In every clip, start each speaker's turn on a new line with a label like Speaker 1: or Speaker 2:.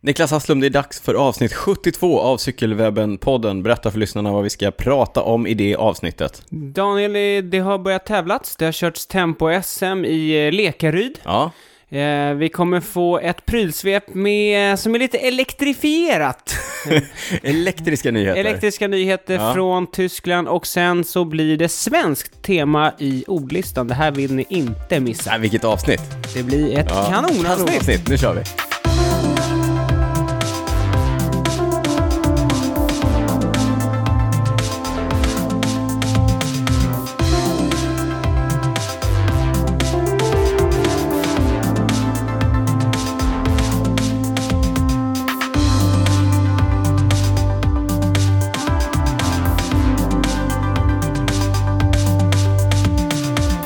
Speaker 1: Niklas Hasslum, det är dags för avsnitt 72 av Cykelwebben-podden. Berätta för lyssnarna vad vi ska prata om i det avsnittet.
Speaker 2: Daniel, eh, det har börjat tävlats. Det har körts tempo-SM i eh, Lekaryd.
Speaker 1: Ja,
Speaker 2: Eh, vi kommer få ett prylsvep med, eh, som är lite elektrifierat.
Speaker 1: elektriska nyheter.
Speaker 2: Elektriska nyheter
Speaker 1: Ja.
Speaker 2: från Tyskland och sen så blir det svenskt tema i ordlistan. Det här vill ni inte missa.
Speaker 1: Nej, vilket avsnitt!
Speaker 2: Det blir ett
Speaker 1: Ja.
Speaker 2: kanonavsnitt.
Speaker 1: Kanonavsnitt, nu kör vi!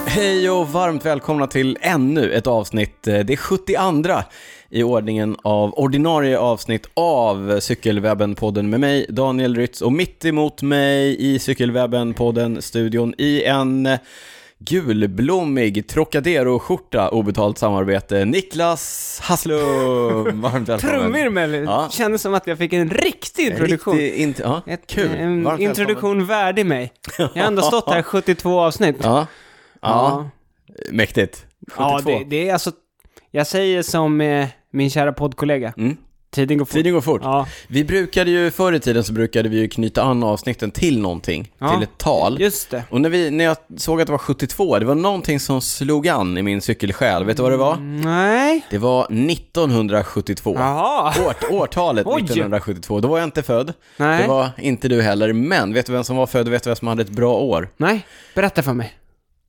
Speaker 1: Hej och varmt välkomna till ännu ett avsnitt. Eh, Det är 72 i ordningen av ordinarie avsnitt av Cykelwebben-podden med mig, Daniel Rytz, och mitt emot mig i Cykelwebben-podden-studion i en eh, gulblommig Trocadero-skjorta, obetalt samarbete, Niklas Hasslum. Varmt välkommen.
Speaker 2: Trumvirvel!
Speaker 1: Ja.
Speaker 2: Kändes som att jag fick en riktig
Speaker 1: En
Speaker 2: introduktion.
Speaker 1: riktig int- ja,
Speaker 2: Ett, eh,
Speaker 1: kul. Varmt
Speaker 2: En
Speaker 1: välkommen.
Speaker 2: introduktion värdig mig. Jag har ändå stått här 72 avsnitt.
Speaker 1: Ja. Ja. mäktigt. 72.
Speaker 2: Ja, det, det är alltså... Jag säger som eh, min kära poddkollega.
Speaker 1: Mm.
Speaker 2: Tiden går fort.
Speaker 1: Tiden går fort.
Speaker 2: Ja,
Speaker 1: Vi brukade ju, förr i tiden så brukade vi ju knyta an avsnitten till någonting,
Speaker 2: Ja.
Speaker 1: till ett tal.
Speaker 2: just det.
Speaker 1: Och när, vi, när jag såg att det var 72, det var någonting som slog an i min cykelsjäl. Vet du vad det var?
Speaker 2: Mm. Nej.
Speaker 1: Det var 1972.
Speaker 2: Jaha.
Speaker 1: Årt, årtalet
Speaker 2: Oj.
Speaker 1: 1972. Då var jag inte född.
Speaker 2: Nej.
Speaker 1: Det var inte du heller. Men vet du vem som var född och vet du vem som hade ett bra år?
Speaker 2: Nej, berätta för mig.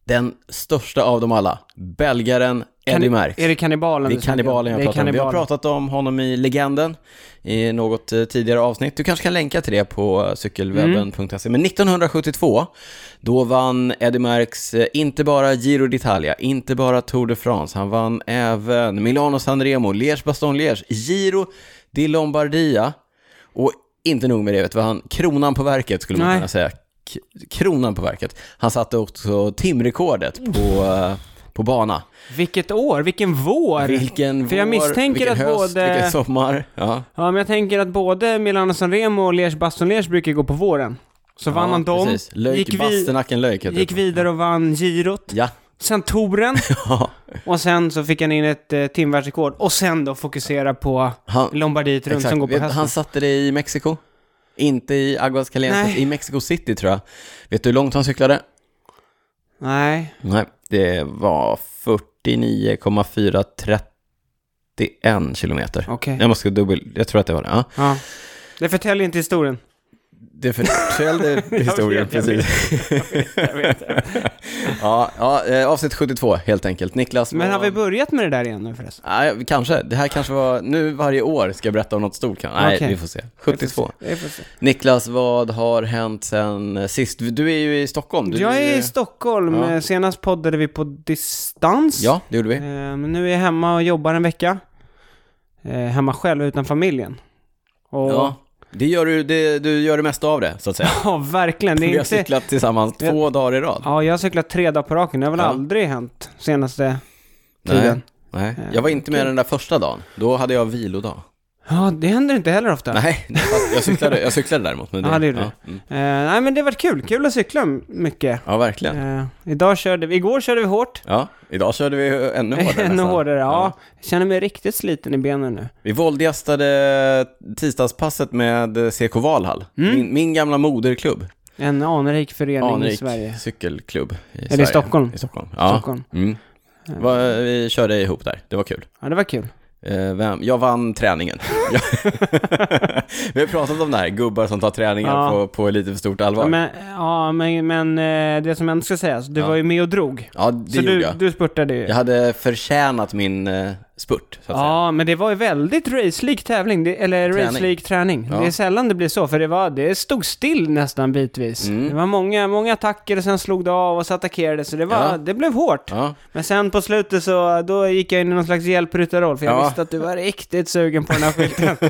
Speaker 1: Den största av dem alla. Belgaren Eddie Merckx.
Speaker 2: Är det kannibalen
Speaker 1: Det är
Speaker 2: du snackar om?
Speaker 1: kannibalen jag
Speaker 2: Det är
Speaker 1: pratar om. Vi har
Speaker 2: kannibalen.
Speaker 1: pratat om honom i Legenden i något eh, tidigare avsnitt. Du kanske kan länka till det på eh, cykelwebben.se. Men 1972, då vann Eddie Merckx eh, inte bara Giro d'Italia, inte bara Tour de France, han vann även Milano Sanremo, Liège Baston Liège, Giro di Lombardia och inte nog med det, vet du vad han, kronan på verket skulle man
Speaker 2: Nej.
Speaker 1: kunna säga. K- Kronan på verket. Han satte också timrekordet på, eh, på bana.
Speaker 2: Vilket år, vilken vår!
Speaker 1: Vilken
Speaker 2: För jag
Speaker 1: vår,
Speaker 2: misstänker
Speaker 1: vilken
Speaker 2: att
Speaker 1: höst,
Speaker 2: både-
Speaker 1: vilken sommar. Ja,
Speaker 2: Ja, men jag tänker att både Milano Sanremo och Liège Baston Liège brukar gå på våren. Så vann
Speaker 1: ja,
Speaker 2: han dem,
Speaker 1: precis. Löjk,
Speaker 2: gick, vi,
Speaker 1: Bastenacken löjk heter
Speaker 2: gick
Speaker 1: det.
Speaker 2: vidare och vann girot,
Speaker 1: Ja,
Speaker 2: sen touren
Speaker 1: ja.
Speaker 2: och sen så fick han in ett eh, timvärldsrekord och sen då fokusera på
Speaker 1: Han,
Speaker 2: Lombardiet runt
Speaker 1: exakt.
Speaker 2: som går på
Speaker 1: Vet-
Speaker 2: hösten.
Speaker 1: han satte det i Mexiko. Inte i Aguascalientes,
Speaker 2: Nej.
Speaker 1: i Mexico City tror jag. Vet du hur långt han cyklade?
Speaker 2: Nej,
Speaker 1: Nej, det var 49,431 kilometer.
Speaker 2: okej.
Speaker 1: Jag måste dubbel... Jag tror att det var det. Ja.
Speaker 2: Ja. Det förtäljer inte historien.
Speaker 1: Det förtällde historien,
Speaker 2: jag vet,
Speaker 1: precis. ja, ja, eh, avsnitt 72 helt enkelt. Niklas,
Speaker 2: Men har
Speaker 1: vad-
Speaker 2: vi börjat med det där igen nu förresten?
Speaker 1: Nej, kanske. Det här kanske var, nu varje år ska jag berätta om något stort kan. Nej,
Speaker 2: Okej.
Speaker 1: vi får se. 72.
Speaker 2: Vi får se.
Speaker 1: Niklas, vad har hänt sen sist? Du är ju i Stockholm. Du,
Speaker 2: Jag är i Stockholm.
Speaker 1: Ja.
Speaker 2: Eh, Senast poddade vi på distans.
Speaker 1: Ja, det gjorde
Speaker 2: Eh,
Speaker 1: vi.
Speaker 2: Men nu är jag hemma och jobbar en vecka. Eh, Hemma själv utan familjen. Och,
Speaker 1: Ja. Det gör du, det, du gör det mesta av det, så att säga.
Speaker 2: Ja, verkligen. Det
Speaker 1: Vi
Speaker 2: är
Speaker 1: har
Speaker 2: inte...
Speaker 1: cyklat tillsammans två dagar i rad.
Speaker 2: Ja, jag har cyklat tre dagar på raken. Det har väl
Speaker 1: Ja.
Speaker 2: aldrig hänt senaste
Speaker 1: Nej,
Speaker 2: tiden.
Speaker 1: nej.
Speaker 2: Eh,
Speaker 1: Jag var inte med den där första dagen. Då hade jag vilodag.
Speaker 2: Ja, det händer inte heller ofta.
Speaker 1: Nej, fast jag cyklade, jag cyklade däremot. Men
Speaker 2: Ja, det gjorde
Speaker 1: ja.
Speaker 2: du.
Speaker 1: Mm.
Speaker 2: Eh, nej, men det har varit kul. Kul att cykla mycket.
Speaker 1: ja, verkligen.
Speaker 2: Eh, idag körde vi, igår körde vi hårt.
Speaker 1: Ja, idag körde vi ännu hårdare
Speaker 2: Ännu
Speaker 1: nästan.
Speaker 2: hårdare, ja. Jag känner mig riktigt sliten i benen nu.
Speaker 1: Vi våldgästade tisdagspasset med CK Valhall, min, min gamla moderklubb.
Speaker 2: En anrik förening Mm. i
Speaker 1: Anrik
Speaker 2: Sverige.
Speaker 1: cykelklubb i
Speaker 2: i
Speaker 1: Sverige.
Speaker 2: Stockholm?
Speaker 1: I Stockholm, ja.
Speaker 2: Stockholm.
Speaker 1: Mm. Va, vi körde ihop där, det var kul.
Speaker 2: Ja, det var kul.
Speaker 1: Eh, vem? Jag vann träningen. Jag- vi har pratat om det här, gubbar som tar träningar
Speaker 2: Ja.
Speaker 1: på, på lite för stort allvar.
Speaker 2: Ja,
Speaker 1: Ja,
Speaker 2: men, ja, men, men eh, det som ändå ska sägas, du
Speaker 1: Ja.
Speaker 2: var ju med och drog.
Speaker 1: det
Speaker 2: så
Speaker 1: gjorde
Speaker 2: du,
Speaker 1: jag.
Speaker 2: du spurtade ju.
Speaker 1: Jag hade förtjänat min eh, spurt, så att säga.
Speaker 2: Ja, men det var ju väldigt race-lik tävling, det, eller
Speaker 1: Träning.
Speaker 2: race-lik träning.
Speaker 1: Ja.
Speaker 2: Det är sällan det blir så, för det, var, det stod still nästan bitvis.
Speaker 1: Mm.
Speaker 2: Det var många, många attacker och sen slog det av och så attackerade så det, var,
Speaker 1: Ja.
Speaker 2: det blev hårt.
Speaker 1: Ja.
Speaker 2: Men sen på slutet så, då gick jag in i någon slags hjälpryttarroll, för jag
Speaker 1: Ja.
Speaker 2: visste att du var riktigt sugen på den här skylten.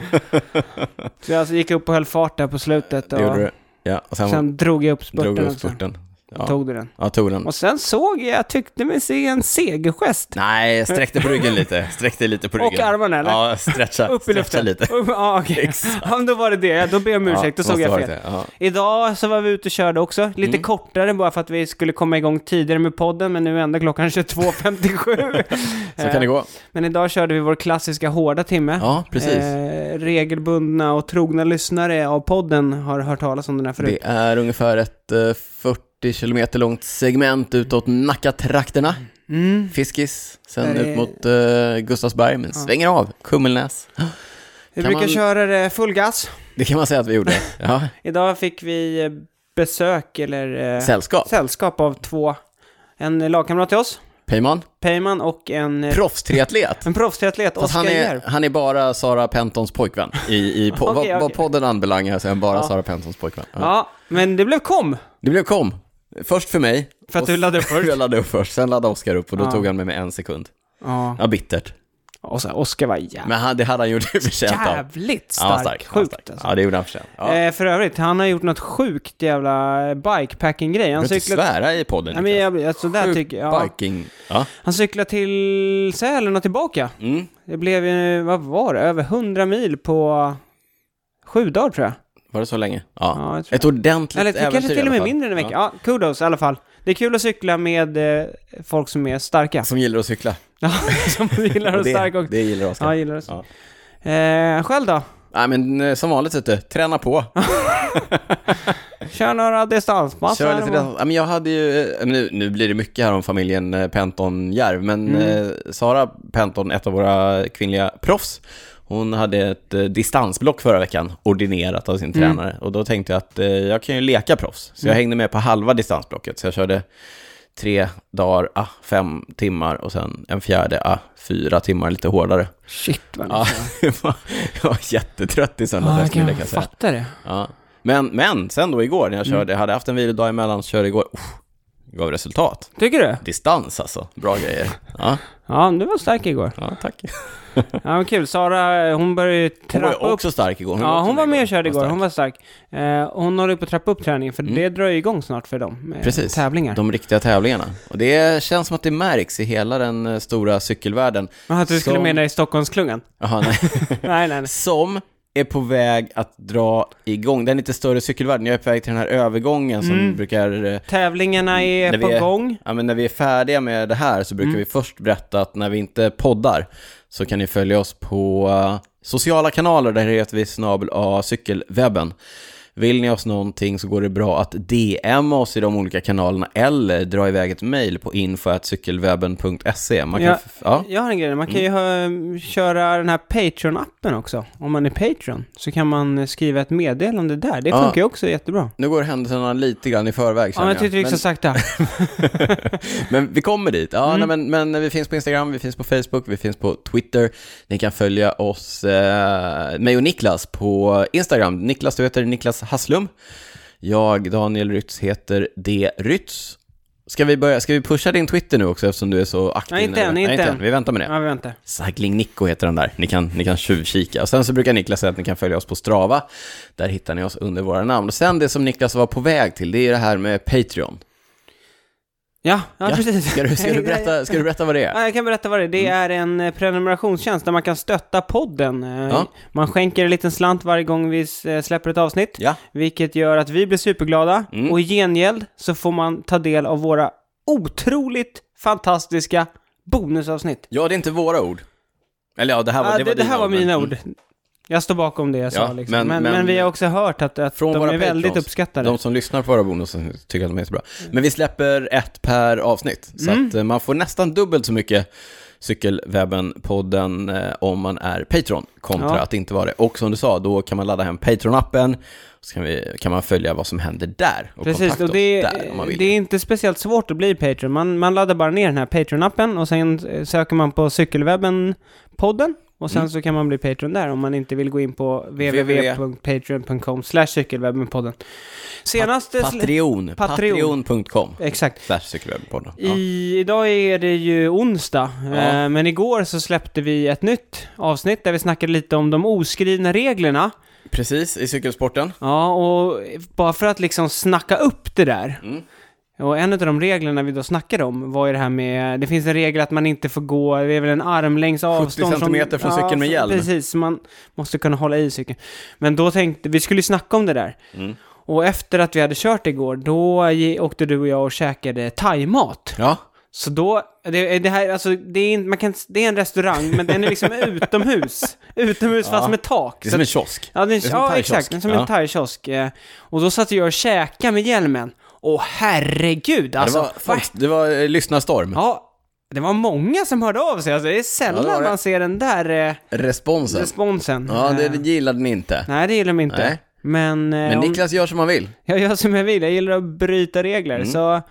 Speaker 2: så jag alltså gick upp och höll fart där på slutet.
Speaker 1: det
Speaker 2: Och
Speaker 1: gjorde du. Ja, och sen,
Speaker 2: Sen drog jag upp spurten
Speaker 1: drog du upp
Speaker 2: också.
Speaker 1: spurten. Ja.
Speaker 2: Tog du den?
Speaker 1: Jag tog den.
Speaker 2: Och sen såg jag, jag tyckte mig se en segergest.
Speaker 1: Nej, jag sträckte på ryggen lite. Sträckte lite på
Speaker 2: Och
Speaker 1: ryggen.
Speaker 2: armarna, eller?
Speaker 1: Ja, stretcha,
Speaker 2: Upp i
Speaker 1: stretcha
Speaker 2: luften.
Speaker 1: lite.
Speaker 2: Upp, ja, okej. Ja, men då var det det. Ja, Då ber jag om ursäkt, då
Speaker 1: måste
Speaker 2: såg jag
Speaker 1: ha varit
Speaker 2: fel.
Speaker 1: det, Mm. ja.
Speaker 2: Idag så var vi ute och körde också, lite kortare bara för att vi skulle komma igång tidigare med podden, men nu är ändå klockan 22.57.
Speaker 1: Så
Speaker 2: Eh,
Speaker 1: kan det gå.
Speaker 2: Men idag körde vi vår klassiska hårda timme.
Speaker 1: Ja, precis.
Speaker 2: Eh, regelbundna och trogna lyssnare av podden har hört talas om den här förut.
Speaker 1: Det är ungefär ett eh, 40 kilometer långt segment utåt Nacka-trakterna.
Speaker 2: Mm.
Speaker 1: Fiskis, sen
Speaker 2: Där är-
Speaker 1: ut mot eh, Gustavsberg, men svänger av. Kummelnäs.
Speaker 2: Vi
Speaker 1: Kan
Speaker 2: brukar
Speaker 1: man-
Speaker 2: köra det full gas.
Speaker 1: Det kan man säga att vi gjorde. Ja.
Speaker 2: Idag fick vi eh, besök, eller eh,
Speaker 1: Sällskap.
Speaker 2: sällskap av två. En lagkamrat till oss,
Speaker 1: Peyman,
Speaker 2: Peyman, och en, eh,
Speaker 1: proffstriatlet.
Speaker 2: en proffstriatlet,
Speaker 1: Fast
Speaker 2: Oskar
Speaker 1: han är,
Speaker 2: Järv.
Speaker 1: han är bara Sara Pentons pojkvän. I, i po-
Speaker 2: Okej,
Speaker 1: vad, vad
Speaker 2: okej.
Speaker 1: podden anbelangar så är han bara
Speaker 2: Ja.
Speaker 1: Sara Pentons pojkvän. Ja.
Speaker 2: Ja, men det blev kom.
Speaker 1: Det blev kom. Först för mig.
Speaker 2: För att
Speaker 1: och
Speaker 2: du
Speaker 1: s-
Speaker 2: laddade upp först.
Speaker 1: jag laddade upp först, sen laddade Oskar upp och då
Speaker 2: Ja.
Speaker 1: tog han med mig en sekund.
Speaker 2: Ja.
Speaker 1: Ja, bittert.
Speaker 2: Och så Oskar var jävligt
Speaker 1: Men han, det hade han gjort förtjänt av.
Speaker 2: stark.
Speaker 1: Ja, Ja,
Speaker 2: Sjukt
Speaker 1: stark.
Speaker 2: alltså.
Speaker 1: Ja, det gjorde han förtjänt. Ja.
Speaker 2: Eh, för övrigt, han har gjort något sjukt jävla bikepacking-grej.
Speaker 1: du
Speaker 2: Han
Speaker 1: behöver inte
Speaker 2: cyklade...
Speaker 1: svära i liksom. podden.
Speaker 2: Nej, men
Speaker 1: Niklas.
Speaker 2: jag, alltså, där
Speaker 1: Sjuk
Speaker 2: tycker jag,
Speaker 1: Biking. Ja.
Speaker 2: han cyklade till Sälen och tillbaka.
Speaker 1: Mm.
Speaker 2: Det blev ju, vad var det, över 100 mil på sju dagar tror jag.
Speaker 1: Var det så länge?
Speaker 2: Ja, jag tror
Speaker 1: Ett ordentligt
Speaker 2: Eller det kanske
Speaker 1: äventyr
Speaker 2: till och
Speaker 1: i alla
Speaker 2: med
Speaker 1: fall.
Speaker 2: mindre än en vecka. Ja. kudos i alla fall. Det är kul att cykla med eh, folk som är starka.
Speaker 1: Som gillar att cykla.
Speaker 2: Ja, som gillar
Speaker 1: Och
Speaker 2: att
Speaker 1: det,
Speaker 2: starka också.
Speaker 1: det gillar Oskar.
Speaker 2: Ja, gillar oss. Eh, själv då?
Speaker 1: Nej, men eh, som vanligt, vet du, träna på.
Speaker 2: Kör några distanspass
Speaker 1: Kör
Speaker 2: här
Speaker 1: lite
Speaker 2: och-
Speaker 1: dans. Ja, men jag hade ju, eh, nu, nu blir det mycket här om familjen eh, Penton-Järv, men
Speaker 2: Mm.
Speaker 1: eh, Sara Penton, ett av våra kvinnliga proffs, hon hade ett eh, distansblock förra veckan, ordinerat av sin
Speaker 2: Mm.
Speaker 1: tränare. Och då tänkte jag att eh, jag kan ju leka proffs. Så jag hängde med på halva distansblocket, så jag körde tre dagar, ah, fem timmar och sen en fjärde, ah, fyra timmar lite hårdare.
Speaker 2: Shit vad
Speaker 1: Ja, jag var- jag var jättetrött i söndags
Speaker 2: Ja, jag
Speaker 1: eftermiddag
Speaker 2: kan
Speaker 1: kan jag säga.
Speaker 2: fatta det.
Speaker 1: Ja. Men, men sen då igår när jag
Speaker 2: Mm.
Speaker 1: körde, jag hade haft en vilodag emellan, så körde igår, uff, gav resultat.
Speaker 2: Tycker du?
Speaker 1: Distans alltså, bra grejer. Ja,
Speaker 2: Ja, du var stark igår.
Speaker 1: ja tack.
Speaker 2: Ja, men kul. Sara, eh, hon började ju
Speaker 1: Hon var
Speaker 2: trappa
Speaker 1: ju
Speaker 2: upp.
Speaker 1: också stark igår.
Speaker 2: Ja, hon var med och körde igår.
Speaker 1: stark. Mm.
Speaker 2: Hon var stark. Eh, hon håller ju på att trappa upp träningen, för det drar ju igång snart för dem. med
Speaker 1: Precis.
Speaker 2: Tävlingar.
Speaker 1: De riktiga tävlingarna. Och det känns som att det märks i hela den eh, stora cykelvärlden.
Speaker 2: Jaha, att du skulle
Speaker 1: Som-
Speaker 2: mena i Stockholmsklungan?
Speaker 1: Jaha, nej.
Speaker 2: nej, nej, nej.
Speaker 1: som är på väg att dra igång. Den lite större cykelvärlden, jag är på väg till den här övergången som
Speaker 2: Mm.
Speaker 1: brukar eh,
Speaker 2: Tävlingarna är
Speaker 1: När vi
Speaker 2: på
Speaker 1: är-
Speaker 2: gång.
Speaker 1: Ja, men när vi är färdiga med det här så
Speaker 2: Mm.
Speaker 1: brukar vi först berätta att när vi inte poddar så kan ni följa oss på eh, sociala kanaler, där heter vi snabel A cykelwebben. Vill ni oss någonting så går det bra att DM oss i de olika kanalerna eller dra iväg ett mejl på info.cykelwebben.se. Man kan
Speaker 2: Ja.
Speaker 1: f- ja. Mm.
Speaker 2: Jag har en grej, man kan ju ha, eh, köra den här Patreon-appen också. Om man är Patreon så kan man eh, skriva ett meddelande där. Det
Speaker 1: Ja.
Speaker 2: funkar ju också jättebra.
Speaker 1: Nu går händelserna lite grann i förväg
Speaker 2: Ja,
Speaker 1: känner
Speaker 2: men jag tyckte det gick
Speaker 1: Men-
Speaker 2: så sakta.
Speaker 1: Men vi kommer dit. Ja,
Speaker 2: Mm.
Speaker 1: nej, men, men vi finns på Instagram, vi finns på Facebook, vi finns på Twitter. Ni kan följa oss, eh, mig och Niklas, på Instagram. Niklas, du heter Niklas Hasslum. Jag, Daniel Rytz, heter D. Rytz. Ska vi, börja, ska vi pusha din Twitter nu också eftersom du är så aktiv?
Speaker 2: Nej, inte
Speaker 1: nu?
Speaker 2: än,
Speaker 1: Nej,
Speaker 2: inte
Speaker 1: inte
Speaker 2: än.
Speaker 1: än. Vi väntar med det.
Speaker 2: Ja, vi väntar.
Speaker 1: Cycling Nico heter den där. Ni kan, ni kan tjuvkika. Och sen så brukar Niklas säga att ni kan följa oss på Strava. Där hittar ni oss under våra namn. Och sen det som Niklas var på väg till, det är det här med Patreon.
Speaker 2: Ja, ja, precis.
Speaker 1: Ska du, ska, du berätta, ska du berätta vad det är?
Speaker 2: Ja, jag kan berätta vad det är. Det
Speaker 1: Mm.
Speaker 2: är en eh, prenumerationstjänst där man kan stötta podden. Eh,
Speaker 1: Ja.
Speaker 2: Man skänker en liten slant varje gång vi eh, släpper ett avsnitt,
Speaker 1: Ja.
Speaker 2: vilket gör att vi blir superglada.
Speaker 1: Mm.
Speaker 2: Och i gengäld så får man ta del av våra otroligt fantastiska bonusavsnitt.
Speaker 1: Ja, det är inte våra ord. Eller ja, det här var,
Speaker 2: Ja,
Speaker 1: det
Speaker 2: Ah, det,
Speaker 1: var,
Speaker 2: det,
Speaker 1: dina
Speaker 2: här var
Speaker 1: men-
Speaker 2: mina
Speaker 1: mm.
Speaker 2: ord. Jag står bakom det jag
Speaker 1: Ja,
Speaker 2: sa liksom.
Speaker 1: men-
Speaker 2: men, men,
Speaker 1: men-
Speaker 2: vi har också hört att, att
Speaker 1: Från
Speaker 2: de
Speaker 1: våra
Speaker 2: är väldigt
Speaker 1: patrons.
Speaker 2: uppskattade.
Speaker 1: De som lyssnar på våra bonus tycker att de är jättebra. Men vi släpper ett per avsnitt, så
Speaker 2: Mm.
Speaker 1: att eh, man får nästan dubbelt så mycket Cykelwebben-podden eh, om man är Patreon kontra
Speaker 2: Ja.
Speaker 1: att inte vara det. Och som du sa, då kan man ladda hem Patreon-appen, så kan, vi, kan man följa vad som händer där och
Speaker 2: Precis,
Speaker 1: kontakta
Speaker 2: och det,
Speaker 1: oss där om man vill.
Speaker 2: det är inte speciellt svårt att bli Patreon. Man, man laddar bara ner den här Patreon-appen och sen eh, söker man på cykelwebben-podden och
Speaker 1: Mm.
Speaker 2: sen så kan man bli Patreon där om man inte vill gå in på www.patreon.com cykelwebbenpodden. Senaste... sl-
Speaker 1: Patreon,
Speaker 2: Patreon.
Speaker 1: patreon.com,
Speaker 2: Exakt.
Speaker 1: slash cykelwebben-podden. Ja.
Speaker 2: I, idag är det ju onsdag, eh, men igår så släppte vi ett nytt avsnitt där vi snackade lite om de oskrivna reglerna.
Speaker 1: Precis, i cykelsporten. Mm.
Speaker 2: Ja, och bara för att liksom snacka upp det där. Och en av de reglerna vi då snackade om var ju det här med, det finns en regel att man inte får gå, det är väl en armlängds avstånd.
Speaker 1: centimeter från cykeln med
Speaker 2: så-
Speaker 1: hjälm.
Speaker 2: Precis, så man måste kunna hålla i cykeln. Men då tänkte, vi skulle ju snacka om det där.
Speaker 1: Mm.
Speaker 2: Och efter att vi hade kört igår, då ge- åkte du och jag och käkade thaimat.
Speaker 1: Ja,
Speaker 2: Så då, det, är- det här, alltså det är, inte- man kan, det är en restaurang, men den är liksom utomhus. Utomhus fast
Speaker 1: Ja.
Speaker 2: med tak.
Speaker 1: det är
Speaker 2: Så
Speaker 1: som en kiosk.
Speaker 2: Ja, den,
Speaker 1: Det är som en
Speaker 2: ja
Speaker 1: thaikiosk.
Speaker 2: exakt. Den är som
Speaker 1: Ja.
Speaker 2: en thaikiosk. eh, Och då satt jag och käkade med hjälmen. Och herregud alltså.
Speaker 1: det var,
Speaker 2: va?
Speaker 1: folk, det var eh, lyssnarstorm.
Speaker 2: ja, det var många som hörde av sig. Alltså, det är sällan
Speaker 1: Ja, det var det.
Speaker 2: man ser den där eh,
Speaker 1: Responsen.
Speaker 2: responsen.
Speaker 1: ja, det
Speaker 2: Eh,
Speaker 1: gillade ni inte.
Speaker 2: Nej, det gillar de inte.
Speaker 1: Nej.
Speaker 2: Men, eh,
Speaker 1: Men
Speaker 2: om-
Speaker 1: Niklas gör som han vill.
Speaker 2: jag gör som jag vill. Jag gillar att bryta regler.
Speaker 1: Mm.
Speaker 2: Så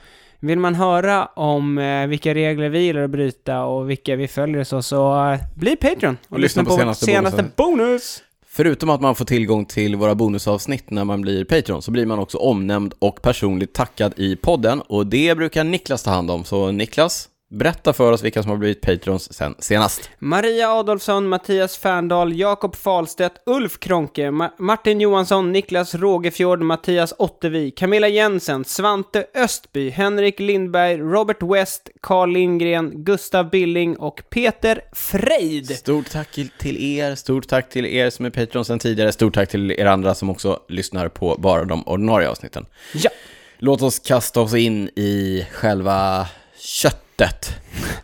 Speaker 2: vill man höra om eh, vilka regler vi gillar att bryta och vilka vi följer och så, så eh, bli Patreon. Och,
Speaker 1: lyssna på
Speaker 2: vårt
Speaker 1: senaste
Speaker 2: senaste bonus.
Speaker 1: Förutom att man får tillgång till våra bonusavsnitt när man blir Patreon så blir man också omnämnd och personligt tackad i podden och det brukar Niklas ta hand om. Så Niklas, berätta för oss vilka som har blivit Patrons sen senast.
Speaker 2: Maria Adolfsson, Mattias Färndal, Jakob Falstedt, Ulf Kronke, Ma- Martin Johansson, Niklas Rågefjord, Mattias Ottevi, Camilla Jensen, Svante Östby, Henrik Lindberg, Robert West, Carl Lindgren, Gustav Billing och Peter Frejd.
Speaker 1: Stort tack till er, stort tack till er som är Patrons sen tidigare, stort tack till er andra som också lyssnar på bara de ordinarie avsnitten.
Speaker 2: Ja.
Speaker 1: Låt oss kasta oss in i själva köttet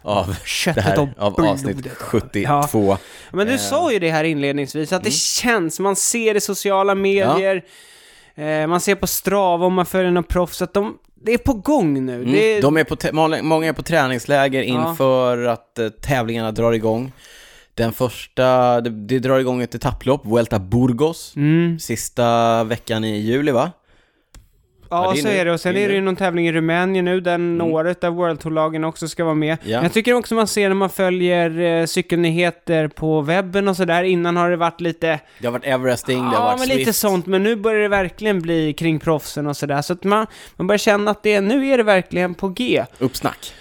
Speaker 1: av
Speaker 2: Köttet
Speaker 1: det
Speaker 2: och
Speaker 1: här, av avsnitt Mm,
Speaker 2: blodet.
Speaker 1: 72.
Speaker 2: Men du sa ju det här inledningsvis, att det känns, man ser i sociala medier, eh, man ser på Strava om man följer någon proffs, att de, det är på gång nu. Det,
Speaker 1: Mm. De är på te- många- många är på träningsläger
Speaker 2: Ja.
Speaker 1: inför att eh, tävlingarna drar igång. Den första, det, det drar igång ett etapplopp, Vuelta Burgos,
Speaker 2: mm.
Speaker 1: sista veckan i juli va? Ja,
Speaker 2: Ja,
Speaker 1: det är
Speaker 2: så
Speaker 1: nu.
Speaker 2: är det. Och sen
Speaker 1: Det är
Speaker 2: är det ju
Speaker 1: nu. Mm.
Speaker 2: någon tävling i Rumänien nu, den året, där World Tour-lagen också ska vara med.
Speaker 1: Ja.
Speaker 2: Jag tycker också man ser när man följer eh, cykelnyheter på webben och sådär. Innan har det varit lite,
Speaker 1: Det har varit Everesting, det har
Speaker 2: ja
Speaker 1: varit
Speaker 2: men
Speaker 1: Swift.
Speaker 2: lite sånt, men nu börjar det verkligen bli kring proffsen och sådär. Så att man, man börjar känna att det, nu är det verkligen på G.
Speaker 1: Uppsnack.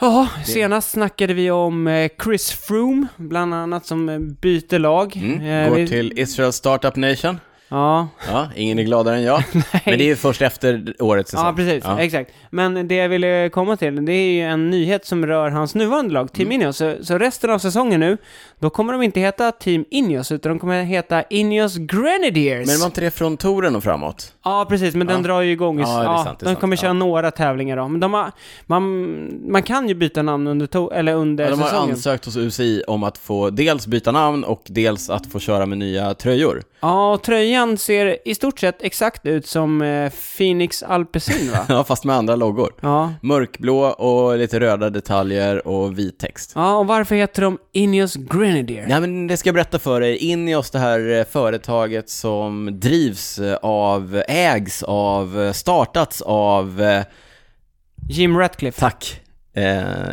Speaker 2: Ja, senast snackade vi om eh, Chris Froome, bland annat, som eh, byter lag.
Speaker 1: Mm.
Speaker 2: Eh,
Speaker 1: Går
Speaker 2: vi-
Speaker 1: till Israel Startup Nation.
Speaker 2: Ja,
Speaker 1: Ja, ingen är gladare än jag. men det är ju först efter årets säsong.
Speaker 2: Ja, precis.
Speaker 1: Ja.
Speaker 2: Exakt. Men det jag ville komma till, det är ju en nyhet som rör hans nuvarande lag,
Speaker 1: Mm.
Speaker 2: Team Ineos. Så, så resten av säsongen nu, då kommer de inte heta Team Ineos, utan de kommer heta Ineos Grenadiers.
Speaker 1: Men var inte det från touren och framåt?
Speaker 2: Ja, precis. Men den drar ju igång. i-
Speaker 1: Ja, det är sant, det är
Speaker 2: de
Speaker 1: sant.
Speaker 2: kommer
Speaker 1: Ja.
Speaker 2: köra några tävlingar då. Men de har, man, man kan ju byta namn under, to- eller under
Speaker 1: Ja, de har
Speaker 2: säsongen.
Speaker 1: ansökt hos UCI om att få dels byta namn och dels att få köra med nya tröjor.
Speaker 2: Ja, och tröjan ser i stort sett exakt ut som eh, Phoenix Alpecin, va?
Speaker 1: Ja, fast med andra loggor.
Speaker 2: ja.
Speaker 1: Mörkblå och lite röda detaljer och vit text.
Speaker 2: Ja, och varför heter de Ineos Grenadiers?
Speaker 1: Nej men det ska jag berätta för dig. In i oss det här eh, företaget som drivs eh, av, ägs av, eh, startats av, eh,
Speaker 2: Jim Ratcliffe.
Speaker 1: tack, eh,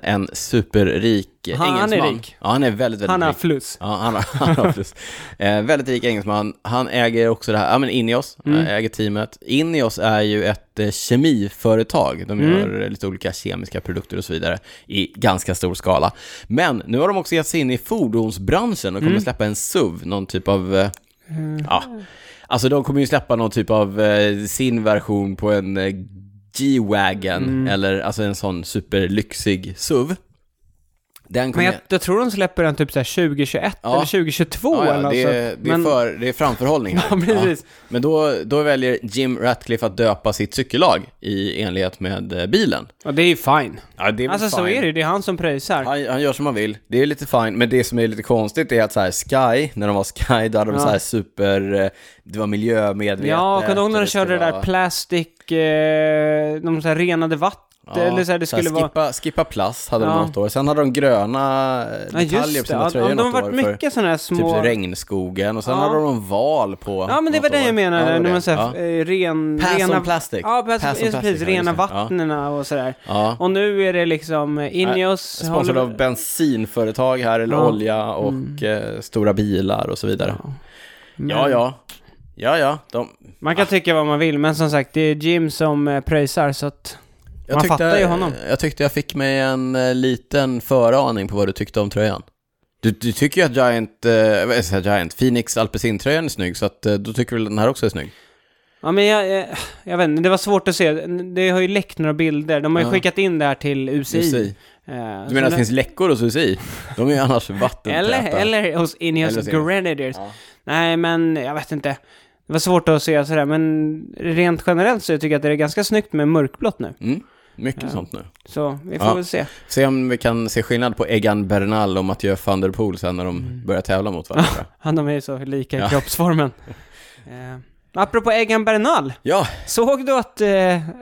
Speaker 1: en superrik eh,
Speaker 2: Han- han är
Speaker 1: engelsman.
Speaker 2: rik.
Speaker 1: Ja, han är väldigt, väldigt
Speaker 2: Han har
Speaker 1: rik.
Speaker 2: fluss.
Speaker 1: Ja, han har, han har plus. Eh, väldigt rik engelsman. Han äger också det här, ja men Ineos,
Speaker 2: Mm.
Speaker 1: eh, äger teamet. Ineos är ju ett eh, kemiföretag. De
Speaker 2: Mm.
Speaker 1: gör eh, lite olika kemiska produkter och så vidare i ganska stor skala. Men nu har de också gett sig in i fordonsbranschen och kommer
Speaker 2: Mm.
Speaker 1: släppa en SUV, någon typ av, eh,
Speaker 2: Mm.
Speaker 1: ja, alltså de kommer ju släppa någon typ av eh, sin version på en eh, G-Wagon,
Speaker 2: Mm.
Speaker 1: eller alltså en sån superlyxig SUV. Den
Speaker 2: Men
Speaker 1: kommer
Speaker 2: jag, jag tror de släpper den typ så här 2021
Speaker 1: Ja.
Speaker 2: eller 2022
Speaker 1: Ja, ja,
Speaker 2: eller något
Speaker 1: det, är,
Speaker 2: sånt.
Speaker 1: det, är
Speaker 2: alltså. Men-
Speaker 1: för, det är framförhållning. här.
Speaker 2: Ja, precis.
Speaker 1: Ja. Men då, då väljer Jim Ratcliffe att döpa sitt cykellag i enlighet med eh, bilen.
Speaker 2: Ja, det är ju fine.
Speaker 1: Ja, det är väl
Speaker 2: Alltså så
Speaker 1: fine.
Speaker 2: är det det är han som pröjsar.
Speaker 1: Han, han gör som han vill. Det är lite fint, men det som är lite konstigt är att så här, Sky, när de var Sky, då hade de
Speaker 2: Ja.
Speaker 1: så här super, eh, det var miljömedvetet.
Speaker 2: Ja, kommer du ihåg när de
Speaker 1: skulle
Speaker 2: körde det där
Speaker 1: vara-
Speaker 2: plastic, eh, de så här renade vatten,
Speaker 1: Ja,
Speaker 2: eller så här, det
Speaker 1: så här,
Speaker 2: skulle vara...
Speaker 1: skippa, skippa plast hade
Speaker 2: Ja.
Speaker 1: de något år, sen hade de gröna eh,
Speaker 2: Ja,
Speaker 1: detaljer
Speaker 2: just det.
Speaker 1: på sina
Speaker 2: Ja,
Speaker 1: tröjor
Speaker 2: de har
Speaker 1: något
Speaker 2: varit
Speaker 1: år för
Speaker 2: mycket sådana här små...
Speaker 1: typ regnskogen och sen
Speaker 2: Ja.
Speaker 1: hade de val på
Speaker 2: Ja, men det var
Speaker 1: något
Speaker 2: det jag
Speaker 1: år.
Speaker 2: menade.
Speaker 1: Ja, det var
Speaker 2: när man
Speaker 1: det.
Speaker 2: så här,
Speaker 1: Ja.
Speaker 2: eh, ren...
Speaker 1: Pass
Speaker 2: rena...
Speaker 1: on plastic.
Speaker 2: Ja, pass,
Speaker 1: Pass on
Speaker 2: just
Speaker 1: plastic,
Speaker 2: precis.
Speaker 1: ja,
Speaker 2: Rena
Speaker 1: just det. Ja.
Speaker 2: vattnen och sådär.
Speaker 1: Ja.
Speaker 2: Och nu är det liksom eh, Ineos...
Speaker 1: Sponsrad
Speaker 2: håller-
Speaker 1: av bensinföretag här, eller
Speaker 2: Ja. Mm.
Speaker 1: olja och eh, stora bilar och så vidare.
Speaker 2: Men-
Speaker 1: Ja, ja. Ja, ja. De,
Speaker 2: Man
Speaker 1: Ah.
Speaker 2: kan tycka vad man vill, men som sagt, det är Jim som eh, pröjsar, så att... Man fattar ju honom.
Speaker 1: Jag tyckte jag fick mig en eh, liten föraning på vad du tyckte om tröjan. Du, du tycker ju att Giant, eh, vad är det, Giant, Phoenix Alpecin-tröjan är snygg, så att, eh, då tycker du väl den här också är snygg?
Speaker 2: Ja, men jag, jag, jag vet inte, det var svårt att se. Det har ju läckt några bilder. De har ju
Speaker 1: Ja.
Speaker 2: skickat in det här till UCI.
Speaker 1: UCI. Du
Speaker 2: Eh, så
Speaker 1: menar att
Speaker 2: nu-
Speaker 1: det finns läckor hos UCI? De är ju annars vattentäta.
Speaker 2: eller, eller hos
Speaker 1: Eller
Speaker 2: Ineos
Speaker 1: hos Ineos.
Speaker 2: Grenadiers.
Speaker 1: Ja.
Speaker 2: Nej, men jag vet inte. Det var svårt att se sådär, men rent generellt så tycker jag att det är ganska snyggt med mörkblått nu.
Speaker 1: Mm. Mycket
Speaker 2: Ja.
Speaker 1: sånt nu.
Speaker 2: Så vi får
Speaker 1: Ja.
Speaker 2: väl se.
Speaker 1: Se om vi kan se skillnad på Egan Bernal och Mathieu van der Poel sen när de börjar tävla mot varandra.
Speaker 2: Han, de är ju så lika i
Speaker 1: Ja.
Speaker 2: kroppsformen. Eh, apropå Egan Bernal,
Speaker 1: Ja,
Speaker 2: såg du att eh,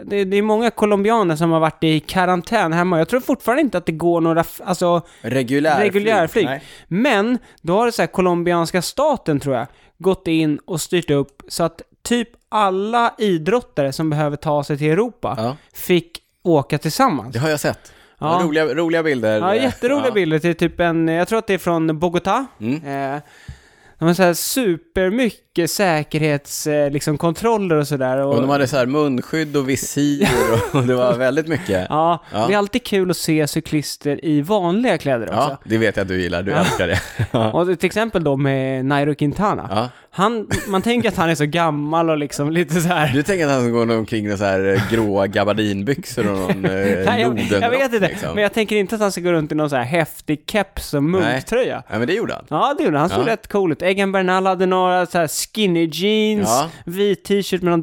Speaker 2: det, det är många colombianer som har varit i karantän hemma? Jag tror fortfarande inte att det går några, f- alltså,
Speaker 1: reguljär
Speaker 2: Reguljärflyg.
Speaker 1: Nej.
Speaker 2: men då har det så här colombianska staten tror jag gått in och styrt upp så att typ alla idrottare som behöver ta sig till Europa
Speaker 1: Ja,
Speaker 2: fick åka tillsammans.
Speaker 1: det har jag sett.
Speaker 2: Ja.
Speaker 1: Roliga, roliga bilder.
Speaker 2: Ja, jätteroliga
Speaker 1: Ja.
Speaker 2: bilder till typ en, jag tror att det är från Bogotá.
Speaker 1: Mm.
Speaker 2: Eh, de har så här supermycket säkerhets, eh, liksom, kontroller och sådär.
Speaker 1: Och de hade så här munskydd och visir och, och det var väldigt mycket.
Speaker 2: Ja,
Speaker 1: Ja.
Speaker 2: det är alltid kul att se cyklister i vanliga kläder också.
Speaker 1: Ja, det vet jag att du gillar, du älskar det. Ja.
Speaker 2: Och till exempel då med Nairo Quintana.
Speaker 1: Ja.
Speaker 2: Han, man tänker att han är så gammal och liksom lite så här.
Speaker 1: Du tänker att han går omkring med så här eh, gråa gabardinbyxor och någon eh,
Speaker 2: Nej, jag, jag vet inte,
Speaker 1: liksom.
Speaker 2: men jag tänker inte att han ska gå runt i någon så här häftig keps och munktröja.
Speaker 1: Ja, men det gjorde han.
Speaker 2: Ja, det gjorde han. Han såg
Speaker 1: Ja.
Speaker 2: rätt cool ut. Egan Bernal hade några så här skinny jeans,
Speaker 1: Ja.
Speaker 2: vit t-shirt med någon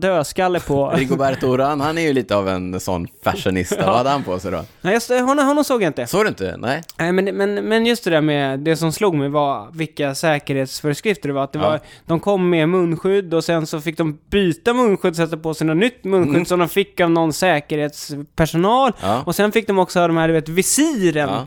Speaker 2: dödskalle på.
Speaker 1: Rigoberto Oran, han är ju lite av en sån fashionista. Vad hade han på sig då?
Speaker 2: Nej, just, det, honom, honom såg jag inte.
Speaker 1: Såg du inte? Nej?
Speaker 2: Nej, men, men, men just det där med, det som slog mig var vilka säkerhetsföreskrifter det var. Att det
Speaker 1: Ja.
Speaker 2: var de kom med munskydd och sen så fick de byta munskydd, sätta på sig något nytt munskydd som de fick av någon säkerhetspersonal.
Speaker 1: Mm. Ja.
Speaker 2: Och sen fick de också ha de här, du vet, visiren.
Speaker 1: Ja.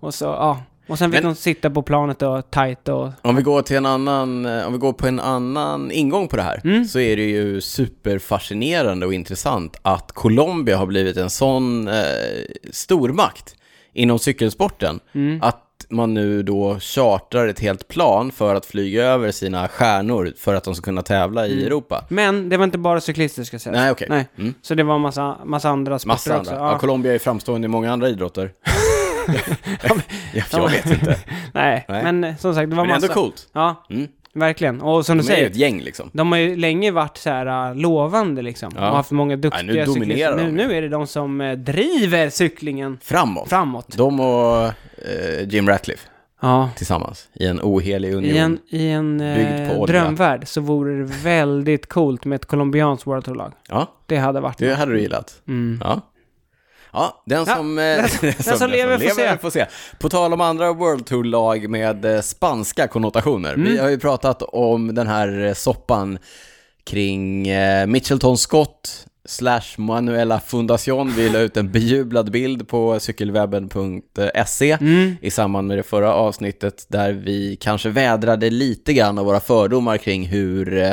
Speaker 2: Och så, ja. Och sen fick
Speaker 1: Men-
Speaker 2: de sitta på planet och tajt och...
Speaker 1: Om vi går till en annan, eh, om vi går på en annan ingång på det här,
Speaker 2: Mm.
Speaker 1: så är det ju superfascinerande och intressant att Colombia har blivit en sån eh, stormakt inom cykelsporten,
Speaker 2: Mm.
Speaker 1: att man nu då chartrar ett helt plan för att flyga över sina stjärnor för att de ska kunna tävla i Europa.
Speaker 2: Men det var inte bara cyklister ska sägas.
Speaker 1: Nej, okej.
Speaker 2: Mm. Nej.
Speaker 1: Mm.
Speaker 2: Så det var massa, massa andra sporter
Speaker 1: Massa
Speaker 2: också.
Speaker 1: andra. Ja. Colombia är framstående i många andra idrotter. jag, jag vet inte,
Speaker 2: Nej.
Speaker 1: Nej.
Speaker 2: men eh, som sagt, det var
Speaker 1: men det är
Speaker 2: massa.
Speaker 1: ändå coolt.
Speaker 2: Ja,
Speaker 1: Mm.
Speaker 2: verkligen. Och som du
Speaker 1: De är ju
Speaker 2: säger,
Speaker 1: ett gäng liksom.
Speaker 2: de har ju länge varit så här äh, lovande liksom.
Speaker 1: Ja.
Speaker 2: Och haft många duktiga
Speaker 1: Nej, nu dominerar
Speaker 2: cyklister. Nu,
Speaker 1: de.
Speaker 2: nu är det de som eh, driver cyklingen
Speaker 1: Framåt.
Speaker 2: framåt.
Speaker 1: De och eh, Jim Ratcliffe
Speaker 2: Ja.
Speaker 1: tillsammans i en ohelig union.
Speaker 2: I en, i en
Speaker 1: Byggd på
Speaker 2: eh,
Speaker 1: olja.
Speaker 2: drömvärld så vore det väldigt coolt med ett colombianskt World Tour-lag.
Speaker 1: Ja,
Speaker 2: Det hade varit
Speaker 1: det hade du gillat.
Speaker 2: Mm.
Speaker 1: Ja. Ja, den
Speaker 2: Ja,
Speaker 1: som, eh, den som,
Speaker 2: som lever får se.
Speaker 1: får se. På tal om andra World Tour-lag med eh, spanska konnotationer. Vi
Speaker 2: Mm.
Speaker 1: har ju pratat om den här eh, soppan kring eh, Mitchelton Scott slash Manuela Fundacion. Vi la ut en bejublad bild på cykelwebben.se E
Speaker 2: Mm.
Speaker 1: i samband med det förra avsnittet där vi kanske vädrade lite grann av våra fördomar kring hur eh,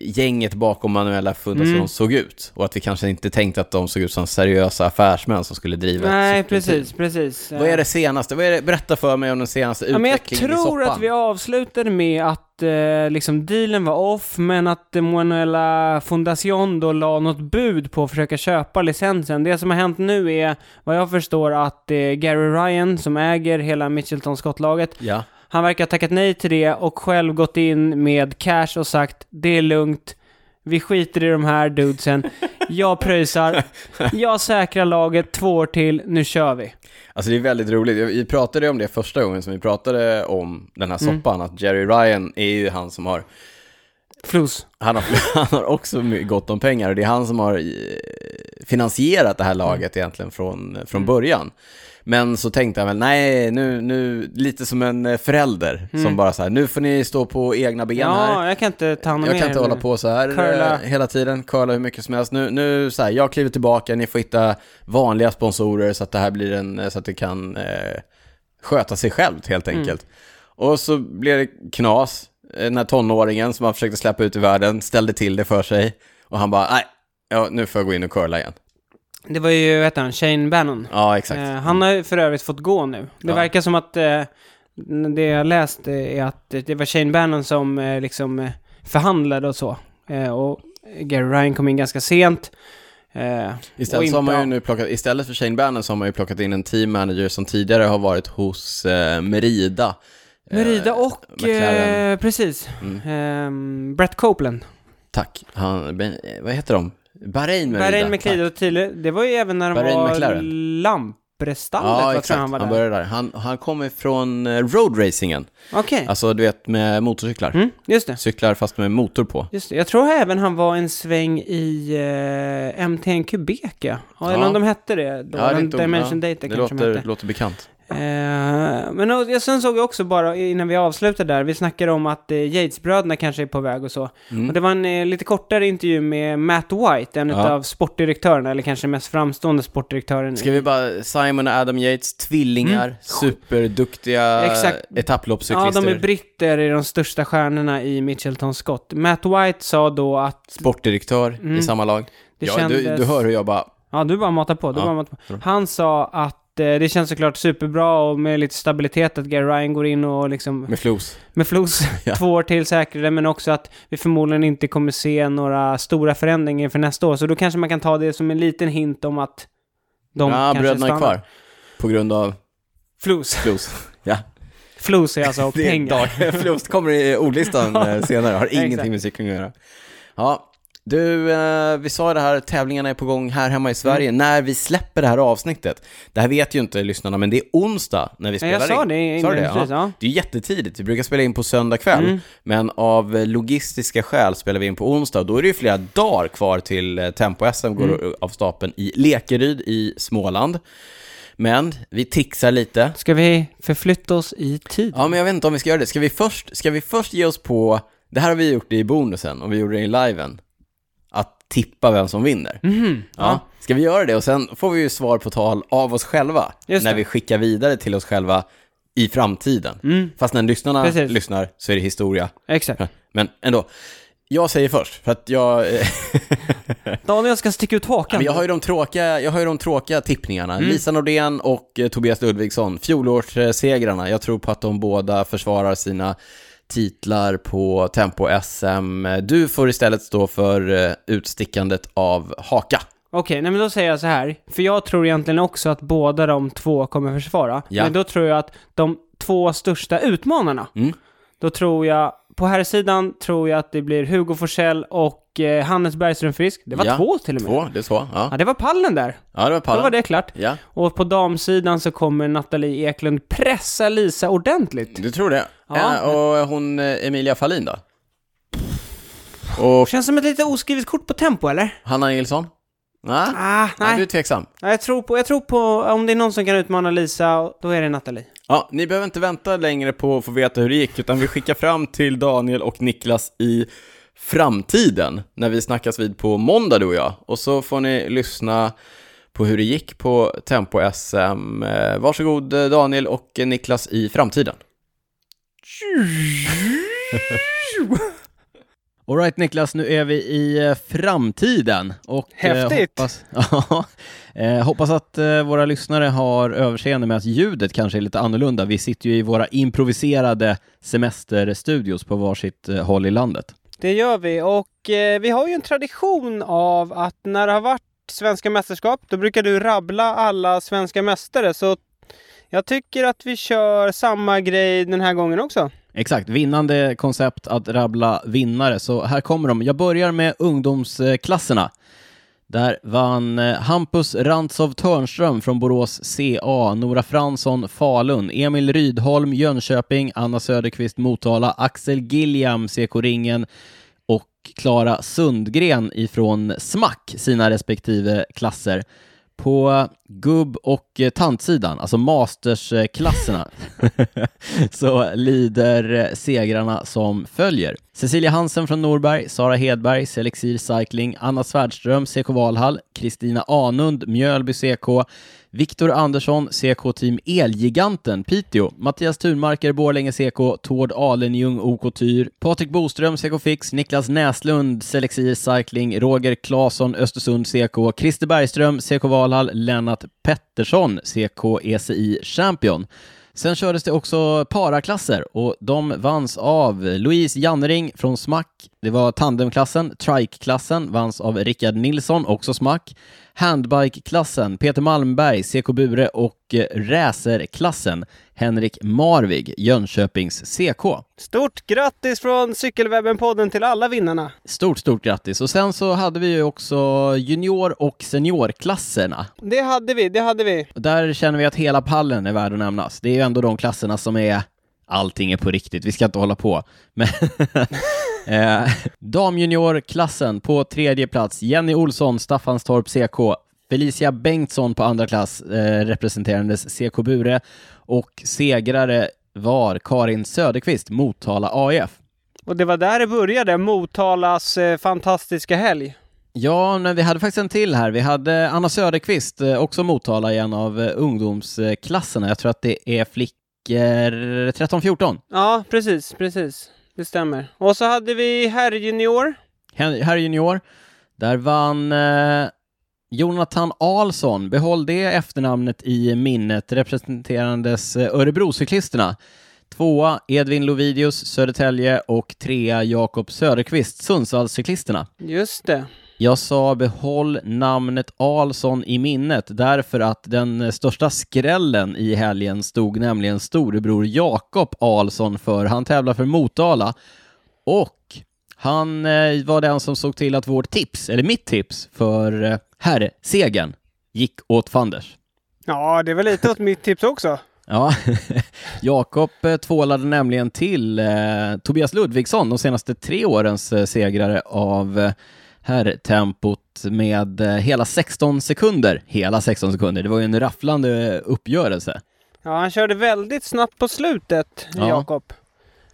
Speaker 1: gänget bakom Manuela Fundacion
Speaker 2: Mm.
Speaker 1: såg ut. Och att vi kanske inte tänkte att de såg ut som seriösa affärsmän som skulle driva ett
Speaker 2: Nej,
Speaker 1: cykelteam.
Speaker 2: precis, precis.
Speaker 1: Vad är det senaste? Vad är det? Berätta för mig om den senaste
Speaker 2: Ja, men
Speaker 1: utvecklingen
Speaker 2: jag
Speaker 1: i
Speaker 2: tror
Speaker 1: soppan.
Speaker 2: att vi avslutade med att eh, liksom dealen var off, men att eh, Manuela Fundacion då la något bud på att försöka köpa licensen. Det som har hänt nu är, vad jag förstår, att eh, Gary Ryan, som äger hela Mitchelton Scott-laget,
Speaker 1: Ja,
Speaker 2: han verkar ha tackat nej till det och själv gått in med cash och sagt det är lugnt, vi skiter i de här dudesen, jag pröjsar, jag säkrar laget två år till, nu kör vi.
Speaker 1: alltså det är väldigt roligt. Vi pratade ju om det första gången som vi pratade om den här
Speaker 2: Mm.
Speaker 1: soppan, att Jerry Ryan är ju han som har
Speaker 2: Flos.
Speaker 1: Han har, han har också my- gott om pengar och det är han som har eh, finansierat det här laget egentligen från, eh, från början. Men så tänkte han väl, nej, nu, nu lite som en eh, förälder som bara så här, nu får ni stå på egna ben här.
Speaker 2: Ja, jag kan inte ta hand om
Speaker 1: Jag kan
Speaker 2: er
Speaker 1: inte
Speaker 2: nu.
Speaker 1: hålla på så här eh,
Speaker 2: Curla.
Speaker 1: hela tiden, curla hur mycket som helst. Nu, nu så här, jag kliver tillbaka, ni får hitta vanliga sponsorer så att det här blir en, eh, så att det kan eh, sköta sig självt helt
Speaker 2: Mm.
Speaker 1: enkelt. Och så blev det knas, eh, den här tonåringen som han försökte släppa ut i världen ställde till det för sig. Och han bara, nej, ja, nu får jag gå in och curla igen.
Speaker 2: Det var ju, vad heter han, Shane Bannon.
Speaker 1: Ja, exakt.
Speaker 2: Eh, han har ju för övrigt fått gå nu. Det
Speaker 1: Ja.
Speaker 2: verkar som att eh, det jag läst eh, är att det var Shane Bannon som eh, liksom eh, förhandlade och så. Eh, och Gary Ryan kom in ganska sent. Eh, och
Speaker 1: Istället, så
Speaker 2: inte-
Speaker 1: har man ju nu plockat, istället för Shane Bannon så har man ju plockat in en team manager som tidigare har varit hos eh, Merida.
Speaker 2: Merida och,
Speaker 1: McLaren.
Speaker 2: eh, precis,
Speaker 1: Mm.
Speaker 2: ehm, Brett Copeland.
Speaker 1: Tack. Han, ben- eh, vad heter de? Bahrain Merida.
Speaker 2: Bahrain McLeod
Speaker 1: Tack.
Speaker 2: och Thiele, det var ju även när de
Speaker 1: Bahrain
Speaker 2: var
Speaker 1: McLaren.
Speaker 2: Lamprestallet,
Speaker 1: Ja,
Speaker 2: vad tror
Speaker 1: exakt.
Speaker 2: jag
Speaker 1: Han,
Speaker 2: han var där.
Speaker 1: började där. Han, han kommer från eh, roadracingen.
Speaker 2: Okej,
Speaker 1: Alltså, du vet, med motorcyklar.
Speaker 2: mm, just det.
Speaker 1: Cyklar fast med motor på.
Speaker 2: Just det. Jag tror även han var en sväng i eh, MTN Quebeca. Ja, Eller om de hette det då.
Speaker 1: det är
Speaker 2: de,
Speaker 1: inte-
Speaker 2: Dimension
Speaker 1: ja,
Speaker 2: Data
Speaker 1: det
Speaker 2: kanske
Speaker 1: låter,
Speaker 2: de hette.
Speaker 1: låter bekant.
Speaker 2: Eh, men och, jag sen såg jag också bara innan vi avslutade där, vi snackade om att eh, Yates-bröderna kanske är på väg och
Speaker 1: Mm.
Speaker 2: så. Och det var en eh, lite kortare intervju med Matt White, en
Speaker 1: Ja.
Speaker 2: av sportdirektörerna, eller kanske mest framstående sportdirektören.
Speaker 1: Ska vi bara, Simon och Adam Yates, tvillingar, superduktiga
Speaker 2: Mm. Exakt. ja,
Speaker 1: etapploppscyklister,
Speaker 2: de är britter i de största stjärnorna i Mitchelton Scott. Matt White sa då att,
Speaker 1: sportdirektör i samma lag.
Speaker 2: Mm. Det
Speaker 1: ja, du,
Speaker 2: kändes-
Speaker 1: du hör hur jag bara,
Speaker 2: ja du bara matar på, du
Speaker 1: Ja.
Speaker 2: bara matar på. Han sa att eh, det känns såklart superbra och med lite stabilitet att Gary Ryan går in och liksom
Speaker 1: med flos.
Speaker 2: med Flos
Speaker 1: Ja.
Speaker 2: två år till säkrare, men också att vi förmodligen inte kommer se några stora förändringar för nästa år. Så då kanske man kan ta det som en liten hint om att de
Speaker 1: ja,
Speaker 2: kanske
Speaker 1: bröderna är
Speaker 2: stannar.
Speaker 1: kvar. På grund av
Speaker 2: Flos.
Speaker 1: flos. ja.
Speaker 2: Flos är alltså
Speaker 1: Det är
Speaker 2: pengar.
Speaker 1: dag- flos kommer i ordlistan eh, senare, har
Speaker 2: Exakt.
Speaker 1: ingenting med cykling att göra. Ja, du, eh, vi sa det här, tävlingarna är på gång här
Speaker 2: Mm.
Speaker 1: hemma i Sverige när vi släpper det här avsnittet. Det här vet ju inte lyssnarna, men det är onsdag när vi
Speaker 2: Nej,
Speaker 1: spelar
Speaker 2: jag sa
Speaker 1: in.
Speaker 2: det
Speaker 1: Sa du det? Ja.
Speaker 2: inledningsvis, ja. Mm.
Speaker 1: Det är jättetidigt, vi brukar spela in på söndag kväll, men av eh, logistiska skäl spelar vi in på onsdag. Då är det ju flera dagar kvar till eh, Tempo-SM går
Speaker 2: Mm.
Speaker 1: av stapeln i Lekeryd i Småland. Men vi tixar lite.
Speaker 2: Ska vi förflytta oss i tid?
Speaker 1: Ja, men jag vet inte om vi ska göra det. Ska vi först, ska vi först ge oss på, det här har vi gjort i bonusen och vi gjorde det i liven, att tippa vem som vinner.
Speaker 2: Mhm.
Speaker 1: Ja. Ska vi göra det? Och sen får vi ju svar på tal av oss själva,
Speaker 2: Just
Speaker 1: när
Speaker 2: det.
Speaker 1: vi skickar vidare till oss själva i framtiden. Fast när lyssnarna
Speaker 2: Mm. Precis.
Speaker 1: lyssnar så är det historia.
Speaker 2: Exakt.
Speaker 1: Men ändå, jag säger först, för att jag,
Speaker 2: Daniel ska sticka ut hakan.
Speaker 1: men jag, har ju de tråkiga, jag har ju de tråkiga tippningarna. Lisa Nordén och eh, Tobias Ludvigsson, fjolårssegrarna. Jag tror på att de båda försvarar sina titlar på Tempo-SM. Du får istället stå för eh, utstickandet av haka.
Speaker 2: Okej, nej men då säger jag så här. För jag tror egentligen också att båda de två kommer försvara.
Speaker 1: Ja.
Speaker 2: Men då tror jag att de två största utmanarna,
Speaker 1: Mm.
Speaker 2: då tror jag, på här sidan tror jag att det blir Hugo Forsell och eh, Hannes Bergström Frisk. Det var
Speaker 1: Ja,
Speaker 2: två till och med.
Speaker 1: Två, det är så. Ja,
Speaker 2: Ja, det var pallen där.
Speaker 1: ja det var
Speaker 2: Då var
Speaker 1: pallen.
Speaker 2: det klart.
Speaker 1: Ja,
Speaker 2: Och på damsidan så kommer Nathalie Eklund pressa Lisa ordentligt.
Speaker 1: du tror det.
Speaker 2: Ja.
Speaker 1: Ja, och hon eh, Emilia Fahlin då? Och
Speaker 2: Känns som ett lite oskrivet kort på tempo, eller?
Speaker 1: Hanna Nilsson? Nej,
Speaker 2: Ah,
Speaker 1: nej. du
Speaker 2: nej.
Speaker 1: är tveksam.
Speaker 2: Ja, jag, tror på, jag tror på, om det är någon som kan utmana Lisa, då är det Nathalie.
Speaker 1: Ja, ni behöver inte vänta längre på att få veta hur det gick, utan vi skickar fram till Daniel och Niklas i framtiden, när vi snackas vid på måndag, du och jag. Och så får ni lyssna på hur det gick på Tempo-SM. Eh, Varsågod eh, Daniel och eh, Niklas i framtiden. Alright Niklas, nu är vi i eh, framtiden. Och,
Speaker 2: eh, Häftigt. hoppas-
Speaker 1: eh, hoppas att våra lyssnare har överseende med att ljudet kanske är lite annorlunda. Vi sitter ju i våra improviserade semesterstudios på varsitt eh, håll i landet.
Speaker 2: Det gör vi och eh, vi har ju en tradition av att när det har varit svenska mästerskap då brukar du rabbla alla svenska mästare så jag tycker att vi kör samma grej den här gången också.
Speaker 1: Exakt, vinnande koncept att rabbla vinnare. Så här kommer de. Jag börjar med ungdomsklasserna. Där vann eh, Hampus Rantzow Törnström från Borås CA, Nora Fransson Falun, Emil Rydholm Jönköping, Anna Söderqvist Motala, Axel Gilliam CK-ringen och Klara Sundgren ifrån Smack, sina respektive klasser. På gubb och eh, tantsidan, alltså mastersklasserna, så lider eh, segrarna som följer. Cecilia Hansen från Norberg, Sara Hedberg, Selexir Cycling, Anna Svärdström, CK Valhall, Kristina Anund, Mjölby CK, Viktor Andersson, CK Team Elgiganten, Piteå, Mattias Thunmarker, Borlänge CK, Tord Alenjung, OK Tyr, Patrik Boström, CK Fix, Niklas Näslund, Selexir Cycling, Roger Claesson, Östersund CK, Christer Bergström, CK Valhall, Lennart Pettersson, CK ECI Champion. Sen kördes det också paraklasser och de vanns av Louise Jannering från Smack. Det var tandemklassen. Trike-klassen vanns av Rickard Nilsson, också Smack.
Speaker 3: Handbike-klassen, Peter Malmberg, CK Bure och eh, Racerklassen, Henrik Marvig, Jönköpings CK.
Speaker 2: Stort grattis från Cykelwebben-podden till alla vinnarna.
Speaker 3: Stort, stort grattis! Och sen så hade vi ju också junior och seniorklasserna.
Speaker 2: Det hade vi, det hade vi.
Speaker 3: Och Där känner vi att hela pallen är värd att nämnas. Det är ju ändå de klasserna som är allting är på riktigt, vi ska inte hålla på. Men eh, damjuniorklassen på tredje plats, Jenny Olsson, Staffanstorp CK, Felicia Bengtsson på andra klass, eh, representerandes CK Bure, och segrare var Karin Söderqvist, Motala AIF.
Speaker 2: Och det var där det började, Motalas eh, fantastiska helg.
Speaker 3: Ja, men vi hade faktiskt en till här. Vi hade Anna Söderqvist, eh, också Motala i en av eh, ungdomsklasserna. Jag tror att det är flickor 13-14.
Speaker 2: Ja, precis, precis. Det stämmer. Och så hade vi herrjunior.
Speaker 3: Hen- Herr junior, där vann eh, Jonathan Alsson. Behåll det efternamnet i minnet, representerandes eh, Örebrocyklisterna. Tvåa Edvin Lovidius, Södertälje och trea Jakob Söderqvist, Sundsvallscyklisterna.
Speaker 2: Just det.
Speaker 3: Jag sa behåll namnet Alsson i minnet därför att den eh, största skrällen i helgen stod nämligen storebror Jakob Alsson för. Han tävlar för Motala och han eh, var den som såg till att vårt tips, eller mitt tips, för eh, herrsegern gick åt fanders.
Speaker 2: Ja, det var lite åt mitt tips också.
Speaker 3: Ja, Jakob eh, tvålade nämligen till eh, Tobias Ludvigsson, de senaste tre årens eh, segrare av eh, herrtempot med eh, hela 16 sekunder. Hela 16 sekunder, det var ju en rafflande eh, uppgörelse.
Speaker 2: Ja, han körde väldigt snabbt på slutet,
Speaker 3: Ja.
Speaker 2: Jakob.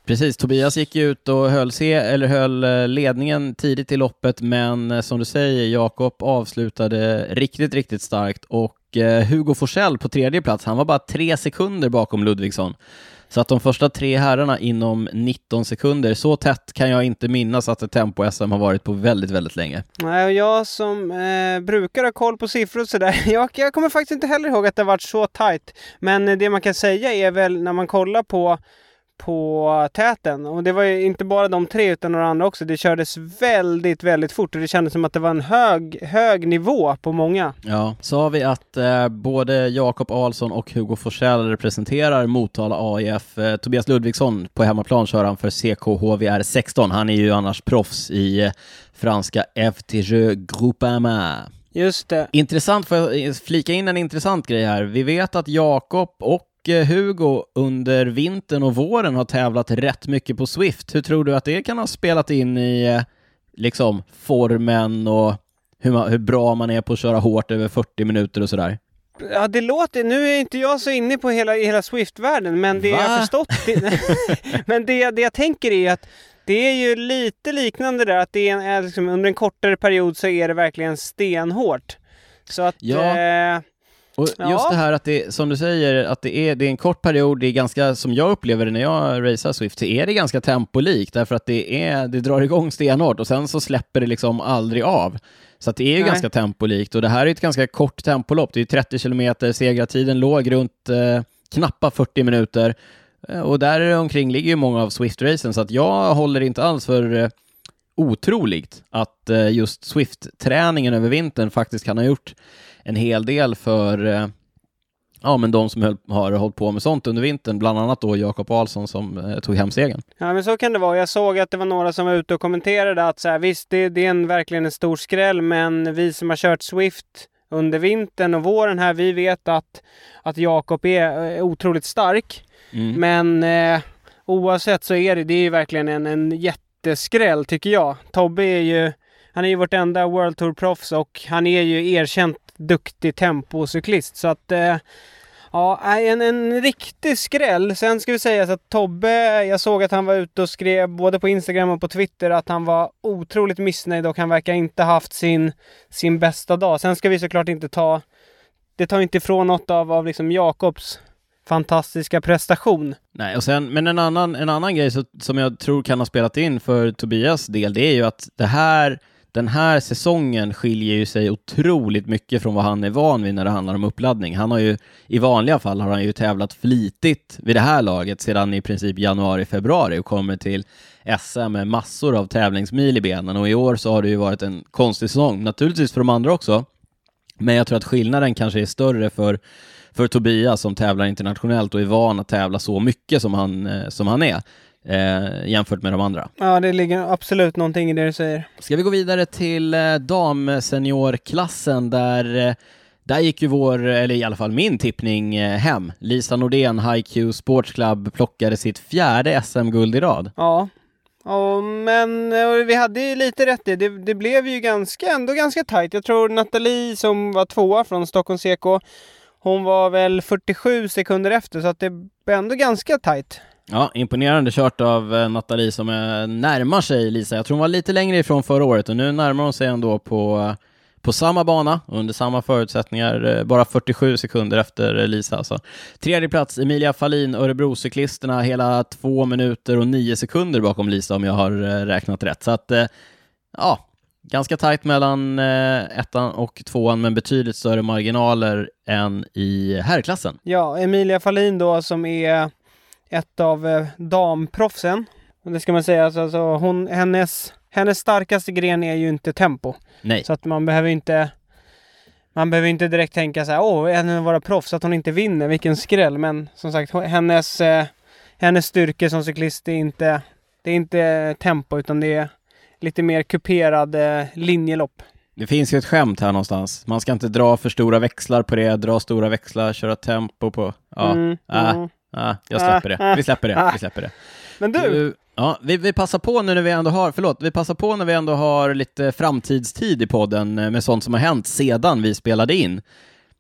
Speaker 3: Precis, Tobias gick ju ut och höll, se, eller höll eh, ledningen tidigt i loppet, men eh, som du säger, Jakob avslutade riktigt, riktigt starkt och eh, Hugo Forsell på tredje plats, han var bara tre sekunder bakom Ludvigsson. Så att de första tre herrarna inom 19 sekunder, så tätt kan jag inte minnas att ett tempo-SM har varit på väldigt, väldigt länge.
Speaker 2: Nej, och jag som eh, brukar ha koll på siffror och sådär, jag, jag kommer faktiskt inte heller ihåg att det har varit så tajt. Men eh, det man kan säga är väl när man kollar på, på täten, och det var ju inte bara de tre utan några andra också, det kördes väldigt, väldigt fort och det kändes som att det var en hög, hög nivå på många.
Speaker 3: Ja, sa vi att eh, både Jakob Ahlsson och Hugo Forsell representerar Motala AIF. Eh, Tobias Ludvigsson på hemmaplan kör han för CKHVR 16. Han är ju annars proffs i eh, franska FTG Groupama.
Speaker 2: Just det.
Speaker 3: Intressant, får jag eh, flika in en intressant grej här. Vi vet att Jakob och eh, Hugo under vintern och våren har tävlat rätt mycket på Swift. Hur tror du att det kan ha spelat in i eh, liksom formen och hur, man, hur bra man är på att köra hårt över 40 minuter och sådär?
Speaker 2: Ja, det låter... Nu är inte jag så inne på hela, hela Swift-världen, men det jag
Speaker 3: Va?
Speaker 2: har förstått... Det, men det, det jag tänker är att det är ju lite liknande där, att det är en, är liksom, under en kortare period så är det verkligen stenhårt. Så att...
Speaker 3: Ja.
Speaker 2: Eh,
Speaker 3: Och
Speaker 2: Ja.
Speaker 3: just det här att det, som du säger, att det är, det är en kort period, det är ganska, som jag upplever det när jag racear Swift, så är det ganska tempolikt, därför att det, är, det drar igång stenhårt och sen så släpper det liksom aldrig av. Så att det är ju
Speaker 2: Nej.
Speaker 3: ganska tempolikt och det här är ett ganska kort tempolopp, det är 30 kilometer, segratiden låg runt eh, knappa 40 minuter eh, och där omkring ligger ju många av Swift-racen, så att jag håller inte alls för eh, otroligt att eh, just Swift-träningen över vintern faktiskt kan ha gjort en hel del för eh, ja, men de som höll, har hållit på med sånt under vintern, bland annat då Jakob Ahlsson som eh, tog hem segern.
Speaker 2: Ja men så kan det vara. Jag såg att det var några som var ute och kommenterade att så här, visst det, det är en, verkligen en stor skräll men vi som har kört Swift under vintern och våren här vi vet att, att Jakob är eh, otroligt stark.
Speaker 3: Mm.
Speaker 2: Men eh, oavsett så är det, det är ju verkligen en, en jätteskräll tycker jag. Tobbe är ju, han är ju vårt enda World Tour-proffs och han är ju erkänt duktig tempocyklist så att eh, Ja, nej, en, en riktig skräll. Sen ska vi säga så att Tobbe, jag såg att han var ute och skrev både på Instagram och på Twitter att han var otroligt missnöjd och han verkar inte haft sin, sin bästa dag. Sen ska vi såklart inte ta, det tar inte ifrån något av, av liksom Jakobs fantastiska prestation.
Speaker 3: Nej, och sen, men en annan, en annan grej så, som jag tror kan ha spelat in för Tobias del, det är ju att det här, den här säsongen skiljer ju sig otroligt mycket från vad han är van vid när det handlar om uppladdning. Han har ju, i vanliga fall har han ju tävlat flitigt vid det här laget sedan i princip januari, februari och kommer till SM med massor av tävlingsmil i benen och i år så har det ju varit en konstig säsong, naturligtvis för de andra också, Men jag tror att skillnaden kanske är större för, för Tobias som tävlar internationellt och är van att tävla så mycket som han, eh, som han är eh, jämfört med de andra.
Speaker 2: Ja, det ligger absolut någonting i det du säger.
Speaker 3: Ska vi gå vidare till eh, damseniorklassen där eh, där gick ju vår, eller i alla fall min tippning, eh, hem. Lisa Nordén, HiQ Sports Club, plockade sitt fjärde SM-guld i rad.
Speaker 2: Ja. Ja, men eh, vi hade ju lite rätt i det. Det blev ju ganska, ändå ganska tajt. Jag tror Nathalie som var tvåa från Stockholms EK, hon var väl 47 sekunder efter, så att det blev ändå ganska tajt.
Speaker 3: Ja, imponerande kört av eh, Nathalie som eh, närmar sig Lisa. Jag tror hon var lite längre ifrån förra året och nu närmar hon sig ändå på, eh, på samma bana under samma förutsättningar, eh, bara 47 sekunder efter eh, Lisa. Alltså. Tredje plats, Emilia Fahlin, Örebrocyklisterna, hela två minuter och nio sekunder bakom Lisa om jag har eh, räknat rätt. Så att, eh, ja, ganska tajt mellan eh, ettan och tvåan, men betydligt större marginaler än i herrklassen.
Speaker 2: Ja, Emilia Fahlin då som är ett av eh, damproffsen. Och det ska man säga, alltså, alltså hon, hennes, hennes starkaste gren är ju inte tempo.
Speaker 3: Nej.
Speaker 2: Så att man behöver inte man behöver inte direkt tänka så här, åh, en av våra proffs, att hon inte vinner, vilken skräll. Men som sagt, hon- hennes, eh, hennes styrka som cyklist är inte, det är inte tempo, utan det är lite mer kuperad eh, linjelopp.
Speaker 3: Det finns ju ett skämt här någonstans. Man ska inte dra för stora växlar på det, dra stora växlar, köra tempo på... Ja,
Speaker 2: Mm,
Speaker 3: ah,
Speaker 2: mm.
Speaker 3: ah, jag släpper
Speaker 2: Ah, ah,
Speaker 3: det. Vi släpper det.
Speaker 2: ah.
Speaker 3: Vi släpper det.
Speaker 2: Men du,
Speaker 3: Du, ja, vi, vi passar på nu när vi ändå har, förlåt, vi passar på när vi ändå har lite framtidstid i podden eh, med sånt som har hänt sedan vi spelade in.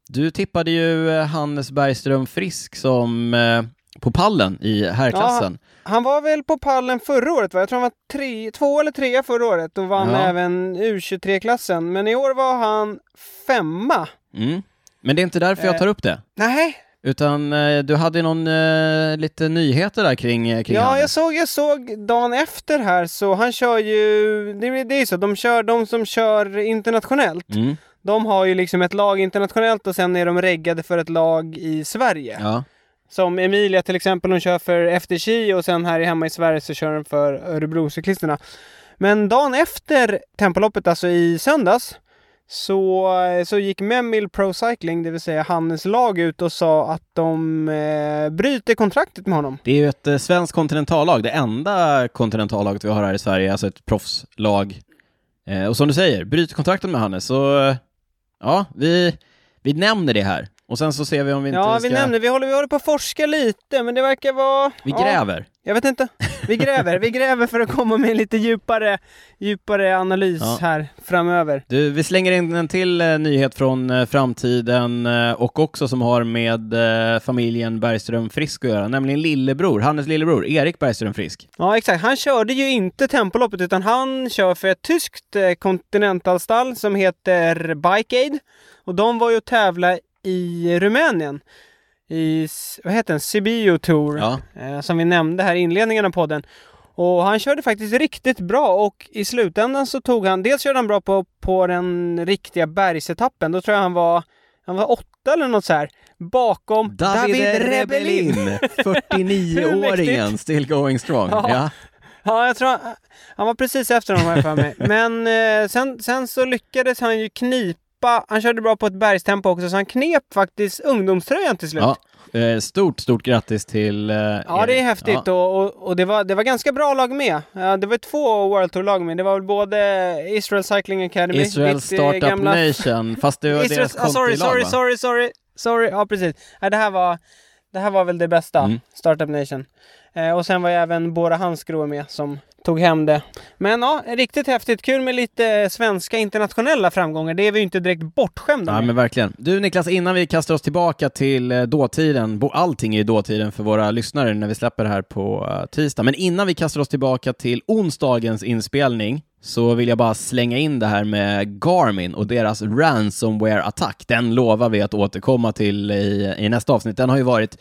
Speaker 3: Du tippade ju eh, Hannes Bergström Frisk som eh, på pallen i herrklassen.
Speaker 2: han var väl på pallen förra året va? Jag tror han var tre, två eller trea förra året och vann
Speaker 3: Ja.
Speaker 2: även U23-klassen. Men i år var han femma.
Speaker 3: Mm. Men det är inte därför
Speaker 2: Eh.
Speaker 3: jag tar upp det.
Speaker 2: Nej,
Speaker 3: Utan eh, du hade någon eh, lite nyheter där kring, eh, kring
Speaker 2: Ja,
Speaker 3: Hannes.
Speaker 2: jag såg, jag såg dagen efter här så han kör ju, det, är- det är ju så, de, kör, de som kör internationellt,
Speaker 3: Mm.
Speaker 2: de har ju liksom ett lag internationellt och sen är de reggade för ett lag i Sverige.
Speaker 3: Ja.
Speaker 2: Som Emilia till exempel, hon kör för FTC och sen här hemma i Sverige så kör hon för Örebrocyklisterna. Men dagen efter Tempoloppet, alltså i söndags, så, så gick Memil Pro Cycling, det vill säga Hannes lag, ut och sa att de eh, bryter kontraktet med honom.
Speaker 3: Det är ju ett eh, svenskt kontinentallag, det enda kontinentallaget vi har här i Sverige, alltså ett proffslag. Eh, och som du säger, bryt kontrakten med Hannes, så eh, ja, vi, vi nämner det här. Och sen så ser vi om vi inte
Speaker 2: Ja,
Speaker 3: ska...
Speaker 2: vi nämnde, vi håller, vi håller på att forska lite, men det verkar vara...
Speaker 3: Vi
Speaker 2: ja,
Speaker 3: gräver.
Speaker 2: Jag vet inte. Vi gräver, vi gräver för att komma med en lite djupare, djupare analys
Speaker 3: Ja.
Speaker 2: här framöver.
Speaker 3: Du, vi slänger in en till eh, nyhet från eh, framtiden eh, och också som har med eh, familjen Bergström Frisk att göra, nämligen lillebror, Hannes lillebror, Erik Bergström Frisk.
Speaker 2: Ja, exakt. Han körde ju inte Tempoloppet, utan han kör för ett tyskt eh, kontinentalstall som heter Bike Aid. Och de var ju att tävla i Rumänien. I, s- vad heter den? Sibiu Tour.
Speaker 3: Ja.
Speaker 2: eh, som vi nämnde här i inledningen av podden. Och han körde faktiskt riktigt bra och i slutändan så tog han, dels körde han bra på, på den riktiga bergsetappen, då tror jag han var, han var åtta eller något så här, bakom David, Rebellin.
Speaker 3: 49-åringen, still going strong.
Speaker 2: Ja.
Speaker 3: Ja.
Speaker 2: Ja, jag tror han, han var precis efter honom här för mig. Men eh, sen, sen så lyckades han ju knipa, han körde bra på ett bergstempo också, så han knep faktiskt ungdomströjan till slut.
Speaker 3: Ja, eh, stort, stort grattis till eh,
Speaker 2: Ja, det är häftigt och, och, och det, var, det var ganska bra lag med. Ja, det var två World Tour-lag med. Det var väl både Israel Cycling Academy,
Speaker 3: Israel
Speaker 2: ditt, eh,
Speaker 3: Startup
Speaker 2: gamla-
Speaker 3: Nation, fast det var
Speaker 2: Israel,
Speaker 3: deras
Speaker 2: ah, sorry,
Speaker 3: kontilag,
Speaker 2: sorry,
Speaker 3: va?
Speaker 2: sorry, sorry, sorry. Ja, precis. Ja, det, här var, det här var väl det bästa,
Speaker 3: Mm.
Speaker 2: Startup Nation. Eh, och sen var ju även Bora Hansgrohe med som tog hem det. Men ja, riktigt häftigt. Kul med lite svenska internationella framgångar. Det är vi ju inte direkt bortskämda
Speaker 3: Ja,
Speaker 2: med.
Speaker 3: men verkligen. Du Niklas, innan vi kastar oss tillbaka till eh, dåtiden, bo- allting är ju dåtiden för våra lyssnare när vi släpper det här på eh, tisdag, men innan vi kastar oss tillbaka till onsdagens inspelning så vill jag bara slänga in det här med Garmin och deras ransomware-attack. Den lovar vi att återkomma till i, i nästa avsnitt. Den har ju varit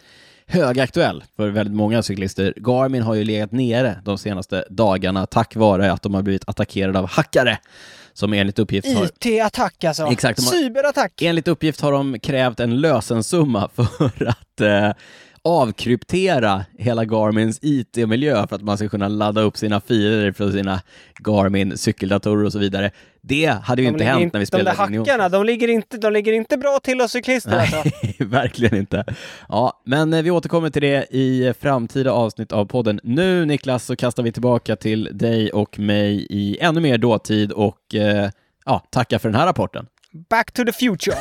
Speaker 3: högaktuell för väldigt många cyklister. Garmin har ju legat nere de senaste dagarna tack vare att de har blivit attackerade av hackare som enligt uppgift har
Speaker 2: IT-attack alltså.
Speaker 3: Exakt, de har-
Speaker 2: Cyberattack.
Speaker 3: Enligt uppgift har de krävt en lösensumma för att eh, avkryptera hela Garmins IT-miljö för att man ska kunna ladda upp sina filer från sina Garmin cykeldatorer och så vidare. Det hade ju
Speaker 2: De
Speaker 3: inte
Speaker 2: ligger
Speaker 3: hänt när vi spelade
Speaker 2: De där
Speaker 3: Union.
Speaker 2: hackarna, de ligger inte, de ligger inte bra till oss cyklister alltså.
Speaker 3: Verkligen inte. Ja, men eh, vi återkommer till det i framtida avsnitt av podden. Nu Niklas så kastar vi tillbaka till dig och mig i ännu mer dåtid och eh, ja, tackar för den här rapporten.
Speaker 2: Back to the future.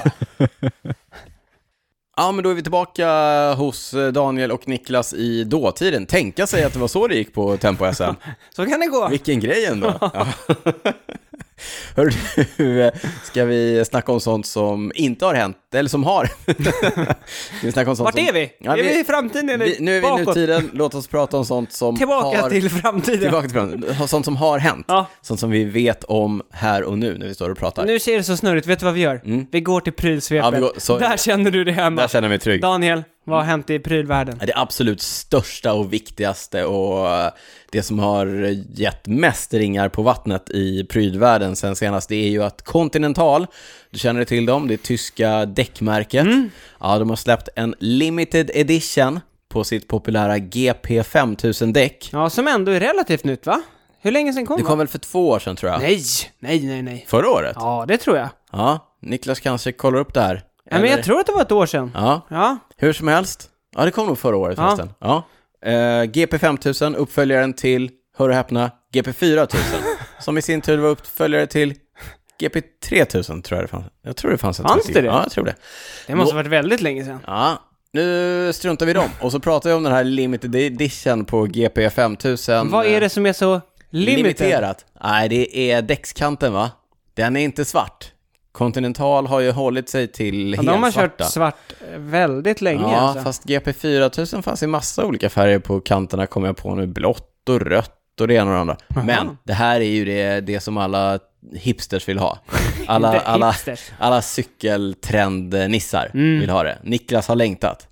Speaker 1: Ja, men då är vi tillbaka hos eh, Daniel och Niklas i dåtiden. Tänka sig att det var så det gick på Tempo-SM.
Speaker 2: Så kan det gå.
Speaker 1: Vilken grej ändå. Ja. Hör du, eh, ska vi snacka om sånt som inte har hänt, eller som har? ska vi snacka om sånt
Speaker 2: Vart
Speaker 1: som...
Speaker 2: är vi?
Speaker 1: Ja,
Speaker 2: är vi
Speaker 1: vi-
Speaker 2: i framtiden eller
Speaker 1: vi? Nu är vi i
Speaker 2: bakåt?
Speaker 1: nutiden, låt oss prata om sånt som
Speaker 2: Tillbaka
Speaker 1: har...
Speaker 2: till framtiden.
Speaker 1: Tillbaka till framtiden. Sånt som har hänt.
Speaker 2: Ja.
Speaker 1: Sånt som vi vet om här och nu när vi står och pratar.
Speaker 2: Nu ser det så snurrigt, vet du vad vi gör? Vi går till prylsvepet.
Speaker 1: Mm. Ja, vi går- så-
Speaker 2: Där känner du det hemma.
Speaker 1: Där känner jag Mm. mig trygg.
Speaker 2: Daniel, vad har hänt i prylvärlden?
Speaker 1: Det absolut största och viktigaste och eh, det som har gett mest ringar på vattnet i prydvärlden sen senast, det är ju att Continental, du känner till dem, det tyska däckmärket,
Speaker 2: Mm.
Speaker 1: ja, de har släppt en limited edition på sitt populära GP5000-däck.
Speaker 2: Ja, som ändå är relativt nytt va? Hur länge sedan kom
Speaker 1: Det
Speaker 2: det?
Speaker 1: kom väl för två år sedan tror jag?
Speaker 2: Nej, nej, nej, nej.
Speaker 1: Förra året? Ja.
Speaker 2: Ja, det tror jag.
Speaker 1: Niklas kanske kollar upp det här.
Speaker 2: Ja, men
Speaker 1: Eller-
Speaker 2: jag tror att det var ett år sedan.
Speaker 1: Ja,
Speaker 2: Ja,
Speaker 1: Hur som helst. Ja, det kom nog förra året
Speaker 2: Ja.
Speaker 1: förresten. Ja. Eh, GP5000, uppföljaren till, hör och häpna, GP4000. som i sin tur var uppföljare till GP3000, tror jag det fanns. Jag tror det fanns en
Speaker 2: Fanns
Speaker 1: till.
Speaker 2: det det?
Speaker 1: Ja, jag tror det.
Speaker 2: det måste ha varit väldigt länge sedan.
Speaker 1: Ja, nu struntar vi i dem. Och så pratar vi om den här limited edition på GP5000.
Speaker 2: Vad är det som är så limited?
Speaker 1: Limiterat? Nej, det är däckskanten va? Den är inte svart. Continental har ju hållit sig till
Speaker 2: Ja, de har
Speaker 1: helsvarta.
Speaker 2: kört svart eh, väldigt länge
Speaker 1: Ja,
Speaker 2: alltså.
Speaker 1: fast GP4000 fanns i massa olika färger på kanterna kommer jag på nu. Blått och rött och det ena och det andra. Men det här är ju det, det som alla hipsters vill ha. Alla,
Speaker 2: Inte
Speaker 1: alla,
Speaker 2: hipsters.
Speaker 1: alla cykeltrendnissar
Speaker 2: Mm.
Speaker 1: vill ha det. Niklas har längtat.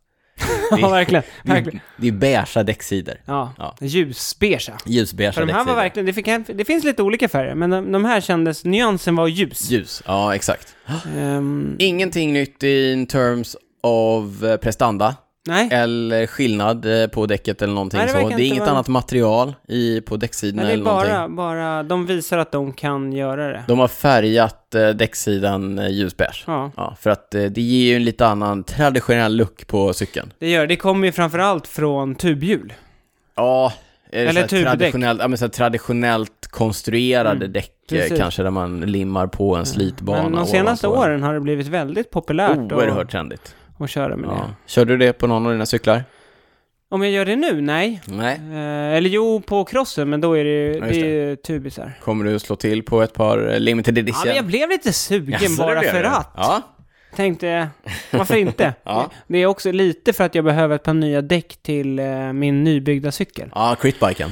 Speaker 2: ja, verkligen. verkligen.
Speaker 1: Det är beiga däcksidor.
Speaker 2: Ja,
Speaker 1: Ja.
Speaker 2: ljusbeiga.
Speaker 1: Ljusbeiga
Speaker 2: För de här var
Speaker 1: däcksidor.
Speaker 2: verkligen, det, fick, det finns lite olika färger, men de, de här kändes, nyansen var ljus.
Speaker 1: Ljus, ja exakt.
Speaker 2: Ehm,
Speaker 1: Ingenting nytt in terms of eh, prestanda.
Speaker 2: nej,
Speaker 1: Eller skillnad eh, på däcket eller någonting
Speaker 2: Nej, det
Speaker 1: så.
Speaker 2: verkar
Speaker 1: Det är
Speaker 2: inte
Speaker 1: inget
Speaker 2: vara-
Speaker 1: annat material i, på däcksidorna
Speaker 2: men det är
Speaker 1: eller någonting.
Speaker 2: bara, bara, de visar att de kan göra det.
Speaker 1: De har färgat eh, däcksidan eh, ljusbeige.
Speaker 2: Ja,
Speaker 1: Ja, för att eh, det ger ju en lite annan traditionell look på cykeln.
Speaker 2: det gör det. kommer ju framförallt från tubhjul.
Speaker 1: Ja, är det
Speaker 2: Eller
Speaker 1: så här
Speaker 2: tubdäck.
Speaker 1: traditionellt, ja, men så här traditionellt konstruerade däck eh,
Speaker 2: Mm, precis. Mm.
Speaker 1: kanske, där man limmar på en slitbana.
Speaker 2: Men de senaste
Speaker 1: ovanpå en.
Speaker 2: åren har det blivit väldigt populärt
Speaker 1: alltså. Oerhört
Speaker 2: att,
Speaker 1: trendigt.
Speaker 2: att köra med
Speaker 1: Ja.
Speaker 2: det.
Speaker 1: Körde du det på någon av dina cyklar?
Speaker 2: Om jag gör det nu? Nej.
Speaker 1: Nej.
Speaker 2: Eh, eller jo, på crossen, men då är det ju
Speaker 1: Ja,
Speaker 2: det
Speaker 1: just
Speaker 2: är ju tubisar.
Speaker 1: Kommer du slå till på ett par eh, limited
Speaker 2: Ja,
Speaker 1: edition?
Speaker 2: men jag blev lite sugen
Speaker 1: Jaså, det
Speaker 2: bara
Speaker 1: blev
Speaker 2: för
Speaker 1: det.
Speaker 2: att.
Speaker 1: Ja,
Speaker 2: Tänkte, varför inte?
Speaker 1: Ja.
Speaker 2: Det är också lite för att jag behöver ett par nya däck till eh, min nybyggda cykel.
Speaker 1: ja critbiken.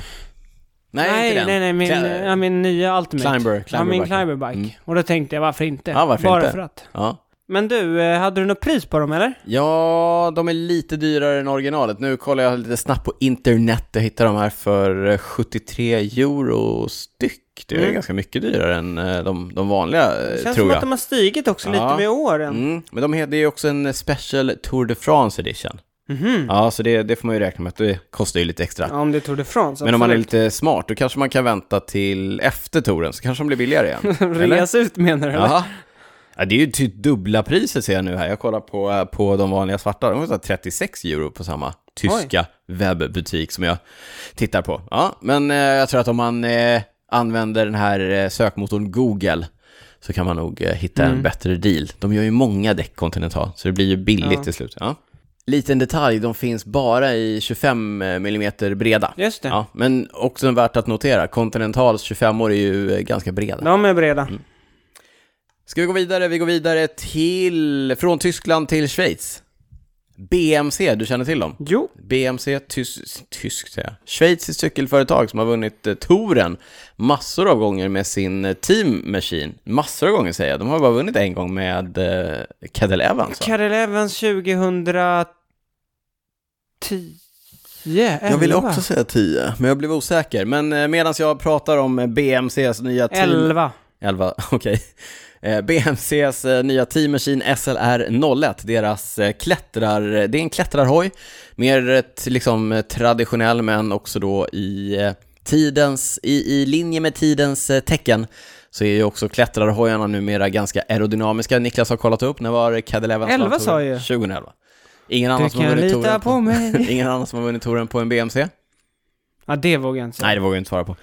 Speaker 1: Nej, inte
Speaker 2: nej,
Speaker 1: den.
Speaker 2: nej, nej, min, eh,
Speaker 1: Kla-
Speaker 2: ja, min nya Ultimate.
Speaker 1: Climber-
Speaker 2: ja, min
Speaker 1: climberbiken.
Speaker 2: Climberbike.
Speaker 1: Mm.
Speaker 2: Och då tänkte jag, varför inte?
Speaker 1: Ja, varför
Speaker 2: bara
Speaker 1: inte? Eh,
Speaker 2: för att.
Speaker 1: ja.
Speaker 2: Men du, eh, hade du något pris på dem eller?
Speaker 1: Ja, de är lite dyrare än originalet. Nu kollar jag lite snabbt på internet. Jag hittar de här för eh, 73 euro styck. Det är
Speaker 2: Mm.
Speaker 1: ganska mycket dyrare än eh, de, de vanliga, eh,
Speaker 2: Det känns
Speaker 1: tror
Speaker 2: som att
Speaker 1: jag.
Speaker 2: de har stigit också
Speaker 1: Ja.
Speaker 2: lite med åren.
Speaker 1: Mm. Men de heter ju också en eh, special Tour de France edition.
Speaker 2: Mhm.
Speaker 1: Ja, så det, det får man ju räkna med att det kostar ju lite extra.
Speaker 2: Ja, om det är Tour de France,
Speaker 1: Men om man är
Speaker 2: absolut.
Speaker 1: lite smart, då kanske man kan vänta till efter touren, så kanske de blir billigare igen. eller?
Speaker 2: Res ut menar du? eller?
Speaker 1: Jaha. Ja, det är ju typ dubbla priset ser jag nu här. Jag kollar på, eh, på de vanliga svarta. De kostar 36 euro på samma tyska webbutik som jag tittar på. Ja, men eh, jag tror att om man eh, använder den här eh, sökmotorn Google så kan man nog eh, hitta
Speaker 2: Mm.
Speaker 1: en bättre deal. De gör ju många däck Continental, så det blir ju billigt
Speaker 2: Ja.
Speaker 1: till slut. Ja. Liten detalj, de finns bara i 25 mm breda.
Speaker 2: Just det.
Speaker 1: Ja, men också värt att notera, Continentals 25 år är ju eh, ganska breda.
Speaker 2: De är breda.
Speaker 1: Mm. Ska vi gå vidare? Vi går vidare till, från Tyskland till Schweiz. BMC, du känner till dem?
Speaker 2: Jo.
Speaker 1: BMC, tys, tysk säger jag. Schweiziskt cykelföretag som har vunnit eh, touren massor av gånger med sin eh, Team Machine. Massor av gånger säger jag, de har bara vunnit en gång med eh, Cadel Evans. va?
Speaker 2: Karel Evans 2010?
Speaker 1: Jag ville
Speaker 2: 11?
Speaker 1: också säga 10, men jag blev osäker. Men medan jag pratar om eh, BMCs nya team...
Speaker 2: 11.
Speaker 1: 11, okej. Eh, BMCs eh, nya Team Machine SLR01, deras eh, klättrar, det är en klättrarhoj, mer ett, liksom eh, traditionell men också då i eh, tidens, i, i linje med tidens eh, tecken så är ju också klättrarhojarna numera ganska aerodynamiska. Niklas har kollat upp, när var Cadel
Speaker 2: 11 sa jag ju.
Speaker 1: 2011. Ingen annan,
Speaker 2: Du
Speaker 1: som har
Speaker 2: kan
Speaker 1: vunnit
Speaker 2: lita
Speaker 1: touren
Speaker 2: på mig.
Speaker 1: Ingen annan som har vunnit touren på en BMC?
Speaker 2: Ja, det vågar jag inte säga.
Speaker 1: Nej, det vågar jag inte svara på.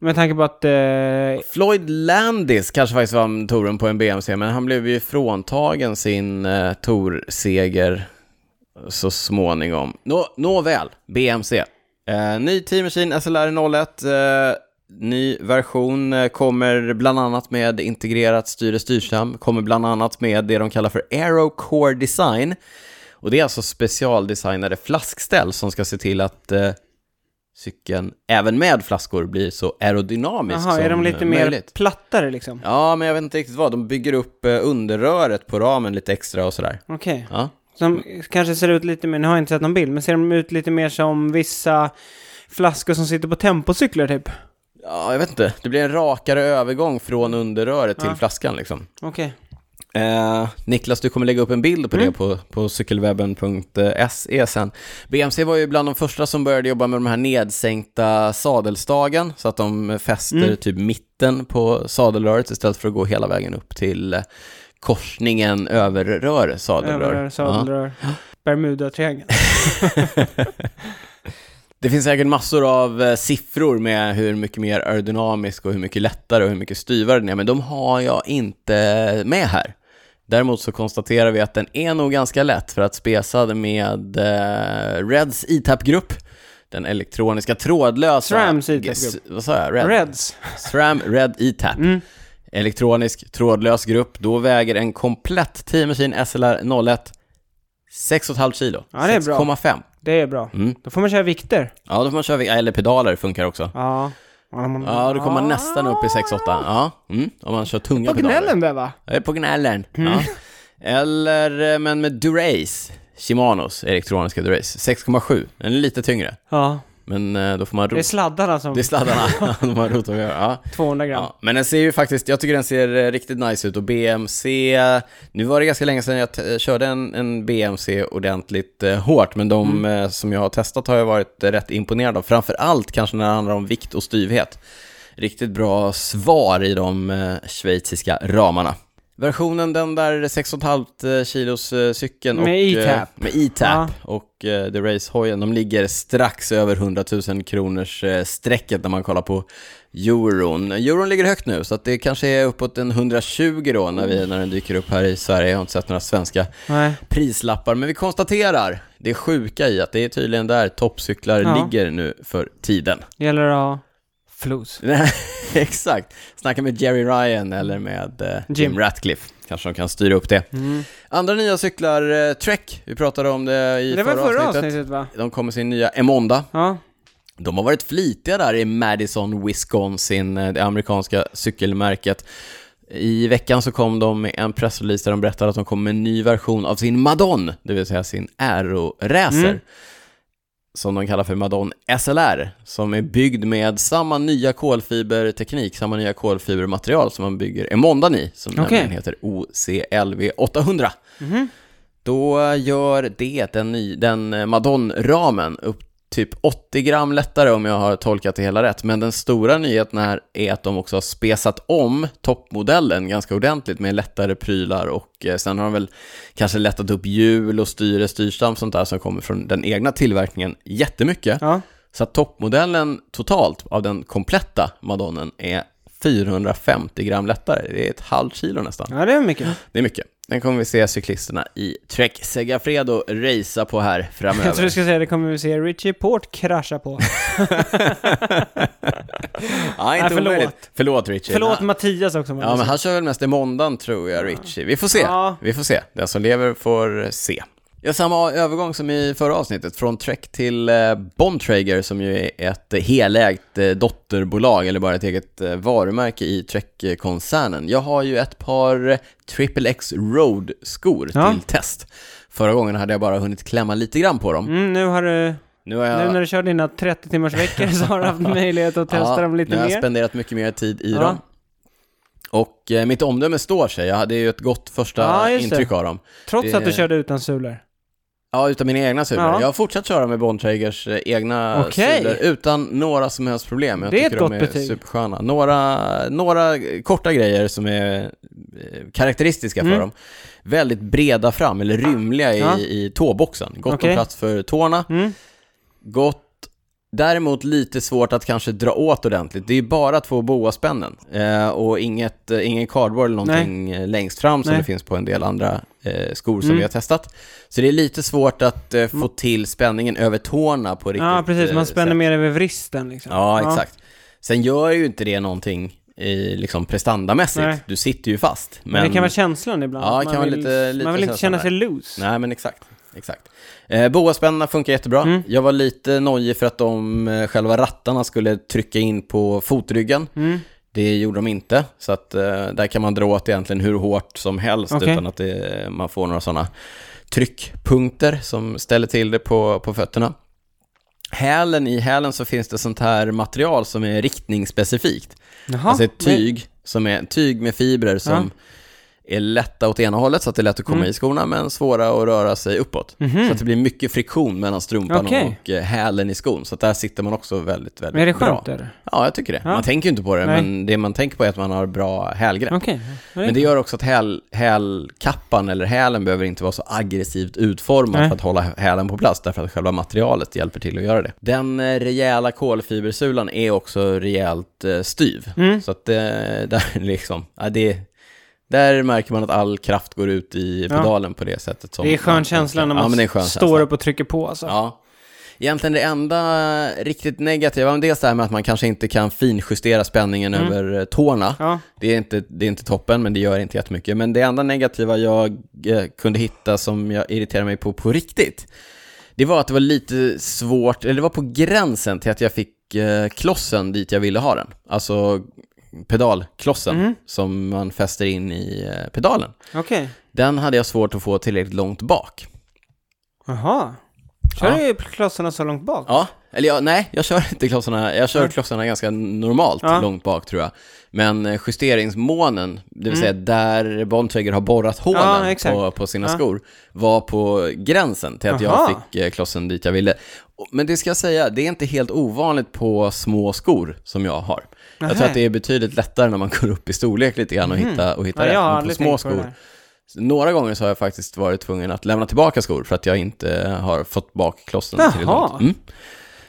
Speaker 2: Med tanke på att... Eh,
Speaker 1: Floyd Landis kanske faktiskt vann touren på en BMC, men han blev ju fråntagen sin eh, tourseger så småningom. Nå, nåväl, BMC. Eh, ny Team Machine SLR 01. Eh, ny version eh, kommer bland annat med integrerat styre styrsam, kommer bland annat med det de kallar för Aero Core Design. Och det är alltså specialdesignade flaskställ som ska se till att eh, cykeln, även med flaskor, blir så aerodynamisk
Speaker 2: jaha,
Speaker 1: som
Speaker 2: är de lite
Speaker 1: eh,
Speaker 2: mer
Speaker 1: möjligt.
Speaker 2: plattare liksom?
Speaker 1: Ja, men jag vet inte riktigt vad. De bygger upp eh, underröret på ramen lite extra och sådär.
Speaker 2: Okej.
Speaker 1: Ja.
Speaker 2: Som kanske ser ut lite mer, nu har jag inte sett någon bild, men ser de ut lite mer som vissa flaskor som sitter på tempocyklar typ?
Speaker 1: ja, jag vet inte. Det blir en rakare övergång från underröret till
Speaker 2: Ja.
Speaker 1: flaskan liksom.
Speaker 2: Okej.
Speaker 1: Eh, Niklas, du kommer lägga upp en bild på det på, på cykelwebben.se sen. BMC var ju bland de första som började jobba med de här nedsänkta sadelstagen, så att de fäster
Speaker 2: Mm.
Speaker 1: typ mitten på sadelröret istället för att gå hela vägen upp till eh, korsningen över rör, sadelrör.
Speaker 2: Överrör,
Speaker 1: Ja.
Speaker 2: sadelrör, Bermuda-triangeln.
Speaker 1: Det finns säkert massor av eh, siffror med hur mycket mer aerodynamisk och hur mycket lättare och hur mycket styvare den är, men de har jag inte med här. Däremot så konstaterar vi att den är nog ganska lätt för att spesad med eh, Reds ETAP-grupp, den elektroniska trådlösa...
Speaker 2: SRAMs ETAP-grupp.
Speaker 1: Ges- Vad sa jag? Red?
Speaker 2: Reds.
Speaker 1: SRAM Red E ETAP.
Speaker 2: Mm.
Speaker 1: Elektronisk trådlös grupp. Då väger en komplett Team Machine SLR 01 6,5 kilo.
Speaker 2: Ja, det är bra.
Speaker 1: 6,5.
Speaker 2: Det är bra.
Speaker 1: Mm.
Speaker 2: Då får man köra vikter.
Speaker 1: Ja, då får man köra, eller pedaler funkar också.
Speaker 2: Ja. Ah.
Speaker 1: Ja, då kommer man nästan upp i 6-8. Ja, mm, om man kör tunga
Speaker 2: På gnällen Mm. där va?
Speaker 1: Jag är på gnällen. Ja. Eller, eh, men med Durace, Shimanos elektroniska Durace, 6,7. Den är lite tyngre,
Speaker 2: Ja.
Speaker 1: men eh, då får man
Speaker 2: Det är
Speaker 1: rot.
Speaker 2: sladdarna som...
Speaker 1: Det är sladdarna, de har rotat med. Ja.
Speaker 2: 200 gram.
Speaker 1: Ja, men den ser ju faktiskt, jag tycker den ser eh, riktigt nice ut och BMC, nu var det ganska länge sedan jag t- eh, körde en, en BMC ordentligt eh, hårt, men de
Speaker 2: Mm.
Speaker 1: eh, som jag har testat har jag varit eh, rätt imponerad av, framför allt kanske när det handlar om vikt och styvhet. Riktigt bra svar i de eh, schweiziska ramarna. Versionen, den där 6,5 kilos eh, cykeln
Speaker 2: Med
Speaker 1: och, eh,
Speaker 2: E-tap.
Speaker 1: med E-tap och eh, The Race-hojen, de ligger strax över 100 000 kronors eh, strecket när man kollar på euron. Euron ligger högt nu, så att det kanske är uppåt en 120 då när, vi, när den dyker upp här i Sverige. Jag har inte sett några svenska
Speaker 2: Nej.
Speaker 1: prislappar, men vi konstaterar det sjuka i att det är tydligen där toppcyklar
Speaker 2: Ja.
Speaker 1: ligger nu för tiden.
Speaker 2: Det gäller att ha flos.
Speaker 1: Nej, Exakt. Snacka med Jerry Ryan eller med eh, Jim.
Speaker 2: Jim.
Speaker 1: Ratcliffe. Kanske de kan styra upp det.
Speaker 2: Mm.
Speaker 1: Andra nya cyklar, eh, Trek, vi pratade om det i
Speaker 2: Det var
Speaker 1: förra,
Speaker 2: förra avsnittet,
Speaker 1: avsnittet.
Speaker 2: va?
Speaker 1: De kom med sin nya Emonda.
Speaker 2: Ja.
Speaker 1: De har varit flitiga där i Madison, Wisconsin, eh, det amerikanska cykelmärket. I veckan så kom de med en pressrelease där de berättade att de kommer med en ny version av sin Madon, det vill säga sin Aero-racer.
Speaker 2: Mm.
Speaker 1: Som de kallar för Madon SLR, som är byggd med samma nya kolfiberteknik, samma nya kolfibermaterial som man bygger Emondan i, som
Speaker 2: Okej.
Speaker 1: nämligen heter OCLV 800.
Speaker 2: Mhm.
Speaker 1: Då gör det den, ny, den eh, Madon-ramen upp typ 80 gram lättare om jag har tolkat det hela rätt. Men den stora nyheten här är att de också har spesat om toppmodellen ganska ordentligt med lättare prylar och eh, sen har de väl kanske lättat upp hjul och styre, styrstam, sånt där som kommer från den egna tillverkningen jättemycket.
Speaker 2: Ja.
Speaker 1: Så att toppmodellen totalt av den kompletta Madonnen är 450 gram lättare. Det är ett halvt kilo nästan.
Speaker 2: Ja, det är mycket.
Speaker 1: Det är mycket. Den kommer vi se cyklisterna i Trek Segafredo racea på här framöver.
Speaker 2: Jag tror du ska säga det kommer vi se Richie Port krascha på.
Speaker 1: ja, inte
Speaker 2: Nej, förlåt.
Speaker 1: omöjligt. Förlåt Richie.
Speaker 2: Förlåt
Speaker 1: Ja,
Speaker 2: Mattias också.
Speaker 1: Ja, men han kör väl mest i måndagen tror jag, Richie. Vi får se.
Speaker 2: Ja.
Speaker 1: Vi får se. Den som lever får se. Ja, samma övergång som i förra avsnittet, från Trek till eh, Bontrager som ju är ett helägt eh, dotterbolag, eller bara ett eget eh, varumärke i Trek-koncernen. Jag har ju ett par eh, Triple X Road-skor
Speaker 2: Ja.
Speaker 1: till test. Förra gången hade jag bara hunnit klämma lite grann på dem.
Speaker 2: Mm, nu har du...
Speaker 1: Nu har jag...
Speaker 2: Nu när du kör dina 30 timmars veckor så har du haft möjlighet att testa dem lite
Speaker 1: nu har jag
Speaker 2: mer.
Speaker 1: spenderat mycket mer tid i
Speaker 2: Ja.
Speaker 1: dem. Och eh, mitt omdöme står sig. Jag hade ju ett gott första
Speaker 2: Ja, just det.
Speaker 1: intryck av dem.
Speaker 2: Trots
Speaker 1: Det-
Speaker 2: att du körde utan sulor.
Speaker 1: Ja, utav mina egna sulor.
Speaker 2: Ja.
Speaker 1: Jag har fortsatt köra med Bontraggers eh, egna
Speaker 2: Okej.
Speaker 1: sulor utan några som helst problem. Jag
Speaker 2: Det är ett
Speaker 1: tycker de
Speaker 2: gott
Speaker 1: är
Speaker 2: betyg.
Speaker 1: supersköna. Några, några eh, korta grejer som är eh, karaktäristiska för
Speaker 2: Mm.
Speaker 1: dem. Väldigt breda fram, eller rymliga i,
Speaker 2: Ja.
Speaker 1: i tåboxen. Gott om
Speaker 2: Okej.
Speaker 1: plats för tårna.
Speaker 2: Mm.
Speaker 1: Gott Däremot lite svårt att kanske dra åt ordentligt. Det är ju bara två boaspännen eh, och inget, eh, ingen cardboard eller någonting eh, längst fram som
Speaker 2: Nej.
Speaker 1: det finns på en del andra eh, skor som
Speaker 2: Mm.
Speaker 1: vi har testat. Så det är lite svårt att eh, få till spänningen över tårna på riktigt
Speaker 2: Ja, precis.
Speaker 1: eh,
Speaker 2: Man spänner
Speaker 1: sätt.
Speaker 2: mer över vristen liksom.
Speaker 1: Ja, exakt. Sen gör ju inte det någonting i, liksom prestandamässigt.
Speaker 2: Nej.
Speaker 1: Du sitter ju fast.
Speaker 2: Men, det kan vara känslan ibland.
Speaker 1: Ja, det
Speaker 2: att
Speaker 1: kan vara
Speaker 2: vill,
Speaker 1: lite- lite
Speaker 2: man vill inte
Speaker 1: känslan
Speaker 2: känna sig loose.
Speaker 1: Nej, men exakt. exakt. Eh, Boaspännena funkar jättebra.
Speaker 2: Mm.
Speaker 1: Jag var lite nojig för att de eh, själva rattarna skulle trycka in på fotryggen.
Speaker 2: Mm.
Speaker 1: Det gjorde de inte, så att eh, där kan man dra åt egentligen hur hårt som helst
Speaker 2: Okej.
Speaker 1: utan att det, man får några sådana tryckpunkter som ställer till det på, på fötterna. Hälen, i hälen så finns det sånt här material som är riktningsspecifikt.
Speaker 2: Jaha.
Speaker 1: alltså ett tyg, som är, tyg med fibrer som är lätta åt ena hållet så att det är lätt att komma
Speaker 2: Mm.
Speaker 1: i skorna men svåra att röra sig uppåt.
Speaker 2: Men,
Speaker 1: Så
Speaker 2: Mhm.
Speaker 1: att det blir mycket friktion mellan strumpan
Speaker 2: Okej.
Speaker 1: och eh, hälen i skon. Så att där sitter man också väldigt, väldigt
Speaker 2: Men är det
Speaker 1: bra.
Speaker 2: skönt eller?
Speaker 1: Ja, jag tycker det.
Speaker 2: Ja.
Speaker 1: Man tänker ju inte på det,
Speaker 2: Nej.
Speaker 1: men det man tänker på är att man har bra hälgrepp.
Speaker 2: Okej.
Speaker 1: Men det gör också att häl, hälkappan eller hälen behöver inte vara så aggressivt utformad
Speaker 2: Nej.
Speaker 1: för att hålla hälen på plats, därför att själva materialet hjälper till att göra det. Den eh, rejäla kolfibersulan är också rejält eh, styv.
Speaker 2: Mm.
Speaker 1: Så att eh, där liksom, ja, det, där märker man att all kraft går ut i
Speaker 2: Ja.
Speaker 1: pedalen på det sättet. Som
Speaker 2: Det är
Speaker 1: man-
Speaker 2: skön känsla när
Speaker 1: ja,
Speaker 2: man
Speaker 1: men det är en skön
Speaker 2: står
Speaker 1: känsla.
Speaker 2: upp och trycker på alltså.
Speaker 1: Ja. Egentligen det enda riktigt negativa, men dels det här med att man kanske inte kan finjustera spänningen
Speaker 2: Mm.
Speaker 1: över eh, tårna.
Speaker 2: Ja.
Speaker 1: Det är, inte, det är inte toppen, men det gör inte jättemycket. Men det enda negativa jag eh, kunde hitta som jag irriterade mig på på riktigt, det var att det var lite svårt, eller det var på gränsen till att jag fick eh, klossen dit jag ville ha den. Alltså pedalklossen
Speaker 2: Mm.
Speaker 1: som man fäster in i eh, pedalen.
Speaker 2: Okej.
Speaker 1: Den hade jag svårt att få tillräckligt långt bak.
Speaker 2: Jaha. Kör
Speaker 1: Ja.
Speaker 2: du klossarna så långt bak?
Speaker 1: Ja, eller jag, nej, jag kör inte klossarna. Jag kör
Speaker 2: Nej.
Speaker 1: klossarna ganska normalt
Speaker 2: Ja.
Speaker 1: långt bak tror jag. Men eh, justeringsmånen, det vill
Speaker 2: Mm.
Speaker 1: säga där Bontrager har borrat
Speaker 2: Ja,
Speaker 1: hålen
Speaker 2: exakt.
Speaker 1: på, på sina
Speaker 2: Ja.
Speaker 1: skor, var på gränsen till att jag
Speaker 2: Aha.
Speaker 1: fick eh, klossen dit jag ville. Och- Men det ska jag säga, det är inte helt ovanligt på små skor som jag har. Jag tror
Speaker 2: Nähä.
Speaker 1: att det är betydligt lättare när man går upp i storlek lite grann och
Speaker 2: Mhm.
Speaker 1: hitta, och hitta
Speaker 2: Ja, jag har
Speaker 1: rätt. Men på
Speaker 2: aldrig
Speaker 1: små
Speaker 2: tänkt på det
Speaker 1: skor
Speaker 2: där.
Speaker 1: några gånger så har jag faktiskt varit tvungen att lämna tillbaka skor för att jag inte har fått bak klossen tillräckligt
Speaker 2: Jaha.
Speaker 1: långt. Mm.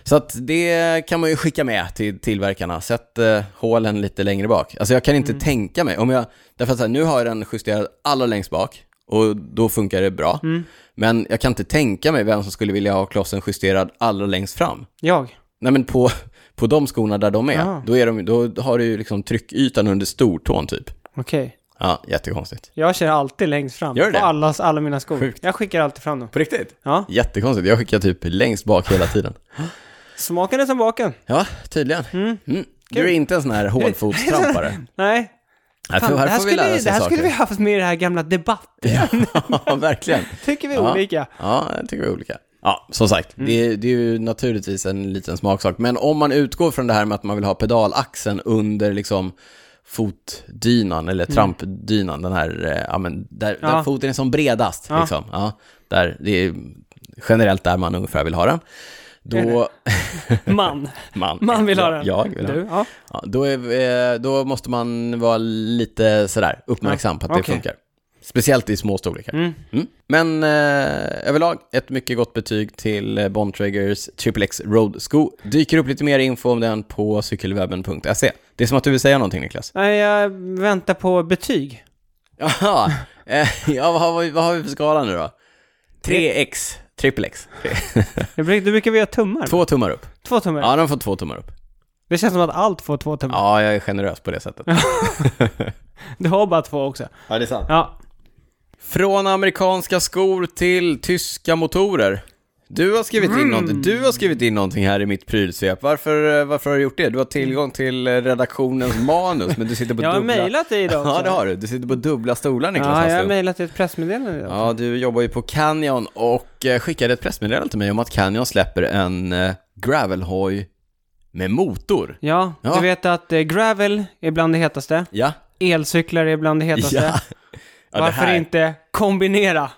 Speaker 1: Så att det kan man ju skicka med till tillverkarna. Sätt eh, hålen lite längre bak. Alltså jag kan
Speaker 2: Mm.
Speaker 1: inte tänka mig, om jag, därför att så här, nu har jag den justerad allra längst bak och då funkar det bra.
Speaker 2: Mm.
Speaker 1: Men jag kan inte tänka mig vem som skulle vilja ha klossen justerad allra längst fram.
Speaker 2: Jag?
Speaker 1: Nej men på, på de skorna där de är,
Speaker 2: Ja.
Speaker 1: då, är de, då har du ju liksom tryckytan under stortån typ.
Speaker 2: Okej.
Speaker 1: Ja, jättekonstigt.
Speaker 2: Jag kör alltid längst fram.
Speaker 1: Gör du
Speaker 2: på
Speaker 1: det?
Speaker 2: allas, alla mina skor.
Speaker 1: Sjukt.
Speaker 2: Jag skickar alltid fram dem.
Speaker 1: På riktigt?
Speaker 2: Ja.
Speaker 1: Jättekonstigt, jag skickar typ längst bak hela tiden.
Speaker 2: Smaken är som baken.
Speaker 1: Ja, tydligen.
Speaker 2: Mm.
Speaker 1: Mm. Du är
Speaker 2: Kul.
Speaker 1: inte en sån här hålfotstrampare.
Speaker 2: Nej.
Speaker 1: Jag
Speaker 2: Fan,
Speaker 1: tror
Speaker 2: det
Speaker 1: här
Speaker 2: här,
Speaker 1: får vi lära
Speaker 2: skulle,
Speaker 1: oss
Speaker 2: det här skulle vi
Speaker 1: saker.
Speaker 2: haft med i det här gamla debatten.
Speaker 1: Ja, verkligen.
Speaker 2: Tycker vi
Speaker 1: Ja.
Speaker 2: olika.
Speaker 1: Ja, jag tycker vi är olika. Ja, som sagt, det, är, det är ju naturligtvis en liten smaksak. Men om man utgår från det här med att man vill ha pedalaxeln under liksom fotdynan eller trampdynan, den här, eh, ja men där, där
Speaker 2: Ja.
Speaker 1: foten är som bredast
Speaker 2: Ja.
Speaker 1: liksom. Ja, där, det är generellt där man ungefär vill ha den. Då,
Speaker 2: Man.
Speaker 1: man,
Speaker 2: Man vill ha den.
Speaker 1: Jag vill ha den.
Speaker 2: Du? Ja.
Speaker 1: Ja, då, är, eh, då måste man vara lite sådär uppmärksam på att det
Speaker 2: Okej.
Speaker 1: funkar. Speciellt i små storlekar.
Speaker 2: Mm.
Speaker 1: Mm. Men eh, överlag ett mycket gott betyg till eh, Bontraggers Triple X Road Sko. Dyker upp lite mer info om den på cykelwebben.se. Det är som att du vill säga någonting Niklas.
Speaker 2: Nej, jag väntar på betyg.
Speaker 1: Jaha, eh, ja, vad, har vi, vad har vi för skala nu då? 3X, Triple X.
Speaker 2: Du brukar, du brukar väl göra tummar?
Speaker 1: Två tummar upp.
Speaker 2: Två tummar?
Speaker 1: Ja, de får två tummar upp.
Speaker 2: Det känns som att allt får två tummar.
Speaker 1: Ja, jag är generös på det sättet.
Speaker 2: Du har bara två också.
Speaker 1: Ja, det är sant.
Speaker 2: Ja.
Speaker 1: Från amerikanska skor till tyska motorer. Du har skrivit in,
Speaker 2: Mm.
Speaker 1: någonting. Du har skrivit in någonting här i mitt prylsvep. Varför, eh, varför har du gjort det? Du har tillgång till eh, redaktionens manus, men du sitter på
Speaker 2: Jag har
Speaker 1: dubbla...
Speaker 2: mejlat dig idag också.
Speaker 1: Ja, det har du. Du sitter på dubbla stolar, Niklas
Speaker 2: Ja, jag har
Speaker 1: Hasslund.
Speaker 2: mejlat dig ett pressmeddelande idag.
Speaker 1: Ja, du jobbar ju på Canyon och eh, skickade ett pressmeddelande till mig om att Canyon släpper en eh, gravelhoj med motor.
Speaker 2: Ja,
Speaker 1: Ja.
Speaker 2: du vet att eh, gravel är bland det hetaste.
Speaker 1: Ja,
Speaker 2: elcyklar är bland det hetaste.
Speaker 1: Ja. Ja, det
Speaker 2: Varför
Speaker 1: här-
Speaker 2: inte kombinera?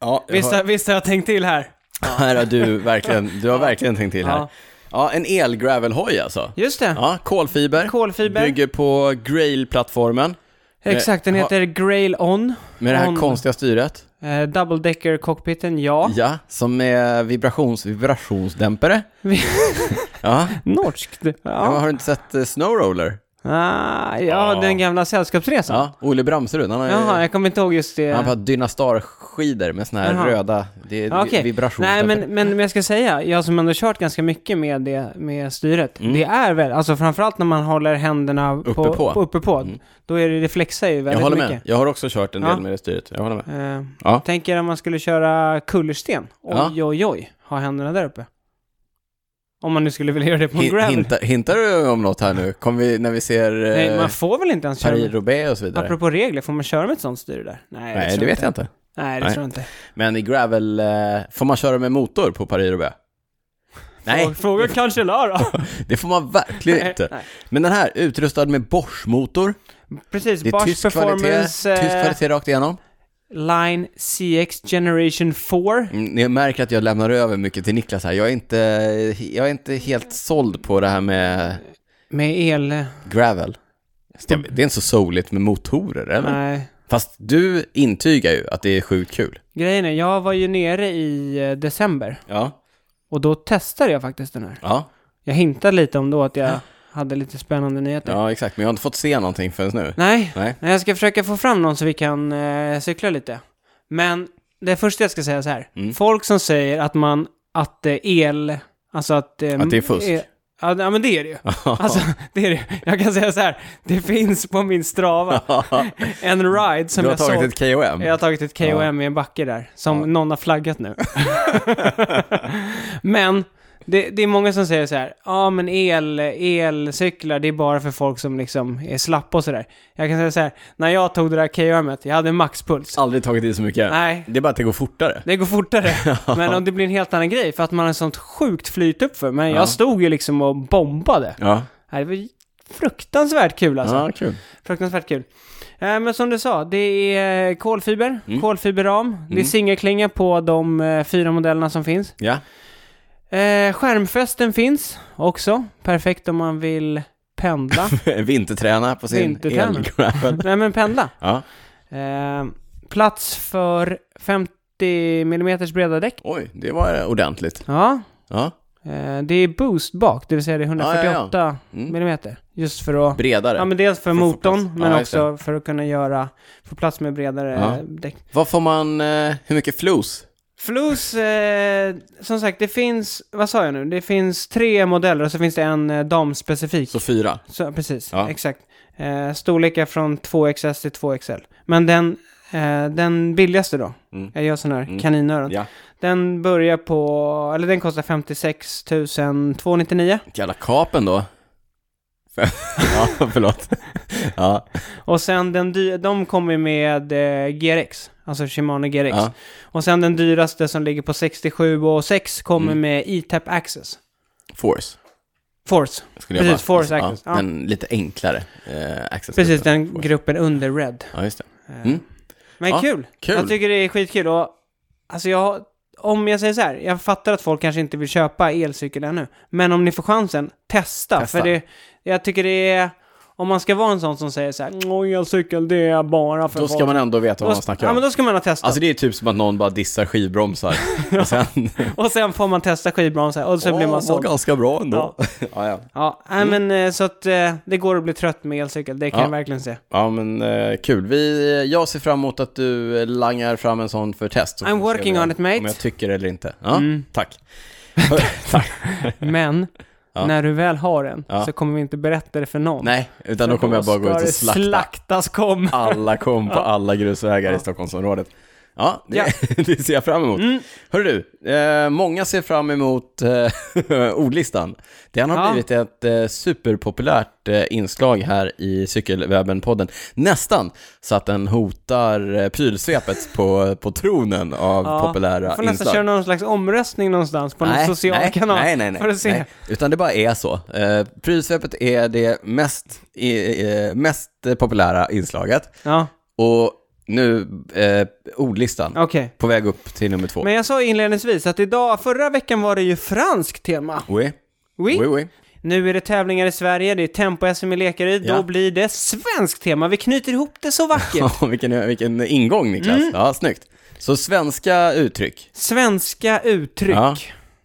Speaker 1: Ja, jag
Speaker 2: Visst,
Speaker 1: har-
Speaker 2: har- visst har jag tänkt till här?
Speaker 1: här har du verkligen, du har verkligen tänkt till här.
Speaker 2: Ja.
Speaker 1: Ja, en elgravelhoj alltså.
Speaker 2: Just det.
Speaker 1: Ja, kolfiber.
Speaker 2: Kolfiber.
Speaker 1: Bygger på Grail-plattformen
Speaker 2: Exakt, den
Speaker 1: Eh,
Speaker 2: heter Grail On.
Speaker 1: med det här
Speaker 2: Om-
Speaker 1: konstiga styret.
Speaker 2: Eh, double decker cockpiten, ja.
Speaker 1: Ja, som är vibrations, vibrationsdämpare.
Speaker 2: Vi-
Speaker 1: Ja.
Speaker 2: Norskt. Ja.
Speaker 1: Ja,
Speaker 2: Ja.
Speaker 1: har du inte sett eh, Snowroller?
Speaker 2: Ah, ja,
Speaker 1: Ja. den
Speaker 2: den gamla sällskapsresan.
Speaker 1: Ja, Ole Bramserud, han har ju...
Speaker 2: Jaha, jag kommer inte ihåg just det.
Speaker 1: Han har Dynastar-skidor med såna här
Speaker 2: Jaha.
Speaker 1: röda, det är
Speaker 2: Ja, okej. Nej,
Speaker 1: vibrationsdämpare.
Speaker 2: men, men, men jag ska säga, jag som ändå kört ganska mycket med det med styret, det är väl, alltså framförallt när man håller händerna uppe på,
Speaker 1: Mm. på. Mm.
Speaker 2: uppe på då är det, det flexar ju
Speaker 1: Jag
Speaker 2: väldigt
Speaker 1: håller med.
Speaker 2: mycket.
Speaker 1: Jag har också kört en del
Speaker 2: Ja.
Speaker 1: med det styret. Jag håller med.
Speaker 2: Med. Eh,
Speaker 1: Ja.
Speaker 2: Tänker om man skulle köra kullersten, oj
Speaker 1: Ja.
Speaker 2: oj oj, ha händerna där uppe. Om man nu skulle vilja göra det på en
Speaker 1: Hin-
Speaker 2: gravel.
Speaker 1: hintar, hintar du om något här nu? Kommer vi, när vi ser
Speaker 2: Nej,
Speaker 1: eh,
Speaker 2: man får väl inte ens köra med,
Speaker 1: Paris-Roubaix och så vidare?
Speaker 2: apropå regler, får man köra med ett sånt styre där? Nej,
Speaker 1: Nej,
Speaker 2: tror
Speaker 1: det vet jag inte.
Speaker 2: Nej, det
Speaker 1: Nej.
Speaker 2: tror jag inte.
Speaker 1: Men i gravel, eh, får man köra med motor på Paris-Roubaix? Nej,
Speaker 2: Frå- Fråga Cancellara.
Speaker 1: det får man verkligen inte.
Speaker 2: Nej.
Speaker 1: Men den här, utrustad med Bosch-motor.
Speaker 2: Precis,
Speaker 1: Det är
Speaker 2: Bosch
Speaker 1: tysk kvalitet,
Speaker 2: Performance... eh,
Speaker 1: tysk kvalitet rakt igenom.
Speaker 2: Line CX Generation 4.
Speaker 1: Mm, Ni märker att jag lämnar över mycket till Niklas här. Jag är inte, jag är inte helt såld på det här med
Speaker 2: Med el...
Speaker 1: gravel. Det det är inte så soligt med motorer, eller?
Speaker 2: Nej.
Speaker 1: Fast du intygar ju att det är sjukt kul.
Speaker 2: Grejen är, jag var ju nere i eh, december.
Speaker 1: Ja.
Speaker 2: Och då testade jag faktiskt den här.
Speaker 1: Ja,
Speaker 2: Jag hintade lite om då att jag hade lite spännande nyheter.
Speaker 1: ja exakt. Men jag har inte fått se någonting förrän nu.
Speaker 2: Nej.
Speaker 1: Nej.
Speaker 2: Nej, jag ska försöka få fram någon så vi kan eh, cykla lite. Men det första jag ska säga är så här.
Speaker 1: Mm.
Speaker 2: Folk som säger att man... Att eh, el... Alltså att... eh,
Speaker 1: Att det är fusk.
Speaker 2: eh, Ja, ja, men det är det ju. Alltså, det är det. Jag kan säga så här. Det finns på min strava en ride som
Speaker 1: du har
Speaker 2: jag såg.
Speaker 1: tagit ett KOM.
Speaker 2: Jag har tagit ett KOM i en backe där, som någon har flaggat nu. men det, det är många som säger så här, ja men el, elcyklar det är bara för folk som liksom är slappa och sådär. Jag kan säga så här, när jag tog det där KOMet, jag hade maxpuls.
Speaker 1: Aldrig tagit i så mycket.
Speaker 2: Nej,
Speaker 1: Det är bara att det går fortare.
Speaker 2: det går fortare. men om det blir en helt annan grej, för att man har sånt sjukt flyt upp för. Men jag stod ju liksom och bombade.
Speaker 1: Ja,
Speaker 2: Nej, Det var fruktansvärt kul alltså.
Speaker 1: ja kul.
Speaker 2: Fruktansvärt kul. Eh, men som du sa, det är eh, kolfiber,
Speaker 1: Mm.
Speaker 2: kolfiberram, det är singelklinga på de eh, fyra modellerna som finns.
Speaker 1: Ja.
Speaker 2: Eh, skärmfästen finns också, perfekt om man vill pendla.
Speaker 1: Vinterträna på sin
Speaker 2: Vinterträna.
Speaker 1: elgravel.
Speaker 2: Nej men pendla.
Speaker 1: Ja.
Speaker 2: Eh, plats för 50 mm breda däck.
Speaker 1: Oj, det var ordentligt.
Speaker 2: Ja,
Speaker 1: Ja.
Speaker 2: eh, det är boost bak, det vill säga det är 148
Speaker 1: Mm.
Speaker 2: mm. Just för att
Speaker 1: Bredare.
Speaker 2: Ja men dels för
Speaker 1: att få
Speaker 2: motorn,
Speaker 1: plats.
Speaker 2: men
Speaker 1: Ja, just
Speaker 2: också för att kunna göra, få plats med bredare
Speaker 1: Ja.
Speaker 2: eh, däck.
Speaker 1: Vad får man, eh, hur mycket flos?
Speaker 2: Flos, eh, som sagt, det finns, vad sa jag nu, det finns tre modeller och så finns det en eh, damspecifik.
Speaker 1: Så
Speaker 2: Så,
Speaker 1: fyra.
Speaker 2: precis,
Speaker 1: Ja.
Speaker 2: exakt. Eh, storlekar från 2XS till 2XL. Men den, eh, den billigaste då,
Speaker 1: Mm.
Speaker 2: jag gör sån här kaninöron,
Speaker 1: Ja.
Speaker 2: den börjar på, eller den kostar 56 299
Speaker 1: Jävla kapen då. ja, förlåt. Ja,
Speaker 2: och sen den dy- de kommer med eh, GRX, alltså Shimano GRX.
Speaker 1: ja.
Speaker 2: Och sen den dyraste som ligger på 67 och 6
Speaker 1: Mm.
Speaker 2: kommer med E E-Tap Access.
Speaker 1: Force.
Speaker 2: Force.
Speaker 1: Skulle
Speaker 2: Precis,
Speaker 1: jag bara,
Speaker 2: Force Access, ja.
Speaker 1: Men lite enklare eh, access.
Speaker 2: Precis, den gruppen under Red.
Speaker 1: Ja, just det.
Speaker 2: Eh,
Speaker 1: Mm.
Speaker 2: Men
Speaker 1: Ja,
Speaker 2: kul.
Speaker 1: kul.
Speaker 2: Jag tycker det är skitkul. Och, alltså jag, om jag säger så här, jag fattar att folk kanske inte vill köpa elcykel ännu. Men om ni får chansen, testa.
Speaker 1: Testa.
Speaker 2: För det, jag tycker det är, om man ska vara en sån som säger så här, "Åh, elcykel det är bara för
Speaker 1: Då
Speaker 2: folk."
Speaker 1: ska man ändå veta vad man snackar
Speaker 2: Ja, men
Speaker 1: om.
Speaker 2: då ska man ha testat.
Speaker 1: Alltså det är typ som att någon bara dissar skivbromsar. Och sen...
Speaker 2: Och sen får man testa skivbromsar och så blir man såld.
Speaker 1: ganska bra ändå.
Speaker 2: Ja.
Speaker 1: Ja, ja. ja.
Speaker 2: Ja, nej, men eh, så att eh, det går att bli trött med elcykel, det kan
Speaker 1: Ja.
Speaker 2: jag verkligen se.
Speaker 1: men eh, kul. Vi, jag ser fram emot att du eh, langar fram en sån för test. Så
Speaker 2: I'm
Speaker 1: får vi se
Speaker 2: working
Speaker 1: om-
Speaker 2: on it, mate. Mm.
Speaker 1: Om jag tycker eller inte. Ja, tack. tack.
Speaker 2: Men när du väl har en
Speaker 1: Ja.
Speaker 2: så kommer vi inte berätta det för någon.
Speaker 1: Nej, utan då kommer jag bara gå
Speaker 2: ska
Speaker 1: ut och
Speaker 2: det
Speaker 1: slakta
Speaker 2: slaktas kom.
Speaker 1: alla kom på alla grusvägar i Stockholmsområdet. Ja, det,
Speaker 2: Ja.
Speaker 1: det ser jag fram emot.
Speaker 2: Mm.
Speaker 1: Hörru du, eh, många ser fram emot eh, ordlistan. Den har
Speaker 2: Ja.
Speaker 1: blivit ett eh, superpopulärt eh, inslag här i Cykelwebben-podden. Nästan så att den hotar eh, prylsvepet på, på tronen av
Speaker 2: Ja,
Speaker 1: populära
Speaker 2: Man får nästan
Speaker 1: inslag.
Speaker 2: köra någon slags omröstning någonstans på någon social
Speaker 1: nej,
Speaker 2: kanal.
Speaker 1: Nej, nej, nej.
Speaker 2: För att se.
Speaker 1: nej. Utan det bara är så. Eh, prylsvepet är det mest, eh, eh, mest eh, populära inslaget.
Speaker 2: Ja,
Speaker 1: Och nu eh, ordlistan.
Speaker 2: okej.
Speaker 1: På väg upp till nummer två.
Speaker 2: Men jag sa inledningsvis att idag, förra veckan var det ju franskt tema.
Speaker 1: Oui.
Speaker 2: Oui.
Speaker 1: Oui, oui.
Speaker 2: Nu är det tävlingar i Sverige, det är tempo-SM i Lekaryd,
Speaker 1: Ja.
Speaker 2: då blir det svenskt tema. Vi knyter ihop det så vackert.
Speaker 1: Ja, vilken, vilken ingång Niklas.
Speaker 2: Mm.
Speaker 1: Ja, snyggt. Så svenska uttryck.
Speaker 2: Svenska uttryck.
Speaker 1: Ja.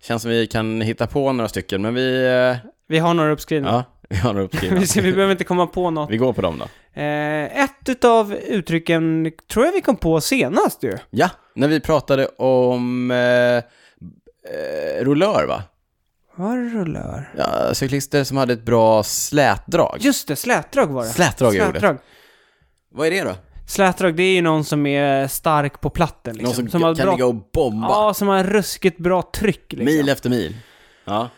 Speaker 1: Känns som vi kan hitta på några stycken, men vi... eh,
Speaker 2: Vi har några uppskrivna.
Speaker 1: Ja, vi har några uppskrivna.
Speaker 2: Vi, ser, vi behöver inte komma på något.
Speaker 1: Vi går på dem då.
Speaker 2: Eh, ett utav uttrycken tror jag vi kom på senast ju.
Speaker 1: Ja, när vi pratade om eh, eh, rullör va?
Speaker 2: Var det rullör?
Speaker 1: Ja, cyklister som hade ett bra slätdrag.
Speaker 2: Just det, slätdrag var det.
Speaker 1: Slätdrag är ordet.
Speaker 2: slätdrag.
Speaker 1: Vad är det då?
Speaker 2: Slätdrag, det är ju någon som är stark på platten liksom.
Speaker 1: Någon som, kan ligga och bomba.
Speaker 2: Ja, som har ruskigt bra tryck liksom.
Speaker 1: Mil efter mil. Ja.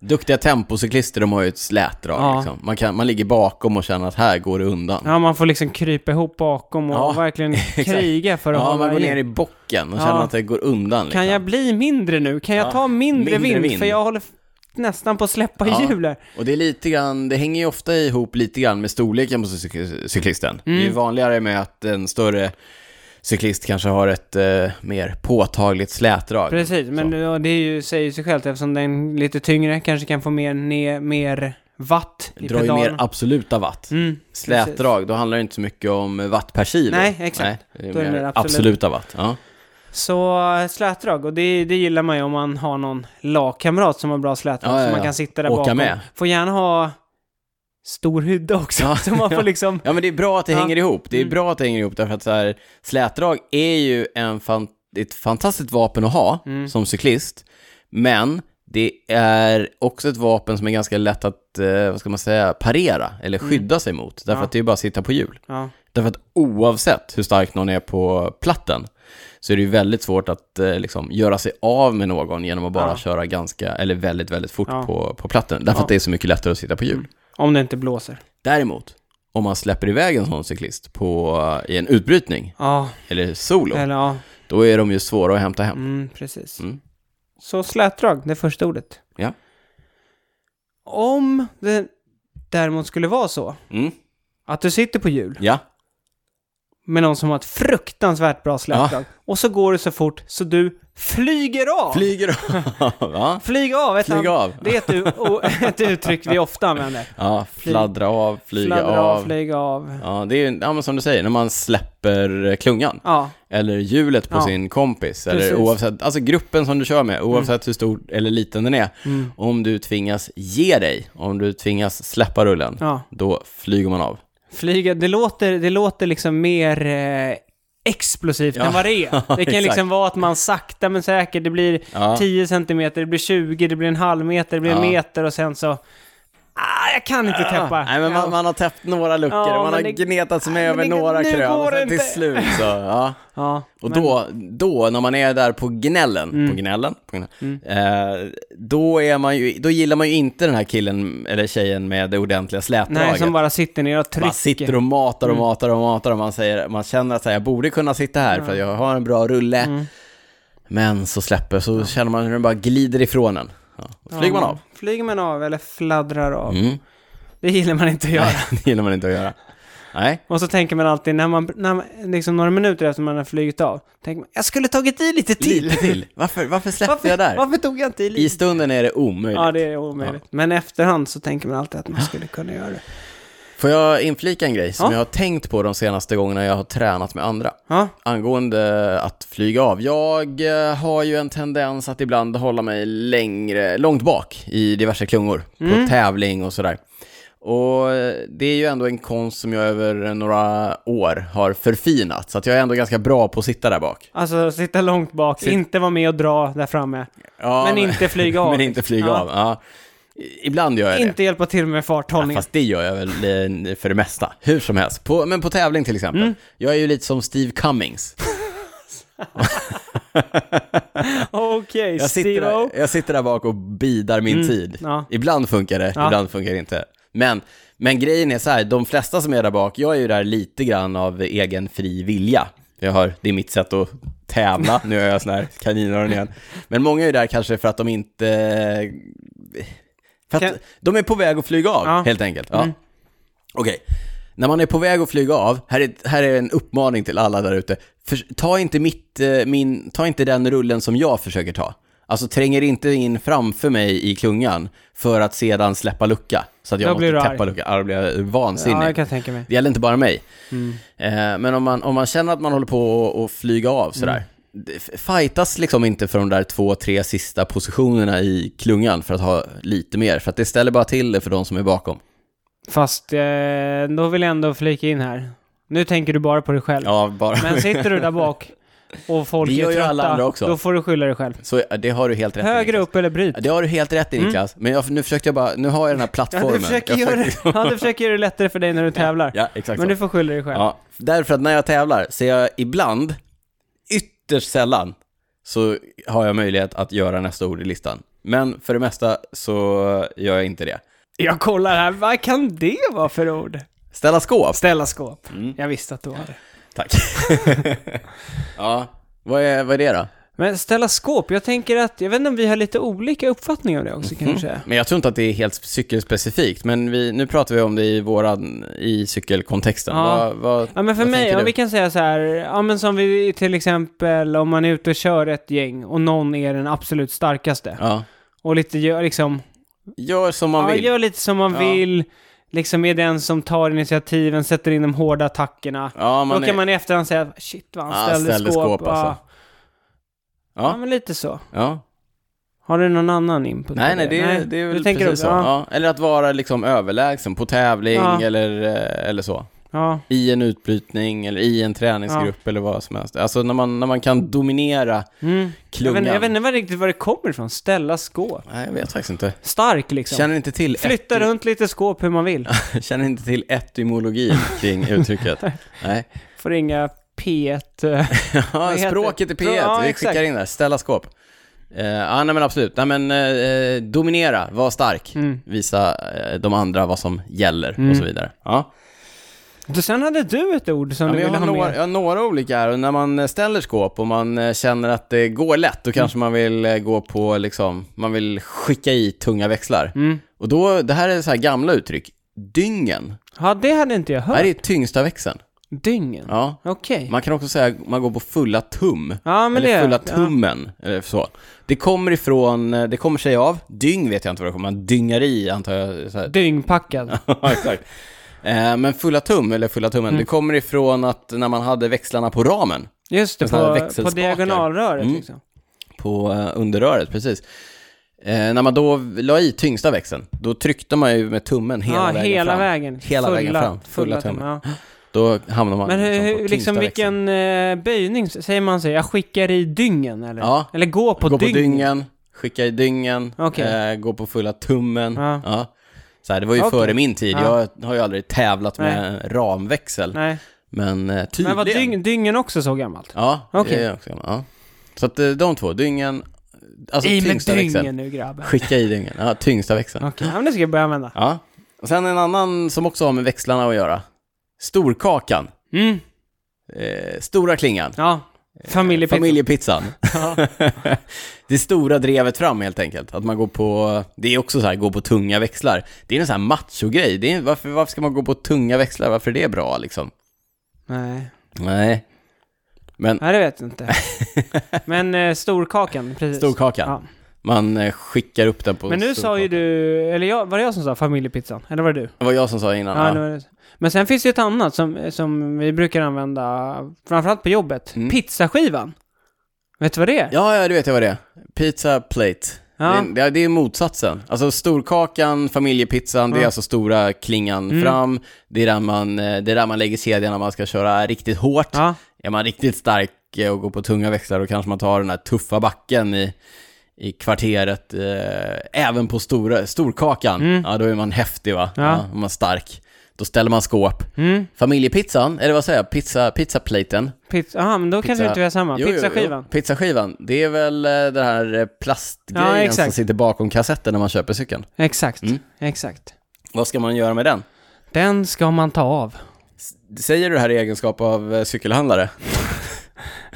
Speaker 1: Duktiga tempocyklister, de har ju ett slätdrag.
Speaker 2: Ja.
Speaker 1: Liksom. Man, kan, man ligger bakom och känner att här går det undan.
Speaker 2: Ja, man får liksom krypa ihop bakom och
Speaker 1: Ja,
Speaker 2: verkligen kriga för att
Speaker 1: Ja,
Speaker 2: hålla
Speaker 1: man går ner
Speaker 2: i.
Speaker 1: i bocken och känner
Speaker 2: Ja.
Speaker 1: att det går undan. Liksom.
Speaker 2: Kan jag bli mindre nu? Kan jag
Speaker 1: Ja,
Speaker 2: ta mindre,
Speaker 1: mindre
Speaker 2: vind?
Speaker 1: vind.
Speaker 2: För jag håller f- nästan på att släppa
Speaker 1: Ja.
Speaker 2: hjul här.
Speaker 1: Och det är lite grann, det hänger ju ofta ihop lite grann med storleken på cyk- cyklisten. Det
Speaker 2: Mm.
Speaker 1: är ju vanligare med att en större cyklist kanske har ett eh, mer påtagligt slätdrag.
Speaker 2: Precis, men
Speaker 1: Så.
Speaker 2: ja, det är ju, säger sig självt eftersom den är lite tyngre kanske kan få mer, ne, mer watt i
Speaker 1: Drar ju
Speaker 2: pedalen.
Speaker 1: ner absoluta watt.
Speaker 2: Mm,
Speaker 1: Slätdrag, då handlar det inte så mycket om watt per kilo.
Speaker 2: Nej, exakt.
Speaker 1: Nej,
Speaker 2: Då
Speaker 1: det är mer
Speaker 2: absolut.
Speaker 1: absoluta watt. Ja.
Speaker 2: Så äh, slätdrag, och det, det gillar man ju om man har någon lagkamrat som har bra slätdrag.
Speaker 1: Ja, ja,
Speaker 2: Så man
Speaker 1: ja.
Speaker 2: kan sitta där
Speaker 1: Åka
Speaker 2: bakom.
Speaker 1: med.
Speaker 2: Får gärna ha stor hydda också.
Speaker 1: Ja.
Speaker 2: Så man får liksom...
Speaker 1: Ja men det är bra att det
Speaker 2: Ja.
Speaker 1: hänger ihop. Det är
Speaker 2: Mm.
Speaker 1: bra att det hänger ihop därför att så här, slätdrag är ju en fan, ett fantastiskt vapen att ha
Speaker 2: Mm.
Speaker 1: som cyklist. Men det är också ett vapen som är ganska lätt att, eh, vad ska man säga, parera eller skydda sig mot. Därför
Speaker 2: Mm. Ja.
Speaker 1: att det är bara att sitta på hjul.
Speaker 2: Ja.
Speaker 1: Därför att oavsett hur stark någon är på platten så är det ju väldigt svårt att eh, liksom, göra sig av med någon genom att bara
Speaker 2: Ja.
Speaker 1: köra ganska, eller väldigt, väldigt fort
Speaker 2: Ja.
Speaker 1: på, på platten. Därför
Speaker 2: Ja.
Speaker 1: att det är så mycket lättare att sitta på hjul.
Speaker 2: Om det inte blåser.
Speaker 1: Däremot, om man släpper iväg en sån cyklist på, i en utbrytning,
Speaker 2: Ja,
Speaker 1: eller solo,
Speaker 2: eller ja.
Speaker 1: då är de ju svåra att hämta hem.
Speaker 2: Mm, precis.
Speaker 1: Mm.
Speaker 2: Så slätdrag, det första ordet.
Speaker 1: Ja.
Speaker 2: Om det däremot skulle vara så
Speaker 1: Mm.
Speaker 2: att du sitter på hjul
Speaker 1: Ja,
Speaker 2: med någon som har ett fruktansvärt bra slätdrag och så går du så fort så du flyger av.
Speaker 1: flyger av. ja.
Speaker 2: Flyg av, ett
Speaker 1: Flyg
Speaker 2: an-
Speaker 1: av.
Speaker 2: Det är ett, u- o- ett uttryck vi ofta använder.
Speaker 1: ja, fladdra av, flyga
Speaker 2: Fladdra
Speaker 1: av.
Speaker 2: flyg av.
Speaker 1: Ja, det är ju, ja, men som du säger, när man släpper eh, klungan,
Speaker 2: Ja,
Speaker 1: eller hjulet på
Speaker 2: Ja.
Speaker 1: sin kompis, eller
Speaker 2: Precis.
Speaker 1: oavsett, alltså gruppen som du kör med, oavsett hur stor eller liten den är,
Speaker 2: Mm.
Speaker 1: om du tvingas ge dig, om du tvingas släppa rullen,
Speaker 2: ja.
Speaker 1: då flyger man av.
Speaker 2: Flyga, det låter, det låter liksom mer eh, explosivt
Speaker 1: Ja.
Speaker 2: än vad det är. Det kan
Speaker 1: exakt.
Speaker 2: liksom vara att man sakta men säkert, det blir
Speaker 1: Ja.
Speaker 2: 10 centimeter, det blir 20, det blir en halv meter, det blir en
Speaker 1: Ja.
Speaker 2: meter och sen så... Ah, jag kan inte täppa.
Speaker 1: Nej, men man,
Speaker 2: ja.
Speaker 1: man har täppt några luckor
Speaker 2: Ja,
Speaker 1: och man har
Speaker 2: men det-
Speaker 1: gnetat sig med
Speaker 2: Nej,
Speaker 1: över
Speaker 2: men det-
Speaker 1: några
Speaker 2: nu
Speaker 1: krön
Speaker 2: går
Speaker 1: och
Speaker 2: det
Speaker 1: sen till
Speaker 2: inte.
Speaker 1: slut så, ja.
Speaker 2: ja,
Speaker 1: Och
Speaker 2: men- Mm.
Speaker 1: då, då, när man är där på gnällen, på gnällen, på gnällen eh, då, är man ju, då gillar man ju inte den här killen eller tjejen med det ordentliga slätdraget.
Speaker 2: Nej, som bara sitter ner och trycker. Mm.
Speaker 1: Man sitter och matar och matar och matar och man, säger, man känner att så här, jag borde kunna sitta här för jag har en bra rulle.
Speaker 2: Mm.
Speaker 1: Men så släpper, så känner man hur den bara glider ifrån en. Ja, då flyger man av.
Speaker 2: Flyger man av eller fladdrar av.
Speaker 1: Mm.
Speaker 2: Det gillar man inte att göra.
Speaker 1: Nej, det gillar man inte att göra. Nej.
Speaker 2: Och så tänker man alltid, när man, när man, liksom några minuter efter man har flugit av, tänker man, jag skulle tagit i lite till.
Speaker 1: Lite till. Varför, varför släppte
Speaker 2: varför,
Speaker 1: jag där?
Speaker 2: varför tog jag inte i lite?
Speaker 1: I stunden är det omöjligt.
Speaker 2: Ja, det är omöjligt. Men efterhand så tänker man alltid att man skulle kunna göra det.
Speaker 1: Får jag inflika en grej som
Speaker 2: Ja.
Speaker 1: jag har tänkt på de senaste gångerna jag har tränat med andra?
Speaker 2: Ja,
Speaker 1: Angående att flyga av. Jag eh, har ju en tendens att ibland hålla mig längre, långt bak i diverse klungor.
Speaker 2: Mm.
Speaker 1: På tävling och sådär. Och eh, det är ju ändå en konst som jag över några år har förfinat. Så att jag är ändå ganska bra på att sitta där bak.
Speaker 2: alltså sitta långt bak, inte vara med och dra där framme.
Speaker 1: Ja,
Speaker 2: Men inte flyga av. liksom.
Speaker 1: Men inte flyga
Speaker 2: Ja.
Speaker 1: av. Ja. I- Ibland gör jag det.
Speaker 2: Inte hjälpa till med farthållningen.
Speaker 1: Fast det gör jag väl eh, för det
Speaker 2: Mm.
Speaker 1: mesta, hur som helst. På, men på tävling till exempel. Jag är ju lite som Steve Cummings.
Speaker 2: Okej,
Speaker 1: Jag sitter,
Speaker 2: Steve-O.
Speaker 1: där, jag sitter där bak och bidar min
Speaker 2: Mm,
Speaker 1: tid.
Speaker 2: ja.
Speaker 1: Ibland funkar det,
Speaker 2: Ja.
Speaker 1: ibland funkar det inte. Men, men grejen är så här, de flesta som är där bak, jag är ju där lite grann av egen fri vilja. Jag har, det är mitt sätt att tävla, nu är jag sån här kaninöron igen. Men många är ju där kanske för att de inte... För att
Speaker 2: Kan-
Speaker 1: de är på väg att flyga av,
Speaker 2: Ja.
Speaker 1: helt enkelt. Ja.
Speaker 2: Mm.
Speaker 1: Okej. När man är på väg att flyga av, här är, här är en uppmaning till alla där ute. Förs- Ta, inte mitt, eh, min- ta inte den rullen som jag försöker ta. Alltså tränger inte in framför mig i klungan för att sedan släppa lucka. Så att jag
Speaker 2: Då blir du
Speaker 1: måste
Speaker 2: arg.
Speaker 1: täppa lucka. Ja, Då blir jag vansinnig.
Speaker 2: Ja, jag kan tänka mig. Mm.
Speaker 1: Det gäller inte bara mig. Eh, men om man, om man känner att man håller på att- att flyga
Speaker 2: Mm.
Speaker 1: av sådär. det f- Fightas liksom inte för de där två, tre sista positionerna i klungan för att ha lite mer. För att det ställer bara till det för de som är bakom.
Speaker 2: Fast eh, då vill jag ändå flika in här. Nu tänker du bara på dig själv.
Speaker 1: Ja, bara.
Speaker 2: Men sitter du där bak och folk
Speaker 1: Det gör
Speaker 2: är
Speaker 1: ju
Speaker 2: trötta,
Speaker 1: alla andra också.
Speaker 2: då får du skylla dig själv.
Speaker 1: Så det har du helt rätt i,
Speaker 2: Högre
Speaker 1: Niklas.
Speaker 2: upp eller bryt.
Speaker 1: Ja, Det har du helt rätt i Niklas, men jag, nu försökte jag bara, nu har jag den här
Speaker 2: Mm. Ja,
Speaker 1: plattformen.
Speaker 2: du, försöker
Speaker 1: Jag
Speaker 2: göra,
Speaker 1: försöker-
Speaker 2: ja, du försöker göra det lättare för dig när du tävlar.
Speaker 1: Ja, exakt
Speaker 2: Men du
Speaker 1: så.
Speaker 2: får skylla dig själv.
Speaker 1: Ja, därför att när jag tävlar så är jag ibland, ytterst sällan, så har jag möjlighet att göra nästa ord i listan. Men för det mesta så gör jag inte det.
Speaker 2: Jag kollar här, vad kan det vara för ord?
Speaker 1: Ställa skåp.
Speaker 2: Ställa skåp.
Speaker 1: Mm.
Speaker 2: Jag visste att du var det.
Speaker 1: Tack. ja, vad är, vad är det då?
Speaker 2: Men ställa skåp, jag tänker att, jag vet inte om vi har lite olika uppfattningar om det också
Speaker 1: Mhm.
Speaker 2: kanske.
Speaker 1: Men jag tror inte att det är helt cykelspecifikt, men vi, nu pratar vi om det i våran, i cykelkontexten.
Speaker 2: Ja.
Speaker 1: Vad, vad,
Speaker 2: Ja men för
Speaker 1: vad
Speaker 2: mig,
Speaker 1: tänker
Speaker 2: ja,
Speaker 1: du?
Speaker 2: vi kan säga så här, ja men som vi till exempel om man är ute och kör ett gäng och någon är den absolut starkaste.
Speaker 1: Ja.
Speaker 2: Och lite gör liksom,
Speaker 1: Gör som man
Speaker 2: ja,
Speaker 1: vill.
Speaker 2: gör lite som man
Speaker 1: Ja.
Speaker 2: vill, liksom är den som tar initiativen, sätter in de hårda attackerna.
Speaker 1: Ja, man
Speaker 2: Då kan
Speaker 1: är...
Speaker 2: man i efterhand säga, shit vad han
Speaker 1: Ja,
Speaker 2: ställde,
Speaker 1: ställde
Speaker 2: skåp.
Speaker 1: skåp, alltså.
Speaker 2: ja.
Speaker 1: Ja.
Speaker 2: ja men lite så.
Speaker 1: Ja.
Speaker 2: Har du någon annan input?
Speaker 1: Nej,
Speaker 2: på
Speaker 1: nej, det, är det är väl
Speaker 2: du tänker
Speaker 1: precis
Speaker 2: också,
Speaker 1: så.
Speaker 2: Ja.
Speaker 1: Ja. Eller att vara liksom överlägsen på tävling
Speaker 2: Ja.
Speaker 1: eller, eh, eller så.
Speaker 2: ja.
Speaker 1: I en utbrytning eller i en träningsgrupp eller vad som helst. Alltså när man, när man kan dominera
Speaker 2: Mm. Jag,
Speaker 1: klungan.
Speaker 2: vet, jag vet inte vad riktigt var det kommer ifrån, ställa skåp.
Speaker 1: Nej, jag vet faktiskt inte.
Speaker 2: Stark liksom.
Speaker 1: Känner inte till,
Speaker 2: Flytta
Speaker 1: ety-
Speaker 2: runt lite skåp hur man vill.
Speaker 1: känner inte till etymologin kring uttrycket. Nej.
Speaker 2: Får ringa P1. eh,
Speaker 1: Ja,
Speaker 2: heter-
Speaker 1: språket i P1,
Speaker 2: Ja,
Speaker 1: vi
Speaker 2: exakt.
Speaker 1: skickar in det. Ställa skåp. Eh, ja, nej men absolut. Nej men eh, dominera, var stark.
Speaker 2: Mm.
Speaker 1: Visa eh, de andra vad som gäller och
Speaker 2: Mm.
Speaker 1: så vidare. Ja.
Speaker 2: Då sen hade du ett ord som
Speaker 1: Ja,
Speaker 2: du
Speaker 1: men jag,
Speaker 2: ville
Speaker 1: har
Speaker 2: ha
Speaker 1: några,
Speaker 2: med.
Speaker 1: jag har några olika här och när man eh, ställer skåp och man eh, känner att det går lätt då
Speaker 2: Mm.
Speaker 1: kanske man vill eh, gå på liksom, man vill skicka i tunga växlar.
Speaker 2: Mm.
Speaker 1: Och då, det här är så här gamla uttryck. Dyngen,
Speaker 2: Ja, det hade inte jag
Speaker 1: det
Speaker 2: hört.
Speaker 1: här är tyngsta växeln.
Speaker 2: Dyngen.
Speaker 1: Ja.
Speaker 2: Okej.
Speaker 1: Man kan också säga man går på fulla tum.
Speaker 2: Ja, men
Speaker 1: eller
Speaker 2: det...
Speaker 1: fulla tummen, eller så. Det kommer ifrån, eh, det kommer sig av, dyng vet jag inte vad det kommer, man dyngar i antar jag. Så här.
Speaker 2: Ja, dyngpackad.
Speaker 1: Ja, exakt. Eh, Men fulla tum, eller fulla tummen,
Speaker 2: Mm.
Speaker 1: det kommer ifrån att när man hade växlarna på ramen,
Speaker 2: Just det,
Speaker 1: En sån här
Speaker 2: på, på
Speaker 1: växelspakar.
Speaker 2: diagonalröret
Speaker 1: Mm.
Speaker 2: liksom.
Speaker 1: på eh, underröret, precis. Eh, när man då la i tyngsta växeln, då tryckte man ju med tummen hela
Speaker 2: ja,
Speaker 1: vägen
Speaker 2: hela
Speaker 1: fram.
Speaker 2: vägen.
Speaker 1: Hela vägen fram. Fulla tummen.
Speaker 2: ja.
Speaker 1: Då hamnar man
Speaker 2: Men hur,
Speaker 1: liksom, på
Speaker 2: hur,
Speaker 1: tyngsta
Speaker 2: liksom
Speaker 1: växeln.
Speaker 2: vilken eh, böjning, säger man så? Jag skickar i dyngen eller?
Speaker 1: Ja.
Speaker 2: Eller gå på
Speaker 1: Gå
Speaker 2: dyngen.
Speaker 1: på dyngen, skicka i dyngen,
Speaker 2: Okej.
Speaker 1: eh, gå på fulla tummen.
Speaker 2: Ja.
Speaker 1: Ja. Så här, det var ju
Speaker 2: Okej.
Speaker 1: före min tid,
Speaker 2: Ja.
Speaker 1: jag har ju aldrig tävlat med ramväxel.
Speaker 2: Nej.
Speaker 1: Men eh,
Speaker 2: Men
Speaker 1: tydligen.
Speaker 2: var dyng, dyngen också så gammalt?
Speaker 1: Ja, det
Speaker 2: Okej.
Speaker 1: är jag också. Ja. Så att eh, de två, dyngen, alltså
Speaker 2: I med
Speaker 1: tyngsta
Speaker 2: dyngen
Speaker 1: växeln.
Speaker 2: nu grabben.
Speaker 1: Skicka i dyngen, ja, tyngsta växeln.
Speaker 2: Okej, ja, men det ska jag börja använda.
Speaker 1: Ja. Och sen en annan som också har med växlarna att göra. Storkakan.
Speaker 2: Mm,
Speaker 1: Eh, stora klingan.
Speaker 2: ja. Familjepizza.
Speaker 1: Familjepizzan.
Speaker 2: Ja.
Speaker 1: det stora drevet fram helt enkelt. Att man går på, det är också så här, gå på tunga växlar. Det är en sån här machogrej. Det är, varför, varför ska man gå på tunga växlar? Varför är det bra liksom?
Speaker 2: Nej,
Speaker 1: Nej. Men
Speaker 2: Nej, det vet jag inte. Men eh, storkakan, precis.
Speaker 1: storkakan.
Speaker 2: Ja.
Speaker 1: Man eh, skickar upp den på
Speaker 2: Men nu sa ju
Speaker 1: storkakan.
Speaker 2: du, eller jag, var det jag som sa familjepizzan? Eller var det du?
Speaker 1: Det var jag som sa innan.
Speaker 2: Ja,
Speaker 1: Ja,
Speaker 2: det var det. Men sen finns det ju ett annat som, som vi brukar använda, framförallt på jobbet.
Speaker 1: Mm.
Speaker 2: Pizzaskivan. Vet du vad det är?
Speaker 1: ja, ja, du vet jag vad det är. Pizza plate.
Speaker 2: Ja.
Speaker 1: Det, är, det är motsatsen. Alltså storkakan, familjepizzan, det är
Speaker 2: Ja.
Speaker 1: alltså stora klingan
Speaker 2: Mm.
Speaker 1: fram. Det är, där man, eh, det är där man lägger kedjan när man ska köra riktigt hårt.
Speaker 2: Ja.
Speaker 1: Är man riktigt stark eh, och går på tunga växlar då kanske man tar den här tuffa backen i, i kvarteret. Eh, även på stora, storkakan,
Speaker 2: Mm.
Speaker 1: ja då är man häftig va?
Speaker 2: Ja.
Speaker 1: då är man stark. Då ställer man skåp.
Speaker 2: Mm.
Speaker 1: Familjepizzan, eller vad säger jag, pizza, pizzaplaten.
Speaker 2: Pizza, aha, men då kanske
Speaker 1: Pizza-
Speaker 2: inte vi har samma.
Speaker 1: Jo, jo, jo.
Speaker 2: Pizzaskivan.
Speaker 1: Pizzaskivan, det är väl eh, den här eh,
Speaker 2: Ja,
Speaker 1: plastgrejen
Speaker 2: exakt.
Speaker 1: som sitter bakom kassetten när man köper cykeln.
Speaker 2: Exakt,
Speaker 1: Mm.
Speaker 2: exakt.
Speaker 1: Vad ska man göra med den?
Speaker 2: Den ska man ta av.
Speaker 1: S- Säger du det här i egenskap av eh, cykelhandlare?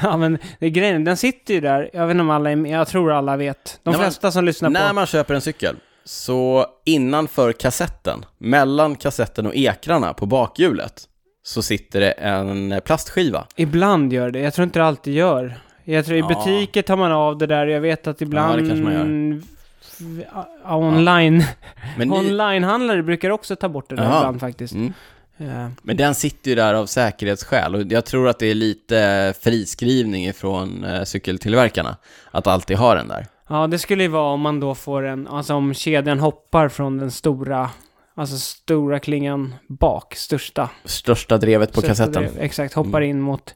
Speaker 2: Ja, men det är grejen, den sitter ju där. Jag vet inte om alla är med, jag tror alla vet. De
Speaker 1: När man-
Speaker 2: flesta som lyssnar
Speaker 1: När
Speaker 2: på.
Speaker 1: man köper en cykel, så innanför kassetten, mellan kassetten och ekrarna på bakhjulet, så sitter det en eh, plastskiva.
Speaker 2: Ibland gör det, jag tror inte det alltid gör. Jag tror i
Speaker 1: Ja.
Speaker 2: butiker tar man av det där, jag vet att ibland...
Speaker 1: kanske man gör.
Speaker 2: f- a- a- Online,
Speaker 1: Men, ni,
Speaker 2: onlinehandlare brukar också ta bort det där
Speaker 1: Jaha.
Speaker 2: ibland faktiskt.
Speaker 1: Mm.
Speaker 2: Eh,
Speaker 1: men den sitter ju där av säkerhetsskäl och jag tror att det är lite friskrivning från cykeltillverkarna att alltid ha den där.
Speaker 2: Ja, det skulle ju vara om man då får en, alltså om kedjan hoppar från den stora, alltså stora klingan bak, största.
Speaker 1: Största drevet på
Speaker 2: Så
Speaker 1: kassetten, Mm.
Speaker 2: det- Exakt, hoppar in mot,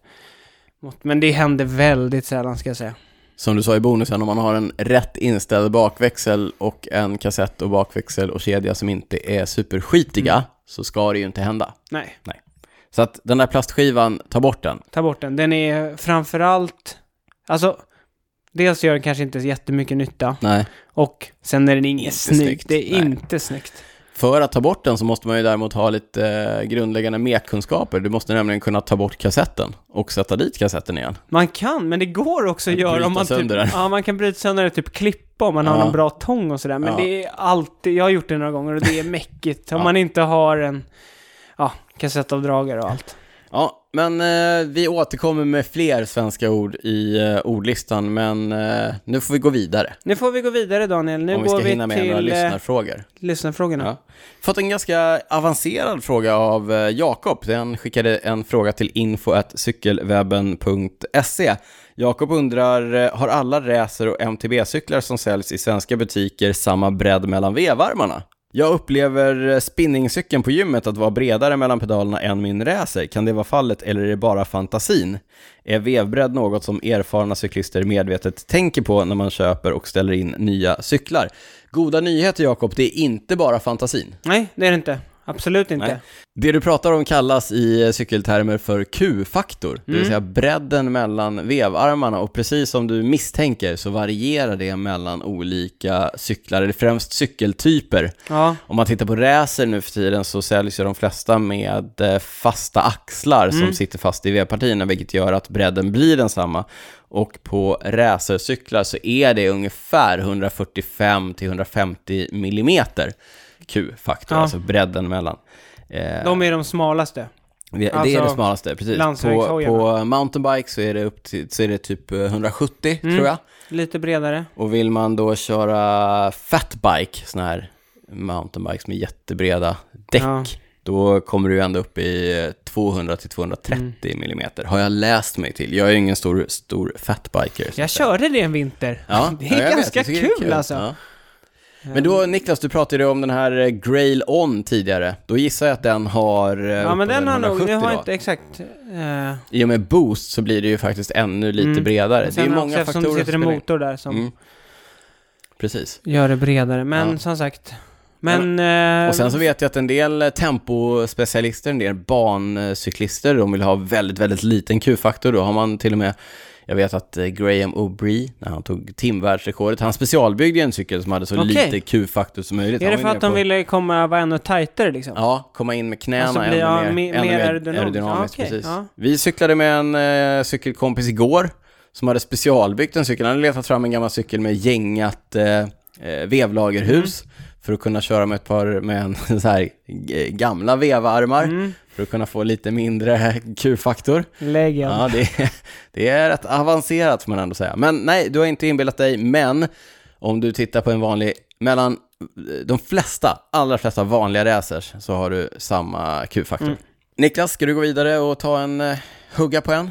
Speaker 2: mot, men det händer väldigt sällan ska jag säga.
Speaker 1: som du sa i bonusen, om man har en rätt inställd bakväxel och en kassett och bakväxel och kedja som inte är superskitiga,
Speaker 2: Mm.
Speaker 1: så ska det ju inte hända.
Speaker 2: Nej,
Speaker 1: Så att den där plastskivan, ta bort den.
Speaker 2: ta bort den. Den är framförallt, alltså, dels gör den kanske inte jättemycket nytta
Speaker 1: Nej.
Speaker 2: och sen är den inget
Speaker 1: Inte
Speaker 2: snyggt.
Speaker 1: snyggt,
Speaker 2: Det är
Speaker 1: nej.
Speaker 2: inte snyggt.
Speaker 1: För att ta bort den så måste man ju däremot ha lite eh, grundläggande mekkunskaper. Du måste nämligen kunna ta bort kassetten och sätta dit kassetten igen.
Speaker 2: Man kan, men det går också att
Speaker 1: Bryta
Speaker 2: göra om man typ,
Speaker 1: sönder den.
Speaker 2: Ja, man kan bryta sönder det, typ klippa om man har
Speaker 1: Ja.
Speaker 2: någon bra tång och sådär. Men
Speaker 1: Ja.
Speaker 2: det är alltid, jag har gjort det några gånger och det är mäckigt. Om
Speaker 1: Ja.
Speaker 2: man inte har en, ja, kassettavdragare och allt.
Speaker 1: Ja, men eh, vi återkommer med fler svenska ord i eh, ordlistan, men eh, nu får vi gå vidare.
Speaker 2: Nu får vi gå vidare Daniel. Nu
Speaker 1: om vi
Speaker 2: går
Speaker 1: ska
Speaker 2: vi
Speaker 1: hinna med några
Speaker 2: till eh,
Speaker 1: lyssnarfrågor.
Speaker 2: lyssnarfrågorna.
Speaker 1: Ja. Fått en ganska avancerad fråga av eh, Jakob. Den skickade en fråga till info.cykelwebben.se. Jakob undrar, eh, har alla racer och MTB-cyklar som säljs i svenska butiker samma bredd mellan vevarmarna? Jag upplever eh, spinningcykeln på gymmet att vara bredare mellan pedalerna än min racer. Kan det vara fallet eller är det bara fantasin? Är vevbredd något som erfarna cyklister medvetet tänker på när man köper och ställer in nya cyklar? Goda nyheter Jakob, det är inte bara fantasin.
Speaker 2: Nej, det är det inte. Absolut inte.
Speaker 1: Nej. Det du pratar om kallas i cykeltermer för Q-faktor, det
Speaker 2: Mm.
Speaker 1: vill säga bredden mellan vevarmarna och precis som du misstänker så varierar det mellan olika cyklar, eller främst cykeltyper.
Speaker 2: Ja,
Speaker 1: Om man tittar på racer nu för tiden så säljs ju de flesta med eh, fasta axlar
Speaker 2: Mm.
Speaker 1: som sitter fast i vevpartierna, vilket gör att bredden blir densamma. Och på racercyklar så är det ungefär 145-150 millimeter Q-faktor,
Speaker 2: Ja.
Speaker 1: alltså bredden mellan. Eh,
Speaker 2: de är de smalaste.
Speaker 1: vi- det
Speaker 2: Alltså,
Speaker 1: är det smalaste, precis. På,
Speaker 2: landsvägshojarna.
Speaker 1: på mountainbike så är det, upp till, så är det typ eh, 170
Speaker 2: Mm.
Speaker 1: tror jag.
Speaker 2: Lite bredare.
Speaker 1: Och vill man då köra fatbike, sån här mountainbikes med jättebreda däck,
Speaker 2: Ja.
Speaker 1: då kommer du ju ända upp i eh, 200-230 mm. Har jag läst mig till. Jag är ju ingen stor, stor fatbiker. så
Speaker 2: Jag
Speaker 1: att säga.
Speaker 2: körde det en vinter. det
Speaker 1: ja,
Speaker 2: är
Speaker 1: jag vet.
Speaker 2: ganska
Speaker 1: Jag tycker
Speaker 2: kul,
Speaker 1: det är
Speaker 2: alltså.
Speaker 1: Ja. Men då Niklas, du pratade ju om den här eh, Grail On tidigare. Då gissar jag att den har... eh,
Speaker 2: Ja, men
Speaker 1: uppemot
Speaker 2: den har nog,
Speaker 1: 170
Speaker 2: nu har
Speaker 1: då.
Speaker 2: jag inte exakt. eh,
Speaker 1: I och med boost så blir det ju faktiskt ännu lite
Speaker 2: Mm.
Speaker 1: bredare.
Speaker 2: Och
Speaker 1: Det är
Speaker 2: sen
Speaker 1: ju
Speaker 2: också
Speaker 1: många
Speaker 2: eftersom
Speaker 1: faktorer
Speaker 2: det sitter en
Speaker 1: spelar in.
Speaker 2: motor där som
Speaker 1: Mm. Precis.
Speaker 2: gör det bredare. Men
Speaker 1: Ja.
Speaker 2: som sagt. Men... eh,
Speaker 1: Och sen så vet jag att en del eh, tempospecialister, en del bancyklister, de vill ha väldigt, väldigt liten Q-faktor. Då har man till och med, jag vet att eh, Graham O'Bree, när han tog timvärldsrekordet, han specialbyggde ju en cykel som hade så
Speaker 2: Okej.
Speaker 1: lite Q-faktor som möjligt.
Speaker 2: är
Speaker 1: Han
Speaker 2: det
Speaker 1: var
Speaker 2: för
Speaker 1: ju
Speaker 2: att
Speaker 1: nere
Speaker 2: de
Speaker 1: på-
Speaker 2: ville komma, vara ännu tajtare liksom?
Speaker 1: Ja, komma in med knäna
Speaker 2: Och så blir-
Speaker 1: ännu,
Speaker 2: ja,
Speaker 1: mer,
Speaker 2: me-
Speaker 1: ännu
Speaker 2: mer
Speaker 1: mer
Speaker 2: aerodynamiskt.
Speaker 1: aerodynamiskt.
Speaker 2: Ja, okej,
Speaker 1: precis.
Speaker 2: ja.
Speaker 1: Vi cyklade med en eh, cykelkompis igår som hade specialbyggt en cykel. Han hade letat fram en gammal cykel med gängat eh, eh, vevlagerhus
Speaker 2: Mm.
Speaker 1: för att kunna köra med ett par med en, så här, g- gamla vevarmar
Speaker 2: Mm.
Speaker 1: för att kunna få lite mindre Q-faktor.
Speaker 2: Lägg igen.
Speaker 1: Ja, det är, det är rätt avancerat får man ändå säga. Men nej, du har inte inbillat dig, men om du tittar på en vanlig, mellan de flesta, allra flesta vanliga racers så har du samma Q-faktor.
Speaker 2: Mm.
Speaker 1: Niklas, ska du gå vidare och ta en, eh, hugga på en?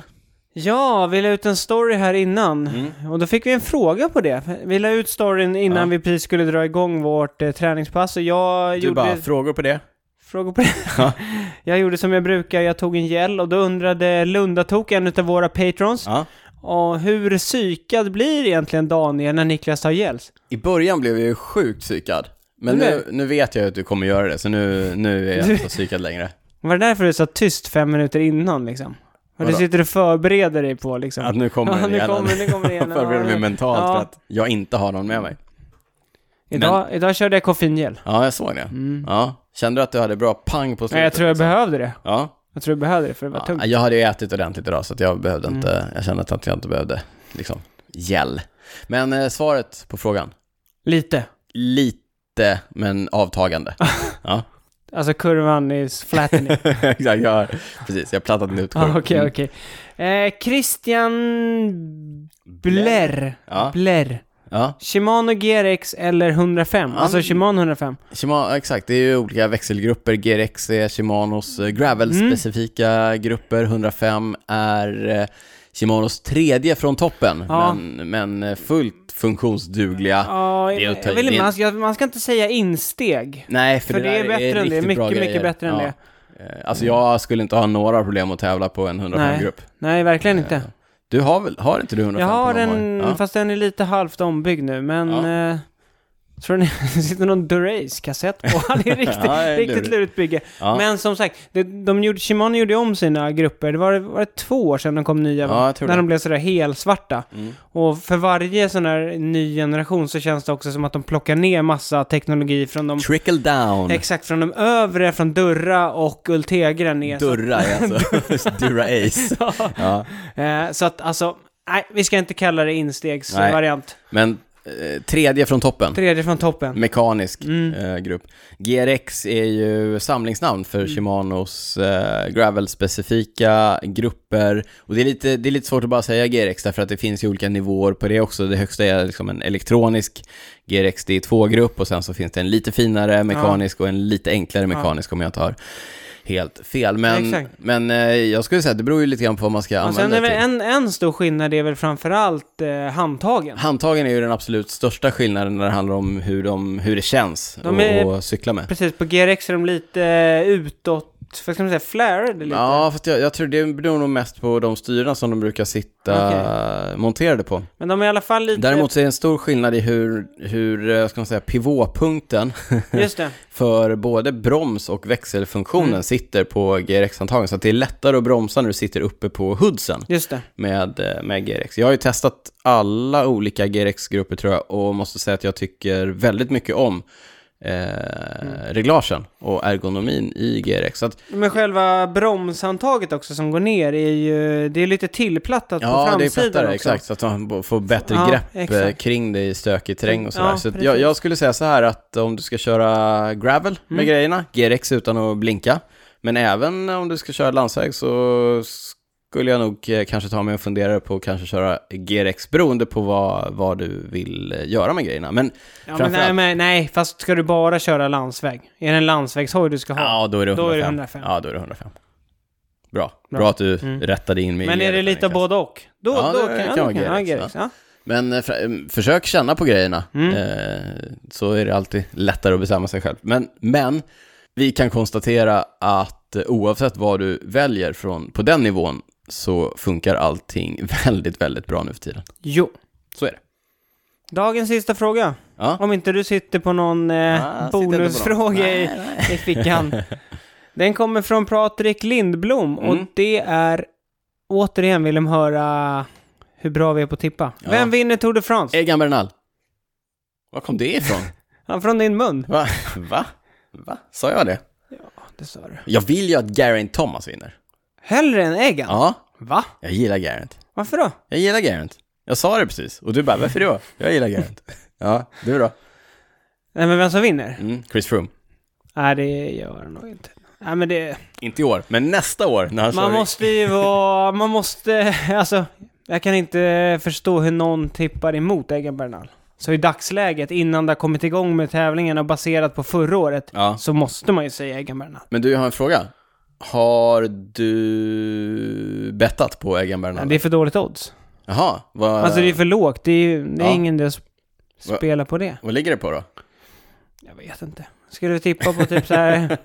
Speaker 2: Ja, vi la ut en story här innan. Och då fick vi en fråga på det. Vi la ut storyn innan
Speaker 1: Mm. Ja.
Speaker 2: vi precis skulle dra igång vårt eh, träningspass och jag
Speaker 1: Du
Speaker 2: gjorde...
Speaker 1: bara, frågor på det?
Speaker 2: Frågor på det?
Speaker 1: Ja.
Speaker 2: jag gjorde som jag brukar, jag tog en gel och då undrade Lundatok, en av våra patrons,
Speaker 1: Ja.
Speaker 2: och hur psykad blir egentligen Daniel när Niklas tar gels?
Speaker 1: I början blev jag ju sjukt psykad. Men
Speaker 2: Men
Speaker 1: nu, nu vet jag att du kommer göra det, så nu, nu är jag inte så psykad längre.
Speaker 2: Var det därför du sa tyst fem minuter innan liksom? Och du
Speaker 1: Vadå?
Speaker 2: sitter och förbereder dig på liksom?
Speaker 1: Att nu kommer
Speaker 2: ja,
Speaker 1: den
Speaker 2: nu
Speaker 1: igen.
Speaker 2: kommer, nu kommer det igen.
Speaker 1: Jag förbereder mig mentalt
Speaker 2: Ja.
Speaker 1: för att jag inte har någon med mig.
Speaker 2: Idag, idag körde jag koffeingel. Mm.
Speaker 1: Ja, jag såg det. Mm. Ja. Kände du att du hade bra pang på
Speaker 2: Nej,
Speaker 1: slutet?
Speaker 2: jag tror jag behövde det.
Speaker 1: Ja.
Speaker 2: Jag tror jag behövde det för det var
Speaker 1: Ja,
Speaker 2: tungt. Mm.
Speaker 1: jag hade ju ätit ordentligt idag så att jag behövde inte, jag kände att jag inte behövde liksom gäll. Men eh, svaret på frågan,
Speaker 2: Lite.
Speaker 1: lite men avtagande. ja,
Speaker 2: Alltså kurvan is flattening.
Speaker 1: exakt. Jag, precis, jag plattade ut
Speaker 2: Ja,
Speaker 1: korven.
Speaker 2: Ah, Okej,
Speaker 1: Mm.
Speaker 2: okej. Eh, Christian Blair.
Speaker 1: Ja.
Speaker 2: Blair.
Speaker 1: Ja,
Speaker 2: Shimano GRX eller 105. Alltså
Speaker 1: Han-
Speaker 2: Shimano 105.
Speaker 1: Shimano, exakt. Det är ju olika växelgrupper. GRX är Shimanos eh, gravel-specifika
Speaker 2: Mm.
Speaker 1: grupper. 105 är eh, Shimanos tredje från toppen,
Speaker 2: Ja.
Speaker 1: men, men eh, fullt funktionsdugliga.
Speaker 2: Ja,
Speaker 1: det är att ta
Speaker 2: jag
Speaker 1: i.
Speaker 2: vill,
Speaker 1: Det är
Speaker 2: man,
Speaker 1: en-
Speaker 2: ska, man ska inte säga insteg.
Speaker 1: Nej, för,
Speaker 2: För det är
Speaker 1: där
Speaker 2: bättre än det.
Speaker 1: riktigt
Speaker 2: Mycket,
Speaker 1: bra
Speaker 2: mycket
Speaker 1: grejer.
Speaker 2: bättre än
Speaker 1: Ja. Eh, Alltså jag skulle inte ha några problem att tävla på en 105-grupp.
Speaker 2: Nej, verkligen inte.
Speaker 1: Du har väl, har inte du 105
Speaker 2: Jag har
Speaker 1: på någon
Speaker 2: en,
Speaker 1: gång? Ja.
Speaker 2: fast den är lite halvt ombyggd nu, men...
Speaker 1: Ja.
Speaker 2: Eh, tror ni det sitter någon Durace-kassett på? Det är riktigt,
Speaker 1: Ja, det är
Speaker 2: riktigt
Speaker 1: lurigt.
Speaker 2: lurigt bygge.
Speaker 1: Ja.
Speaker 2: Men som sagt, det, de gjorde, Shimano gjorde om sina grupper. Det var, var det två år sedan de kom nya, va?
Speaker 1: Ja, jag tror
Speaker 2: när
Speaker 1: det.
Speaker 2: de blev sådär helsvarta.
Speaker 1: Mm.
Speaker 2: Och för varje sån här ny generation så känns det också som att de plockar ner massa teknologi från de...
Speaker 1: Trickle down.
Speaker 2: Exakt, från de övre, från Durra och Ultegra ner. så-
Speaker 1: Durra är alltså. Durra Ace. Ja.
Speaker 2: Eh, så att alltså, nej, vi ska inte kalla det
Speaker 1: Nej.
Speaker 2: instegsvariant.
Speaker 1: Men eh, tredje från toppen.
Speaker 2: Tredje från toppen.
Speaker 1: Mekanisk
Speaker 2: Mm.
Speaker 1: eh, grupp. GRX är ju samlingsnamn
Speaker 2: Mm.
Speaker 1: för Shimanos eh, gravel-specifika grupper. Och det är, lite, det är lite svårt att bara säga GRX därför att det finns ju olika nivåer på det också. Det högsta är liksom en elektronisk GRX D2-grupp och sen så finns det en lite finare mekanisk och en lite enklare mekanisk om jag inte har helt fel. Men,
Speaker 2: Exakt.
Speaker 1: men eh, jag skulle säga att det beror ju lite grann på vad man ska
Speaker 2: Och sen
Speaker 1: använda
Speaker 2: är
Speaker 1: det
Speaker 2: väl
Speaker 1: till.
Speaker 2: en, en stor skillnad är väl framförallt eh, handtagen.
Speaker 1: Handtagen är ju den absolut största skillnaden när det handlar om hur, de, hur det känns
Speaker 2: De är-
Speaker 1: att cykla med.
Speaker 2: Precis, på GRX är de lite eh, utåt, vad ska man säga, flärade lite.
Speaker 1: Ja, fast jag, jag tror det beror nog mest på de styrena som de brukar sitta monterade på.
Speaker 2: Men de är i alla fall lite...
Speaker 1: Däremot så är det en stor skillnad i hur, hur eh, ska man säga, pivåpunkten
Speaker 2: Just det.
Speaker 1: för både broms och växelfunktionen sitter på GRX-handtagen. Så att det är lättare att bromsa när du sitter uppe på hoodsen
Speaker 2: Just det.
Speaker 1: med, eh, med GRX. Jag har ju testat alla olika GRX-grupper tror jag och måste säga att jag tycker väldigt mycket om eh, reglagen och ergonomin i GRX. Så att
Speaker 2: Men själva bromshandtaget också som går ner är ju, det är lite tillplattat på
Speaker 1: Ja, det är
Speaker 2: framsidan
Speaker 1: plattare,
Speaker 2: också.
Speaker 1: exakt. Så att man b- får bättre
Speaker 2: Ja,
Speaker 1: grepp eh,
Speaker 2: exakt.
Speaker 1: kring det i stökig terräng och sådär.
Speaker 2: Ja,
Speaker 1: så att jag,
Speaker 2: precis.
Speaker 1: jag skulle säga så här att om du ska köra gravel
Speaker 2: Mm.
Speaker 1: med grejerna, GRX utan att blinka, men även om du ska köra landsväg så skulle jag nog eh, kanske ta mig en funderare på att kanske köra GRX beroende på vad, vad du vill eh, göra med grejerna. Men
Speaker 2: Ja, men nej,
Speaker 1: framförallt,
Speaker 2: men, nej, fast ska du bara köra landsväg? Är det en landsvägshoj du ska ha?
Speaker 1: ja, då är det 105.
Speaker 2: då är det 105.
Speaker 1: Ja, då är det 105. Bra, bra,
Speaker 2: Bra. Mm.
Speaker 1: att du rättade in mig i
Speaker 2: men är det
Speaker 1: ledet,
Speaker 2: lite av
Speaker 1: Niklas.
Speaker 2: både och? Då,
Speaker 1: Ja,
Speaker 2: då
Speaker 1: det
Speaker 2: kan
Speaker 1: kan
Speaker 2: jag
Speaker 1: vara GRX,
Speaker 2: Ja.
Speaker 1: Men eh, fra- eh, försök känna på grejerna, eh, så är det alltid lättare att bestämma sig själv. Men, men vi kan konstatera att eh, oavsett vad du väljer från, på den nivån så funkar allting väldigt, väldigt bra nu för tiden.
Speaker 2: Jo.
Speaker 1: Så är det.
Speaker 2: Dagens sista fråga.
Speaker 1: Ja.
Speaker 2: Om inte du sitter på någon eh,
Speaker 1: Ah, sitter inte på någon.
Speaker 2: bonusfråga i, i fickan. Den kommer från Patrik Lindblom och
Speaker 1: Mm.
Speaker 2: det är återigen vill de höra hur bra vi är på att tippa.
Speaker 1: Ja. Eh.
Speaker 2: Vem vinner Tour de France?
Speaker 1: Egan Bernal. Var kom det ifrån?
Speaker 2: Ja, från din mun.
Speaker 1: Va? Va? Va? Sa jag det?
Speaker 2: Det sa du.
Speaker 1: Jag vill ju att Geraint Thomas vinner.
Speaker 2: Hellre än Egan?
Speaker 1: Ja,
Speaker 2: Va?
Speaker 1: jag gillar Geraint.
Speaker 2: Varför då?
Speaker 1: Jag gillar Geraint. Jag sa det precis. Och du bara, varför då? Jag gillar Geraint. Ja, du då?
Speaker 2: Nej men vem som vinner?
Speaker 1: Mm, Chris Froome.
Speaker 2: Nej det gör han nog inte. Nej men det...
Speaker 1: Inte i år, men nästa år när han
Speaker 2: Man
Speaker 1: kör i-
Speaker 2: måste ju vara... Man måste... Alltså... Jag kan inte förstå hur någon tippar emot Egan Bernal. Så i dagsläget, innan det har kommit igång med tävlingen och baserat på förra året,
Speaker 1: Ja.
Speaker 2: så måste man ju säga Egan Bernal.
Speaker 1: Men du, jag har en fråga. Har du bettat på Egan
Speaker 2: Ja,
Speaker 1: Bernal?
Speaker 2: det är för dåligt odds.
Speaker 1: Jaha, vad,
Speaker 2: Alltså det är för lågt. Det är, det är
Speaker 1: Ja.
Speaker 2: ingen idé att
Speaker 1: Va-
Speaker 2: spela på det.
Speaker 1: vad ligger det på då?
Speaker 2: Jag vet inte. Skulle vi tippa på typ så här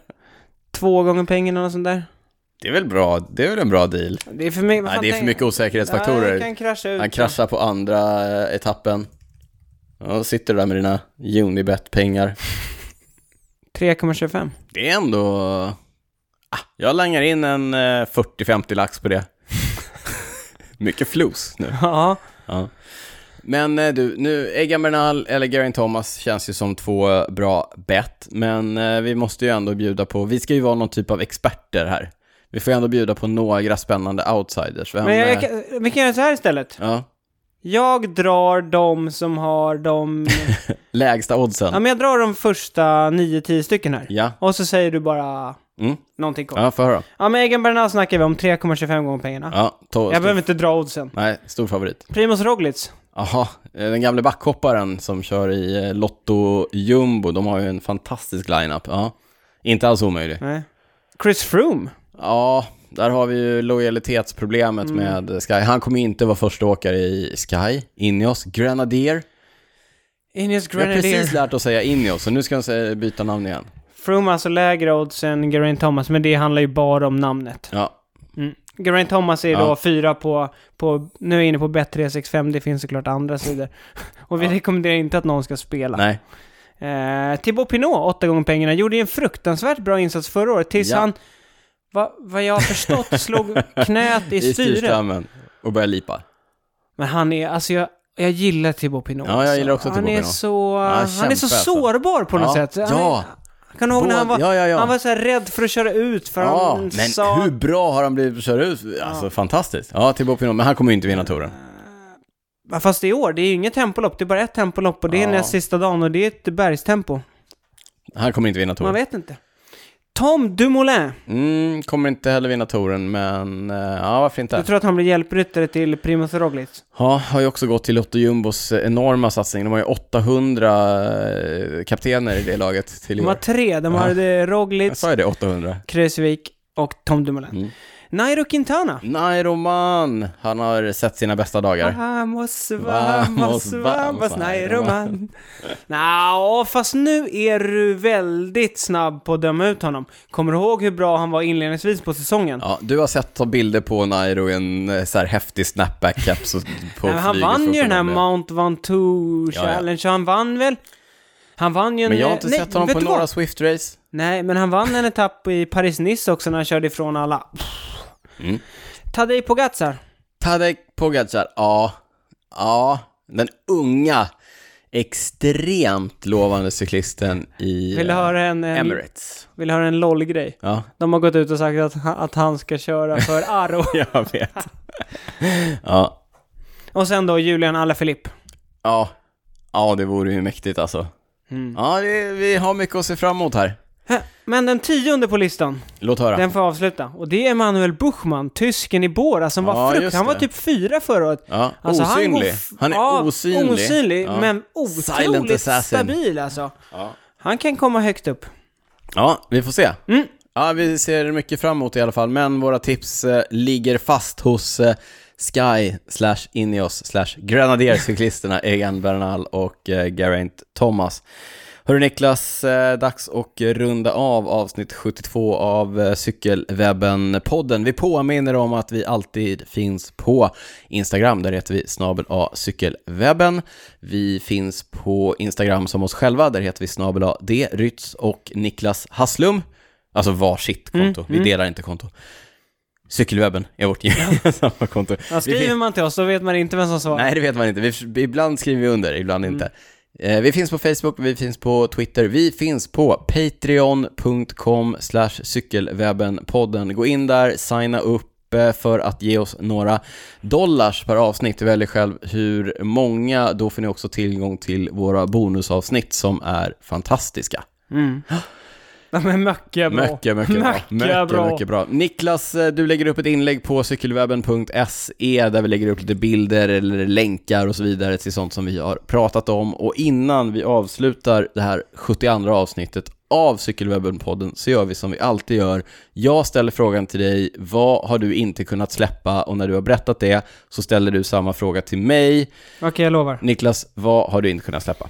Speaker 2: två gånger pengarna och sånt där?
Speaker 1: Det är väl bra, det är väl en bra deal?
Speaker 2: Det är för mycket... vad
Speaker 1: Nej,
Speaker 2: fan
Speaker 1: det är för
Speaker 2: tänker-
Speaker 1: mycket
Speaker 2: Ja,
Speaker 1: osäkerhetsfaktorer.
Speaker 2: det kan krascha ut.
Speaker 1: Han kraschar på andra eh, etappen. Ja, då sitter du där med dina Unibet-pengar.
Speaker 2: 3,25.
Speaker 1: Det är ändå... Ah, jag langar in en eh, 40-50 lax på det. Mycket flos nu.
Speaker 2: Ja.
Speaker 1: Ja. Men eh, du, nu, Egan Bernal eller Geraint Thomas känns ju som två bra bett, men eh, vi måste ju ändå bjuda på, vi ska ju vara någon typ av experter här. Vi får ju ändå bjuda på några spännande outsiders. Vem,
Speaker 2: Men jag,
Speaker 1: eh,
Speaker 2: kan- vi kan göra så här istället.
Speaker 1: Ja,
Speaker 2: Jag drar de som har de...
Speaker 1: lägsta oddsen.
Speaker 2: ja, men jag drar de första 9-10 stycken här.
Speaker 1: Ja,
Speaker 2: Och så säger du bara
Speaker 1: mm.
Speaker 2: någonting kort. Ja,
Speaker 1: ja får höra.
Speaker 2: men Egan Bernal snackar vi om 3,25 gånger pengarna.
Speaker 1: Ja, to-
Speaker 2: jag
Speaker 1: stor,
Speaker 2: behöver inte dra oddsen.
Speaker 1: nej, stor favorit.
Speaker 2: Primoz Roglic.
Speaker 1: Jaha, eh, den gamle backhopparen som kör i eh, Lotto Jumbo, de har ju en fantastisk lineup. Ja, inte alls omöjlig.
Speaker 2: Nej. Chris Froome.
Speaker 1: Ja, där har vi ju lojalitetsproblemet
Speaker 2: Mm.
Speaker 1: med Sky. Han kommer ju inte vara första åkare i Sky, Ineos, Grenadier.
Speaker 2: Ineos
Speaker 1: Vi har precis
Speaker 2: Grenadier.
Speaker 1: lärt oss säga Ineos, så nu ska jag säga- byta namn igen.
Speaker 2: Froome alltså lägre odds än Geraint Thomas, men det handlar ju bara om namnet.
Speaker 1: Ja,
Speaker 2: Mm. Geraint Thomas är
Speaker 1: Ja.
Speaker 2: då fyra på, på, nu är jag inne på bet365, det finns såklart andra sidor. Och vi
Speaker 1: Ja.
Speaker 2: rekommenderar inte att någon ska spela.
Speaker 1: nej.
Speaker 2: Eh, Thibaut Pinot, åtta gånger pengarna, gjorde ju en fruktansvärt bra insats förra året tills
Speaker 1: Ja.
Speaker 2: han, va, vad jag har förstått, slog knät i
Speaker 1: I
Speaker 2: styret.
Speaker 1: styrstammen. Och börja lipa.
Speaker 2: Men han är, alltså jag, jag gillar Thibaut Pinot.
Speaker 1: Ja, jag
Speaker 2: alltså.
Speaker 1: gillar också
Speaker 2: han
Speaker 1: Thibaut
Speaker 2: är
Speaker 1: Pinot.
Speaker 2: Så,
Speaker 1: han
Speaker 2: han är
Speaker 1: kämpar
Speaker 2: så
Speaker 1: alltså.
Speaker 2: sårbar på något
Speaker 1: ja.
Speaker 2: sätt. Han
Speaker 1: Ja,
Speaker 2: är, kan du ihåg när han
Speaker 1: Både-
Speaker 2: var,
Speaker 1: ja, ja, ja.
Speaker 2: han var så här rädd för att köra ut för
Speaker 1: ja.
Speaker 2: han
Speaker 1: Men
Speaker 2: sa...
Speaker 1: hur bra har han blivit på att köra ut? Alltså fantastiskt. Ja, Thibaut Pinot, men han kommer ju inte vinna touren.
Speaker 2: Ja, Fast i år, det är ju inget tempolopp, det är bara ett tempolopp och det är
Speaker 1: Ja.
Speaker 2: näst sista dagen och det är ett bergstempo.
Speaker 1: Han kommer inte vinna
Speaker 2: Man
Speaker 1: touren.
Speaker 2: vet inte. Tom Dumoulin.
Speaker 1: Mm, kommer inte heller vinna touren, men eh, ja, varför inte?
Speaker 2: Jag tror att han blir hjälpryttare till Primoz Roglic.
Speaker 1: Ja, har ju också gått till Lotto Jumbos eh, enorma satsning. De har ju 800 eh, kaptener i det laget till i
Speaker 2: De har
Speaker 1: år.
Speaker 2: tre, de
Speaker 1: Ja.
Speaker 2: har eh,
Speaker 1: Jag
Speaker 2: Roglic,
Speaker 1: sa ju det, 800.
Speaker 2: Kreuzvik och Tom Dumoulin.
Speaker 1: Mm.
Speaker 2: Nairo Quintana.
Speaker 1: Nej, Roman! Han har sett sina bästa dagar.
Speaker 2: Vamos,
Speaker 1: Vamos,
Speaker 2: vamos,
Speaker 1: vamos,
Speaker 2: vamos, Nairo man. Nja, fast nu är du väldigt snabb på att döma ut honom. Kommer du ihåg hur bra han var inledningsvis på säsongen?
Speaker 1: Ja, du har sett ta bilder på Nairo i en eh, så här häftig snapback-caps och- på
Speaker 2: Nej, men han
Speaker 1: flyget för
Speaker 2: vann
Speaker 1: att
Speaker 2: ju den
Speaker 1: kunna
Speaker 2: här
Speaker 1: bli-
Speaker 2: Mount Ventoux
Speaker 1: Ja, ja.
Speaker 2: Challenge, så han vann väl? Han vann ju en...
Speaker 1: Men jag har inte
Speaker 2: nej,
Speaker 1: sett honom
Speaker 2: vet
Speaker 1: på
Speaker 2: du vad?
Speaker 1: några Swift-race.
Speaker 2: Nej, men han vann en etapp i Paris-Nice också när han körde ifrån alla.
Speaker 1: Mm.
Speaker 2: Tadej Pogacar.
Speaker 1: Tadej Pogacar, ja. Ja, den unga, extremt lovande cyklisten i
Speaker 2: Vill du
Speaker 1: eh,
Speaker 2: höra en, en,
Speaker 1: Emirates.
Speaker 2: vill du höra en LOL-grej?
Speaker 1: Ja.
Speaker 2: De har gått ut och sagt att, han- att han ska köra för Aro.
Speaker 1: Jag vet. ja.
Speaker 2: och sen då Julian Alaphilippe.
Speaker 1: ja. Ja, det vore ju mäktigt alltså.
Speaker 2: Mm.
Speaker 1: Ja, det, vi har mycket att se fram emot här.
Speaker 2: Hä, Men den tionde på listan,
Speaker 1: Låt höra.
Speaker 2: den får avsluta. Och det är Manuel Buchmann, tysken i Bora, som
Speaker 1: Ja,
Speaker 2: var frukt.
Speaker 1: just
Speaker 2: Han var
Speaker 1: det.
Speaker 2: typ fyra förra året.
Speaker 1: Ja,
Speaker 2: Alltså, Han, går
Speaker 1: osynlig.
Speaker 2: f-
Speaker 1: Han, är
Speaker 2: ja,
Speaker 1: osynlig.
Speaker 2: osynlig
Speaker 1: ja.
Speaker 2: men
Speaker 1: Silent
Speaker 2: otroligt
Speaker 1: assassin.
Speaker 2: stabil alltså.
Speaker 1: Ja.
Speaker 2: Han kan komma högt upp.
Speaker 1: ja, vi får se.
Speaker 2: Mm.
Speaker 1: Ja, vi ser mycket fram emot i alla fall, men våra tips eh, ligger fast hos eh, Sky slash Ineos slash Grenadiercyklisterna Egan Bernal och eh, Geraint Thomas. Hörru Niklas, eh, dags att runda av avsnitt 72 av eh, Cykelwebben-podden. Vi påminner om att vi alltid finns på Instagram, där heter vi snabel A cykelwebben. Vi finns på Instagram som oss själva, där heter vi snabel A D Rytz och Niklas Hasslum. Alltså varsitt konto, vi delar inte konto. Cykelwebben är vårt gemensamma konto.
Speaker 2: Ja,
Speaker 1: Vi finns-
Speaker 2: skriver man till oss, då vet man inte vem som svarar.
Speaker 1: Nej, det vet man inte. Vi, ibland skriver vi under, ibland inte. Eh, Vi finns på Facebook, vi finns på Twitter, vi finns på patreon.com slash cykelwebbenpodden. Gå in där, signa upp eh, för att ge oss några dollars per avsnitt. Du väljer själv hur många, då får ni också tillgång till våra bonusavsnitt som är fantastiska.
Speaker 2: Mm. Ja, men mycket bra.
Speaker 1: Mycket, mycket bra.
Speaker 2: Mycket bra.
Speaker 1: mycket bra. Niklas, eh, du lägger upp ett inlägg på cykelwebben.se E där vi lägger upp lite bilder eller länkar och så vidare till sånt som vi har pratat om. Och innan vi avslutar det här 72 avsnittet av Cykelwebben-podden så gör vi som vi alltid gör. Jag ställer frågan till dig, vad har du inte kunnat släppa? Och när du har berättat det så ställer du samma fråga till mig.
Speaker 2: Okej, jag lovar.
Speaker 1: Niklas, vad har du inte kunnat släppa?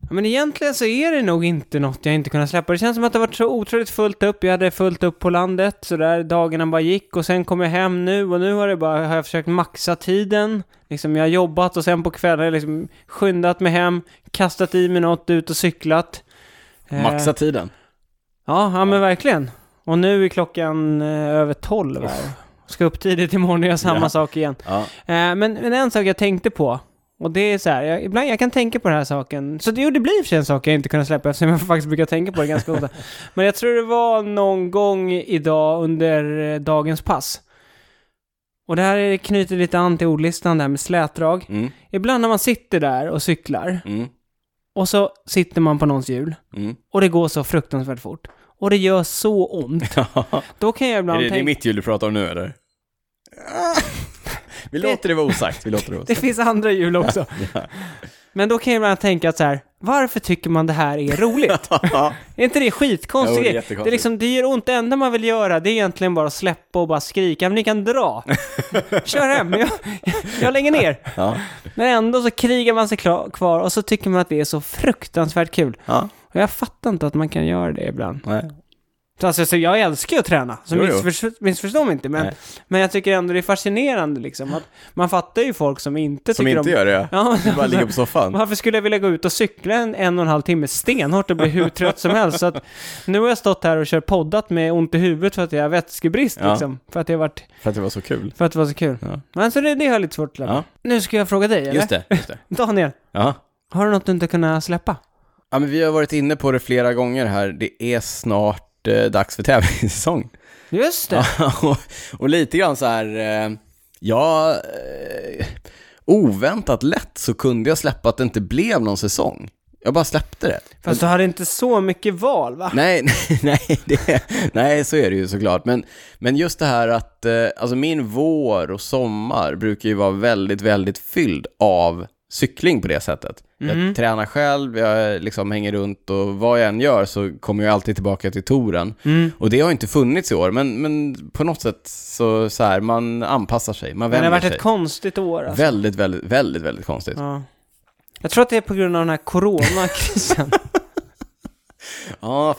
Speaker 2: Ja, Men egentligen så är det nog inte något jag inte kunnat släppa. Det känns som att det har varit så otroligt fullt upp. Jag hade fullt upp på landet, så där dagarna bara gick och sen kom jag hem nu och nu har, det bara, har jag försökt maxa tiden. Liksom jag har jobbat och sen på kvällen har jag liksom skyndat mig hem, kastat i mig något, ut och cyklat. Eh,
Speaker 1: Maxa tiden.
Speaker 2: Ja, ja men verkligen. Och nu är klockan eh, över 12 här. Ska upp tidigt imorgon och göra samma
Speaker 1: Ja.
Speaker 2: sak igen.
Speaker 1: Ja.
Speaker 2: Eh, men, men en sak jag tänkte på, och det är så här, jag, ibland jag kan tänka på den här saken, så det, jo, det blir i och för sig en sak jag inte kunde släppa eftersom jag faktiskt brukar tänka på det ganska ofta. Men jag tror det var någon gång idag under eh, dagens pass. Och det här knyter lite an till ordlistan där med slätdrag.
Speaker 1: Mm,
Speaker 2: Ibland när man sitter där och cyklar,
Speaker 1: mm,
Speaker 2: och så sitter man på någons hjul,
Speaker 1: mm.
Speaker 2: och det går så fruktansvärt fort. Och det gör så ont. Då kan jag
Speaker 1: är
Speaker 2: ibland
Speaker 1: det, det är
Speaker 2: tänka...
Speaker 1: mitt hjul du pratar om nu eller? Vi låter det vara osagt, vi låter det vara
Speaker 2: Det
Speaker 1: osagt.
Speaker 2: finns andra hjul också. Men då kan jag ibland tänka att så här, varför tycker man det här är roligt?
Speaker 1: Ja,
Speaker 2: är inte det skitkonstigt?
Speaker 1: Jo, det är
Speaker 2: grej?
Speaker 1: jättekonstigt.
Speaker 2: det, är liksom, det gör ont, det enda man vill göra det är egentligen bara att släppa och bara skrika, men ni kan dra. Kör hem, jag, jag lägger ner.
Speaker 1: ja,
Speaker 2: Men ändå så krigar man sig klar, kvar och så tycker man att det är så fruktansvärt kul.
Speaker 1: ja,
Speaker 2: Och jag fattar inte att man kan göra det ibland.
Speaker 1: nej.
Speaker 2: Så, alltså, så jag älskar ju att träna, så
Speaker 1: Jo, jo.
Speaker 2: missförstå, missförstå mig inte. Men,
Speaker 1: Nej.
Speaker 2: men jag tycker ändå det är fascinerande liksom. Att man fattar ju folk som inte
Speaker 1: Som
Speaker 2: tycker
Speaker 1: inte
Speaker 2: om...
Speaker 1: gör det, ja.
Speaker 2: Ja,
Speaker 1: Du bara ligger på soffan.
Speaker 2: varför skulle jag vilja gå ut och cykla en, en och en halv timme stenhårt och bli hur trött som helst? Så att nu har jag stått här och kört poddat med ont i huvudet för att jag har vätskebrist
Speaker 1: Ja.
Speaker 2: liksom. För att, det har varit,
Speaker 1: För att det var så kul.
Speaker 2: för att det var så kul.
Speaker 1: Ja.
Speaker 2: Men så det, det har jag lite svårt att släppa.
Speaker 1: Ja.
Speaker 2: Nu ska jag fråga dig, eller?
Speaker 1: Just det, just det.
Speaker 2: Daniel,
Speaker 1: Ja.
Speaker 2: har du något du inte kunnat släppa?
Speaker 1: Ja, men vi har varit inne på det flera gånger här. Det är snart eh, dags för tävlingssäsong.
Speaker 2: Just det!
Speaker 1: och, och lite grann så här, eh, ja, eh, oväntat lätt så kunde jag släppa att det inte blev någon säsong. Jag bara släppte det.
Speaker 2: Fast du hade inte så mycket val, va?
Speaker 1: Nej, nej, nej, det, nej, så är det ju såklart. Men, men just det här att, eh, alltså min vår och sommar brukar ju vara väldigt, väldigt fylld av cykling på det sättet.
Speaker 2: Mm.
Speaker 1: Jag tränar själv, jag liksom hänger runt och vad jag än gör så kommer jag alltid tillbaka till touren.
Speaker 2: Mm.
Speaker 1: Och det har ju inte funnits i år, men, men på något sätt så, så här, man anpassar sig, man
Speaker 2: Men det
Speaker 1: vänjer
Speaker 2: har varit
Speaker 1: sig.
Speaker 2: ett konstigt år alltså.
Speaker 1: Väldigt, väldigt, väldigt, väldigt konstigt. Ja,
Speaker 2: ja. Jag tror att det är på grund av den här coronakrisen.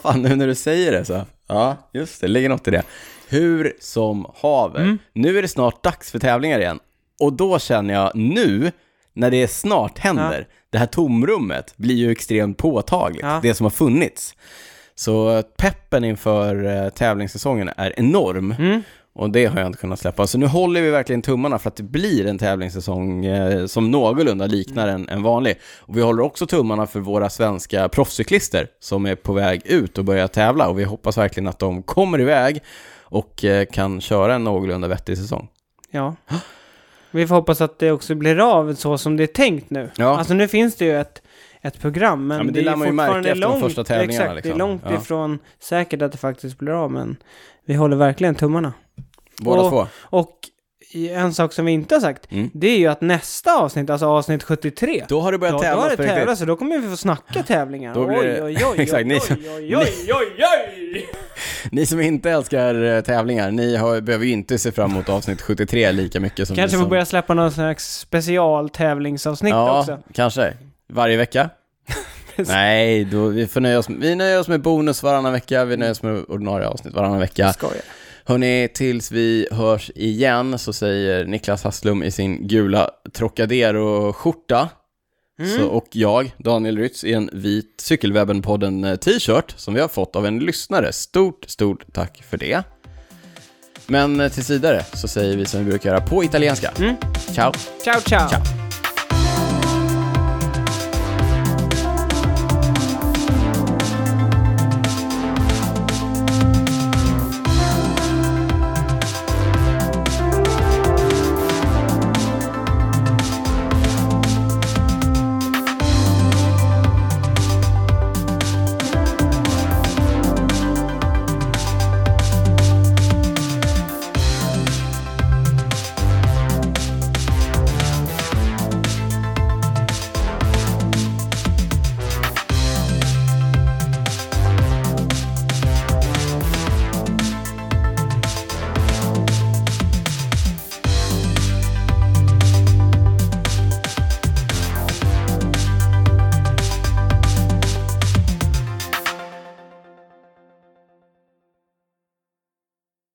Speaker 1: fan nu när du säger det så. Ja, just det, ligger något i det. Hur som haver. Nu är det snart dags för tävlingar igen. Och då känner jag nu, när det snart händer, det här tomrummet blir ju extremt påtagligt,
Speaker 2: Ja.
Speaker 1: det som har funnits. Så eh, peppen inför eh, tävlingssäsongen är enorm. Och det har jag inte kunnat släppa. Så nu håller vi verkligen tummarna för att det blir en tävlingssäsong eh, som någorlunda liknar en, en vanlig. Och vi håller också tummarna för våra svenska proffscyklister som är på väg ut och börjar tävla. Och vi hoppas verkligen att de kommer iväg och eh, kan köra en någorlunda vettig säsong.
Speaker 2: ja. Vi får hoppas att det också blir av så som det är tänkt nu.
Speaker 1: Ja.
Speaker 2: Alltså nu finns det ju ett, ett program, men,
Speaker 1: Ja, men det
Speaker 2: det,
Speaker 1: lär
Speaker 2: är
Speaker 1: man ju märka
Speaker 2: fortfarande
Speaker 1: efter de
Speaker 2: långt,
Speaker 1: första tävlingarna,
Speaker 2: exakt, det är
Speaker 1: liksom.
Speaker 2: långt
Speaker 1: Ja.
Speaker 2: ifrån säkert att det faktiskt blir av, men vi håller verkligen tummarna.
Speaker 1: Båda
Speaker 2: Och-
Speaker 1: två.
Speaker 2: Och i- en sak som vi inte har sagt,
Speaker 1: Mm.
Speaker 2: det är ju att nästa avsnitt, alltså avsnitt 73,
Speaker 1: Då har det börjat
Speaker 2: då, då
Speaker 1: tävlas
Speaker 2: har det
Speaker 1: på riktigt.
Speaker 2: tävlats, så då kommer vi få snacka tävlingar.
Speaker 1: Då blir
Speaker 2: oj,
Speaker 1: det-
Speaker 2: oj, oj, oj,
Speaker 1: Exakt, ni
Speaker 2: oj,
Speaker 1: som-
Speaker 2: oj, oj, oj, oj.
Speaker 1: Ni som inte älskar eh, tävlingar, ni har, behöver ju inte se fram emot avsnitt 73 lika mycket som
Speaker 2: Kanske
Speaker 1: ni
Speaker 2: får
Speaker 1: som...
Speaker 2: börja släppa någon slags specialtävlingsavsnitt
Speaker 1: ja,
Speaker 2: också.
Speaker 1: kanske. Varje vecka? Nej, då, vi får nöja oss, vi nöjer oss med bonus varannan vecka, vi nöjer oss med ordinarie avsnitt varannan vecka.
Speaker 2: Skojar.
Speaker 1: Hörni, tills vi hörs igen så säger Niklas Hasslum i sin gula Trocadero-skjorta så, och jag, Daniel Rytz, i en vit Cykelwebben-podden eh, t-shirt som vi har fått av en lyssnare. Stort, stort tack för det. Men eh, tills vidare så säger vi som vi brukar göra på italienska. Ciao!
Speaker 2: Ciao, ciao. ciao.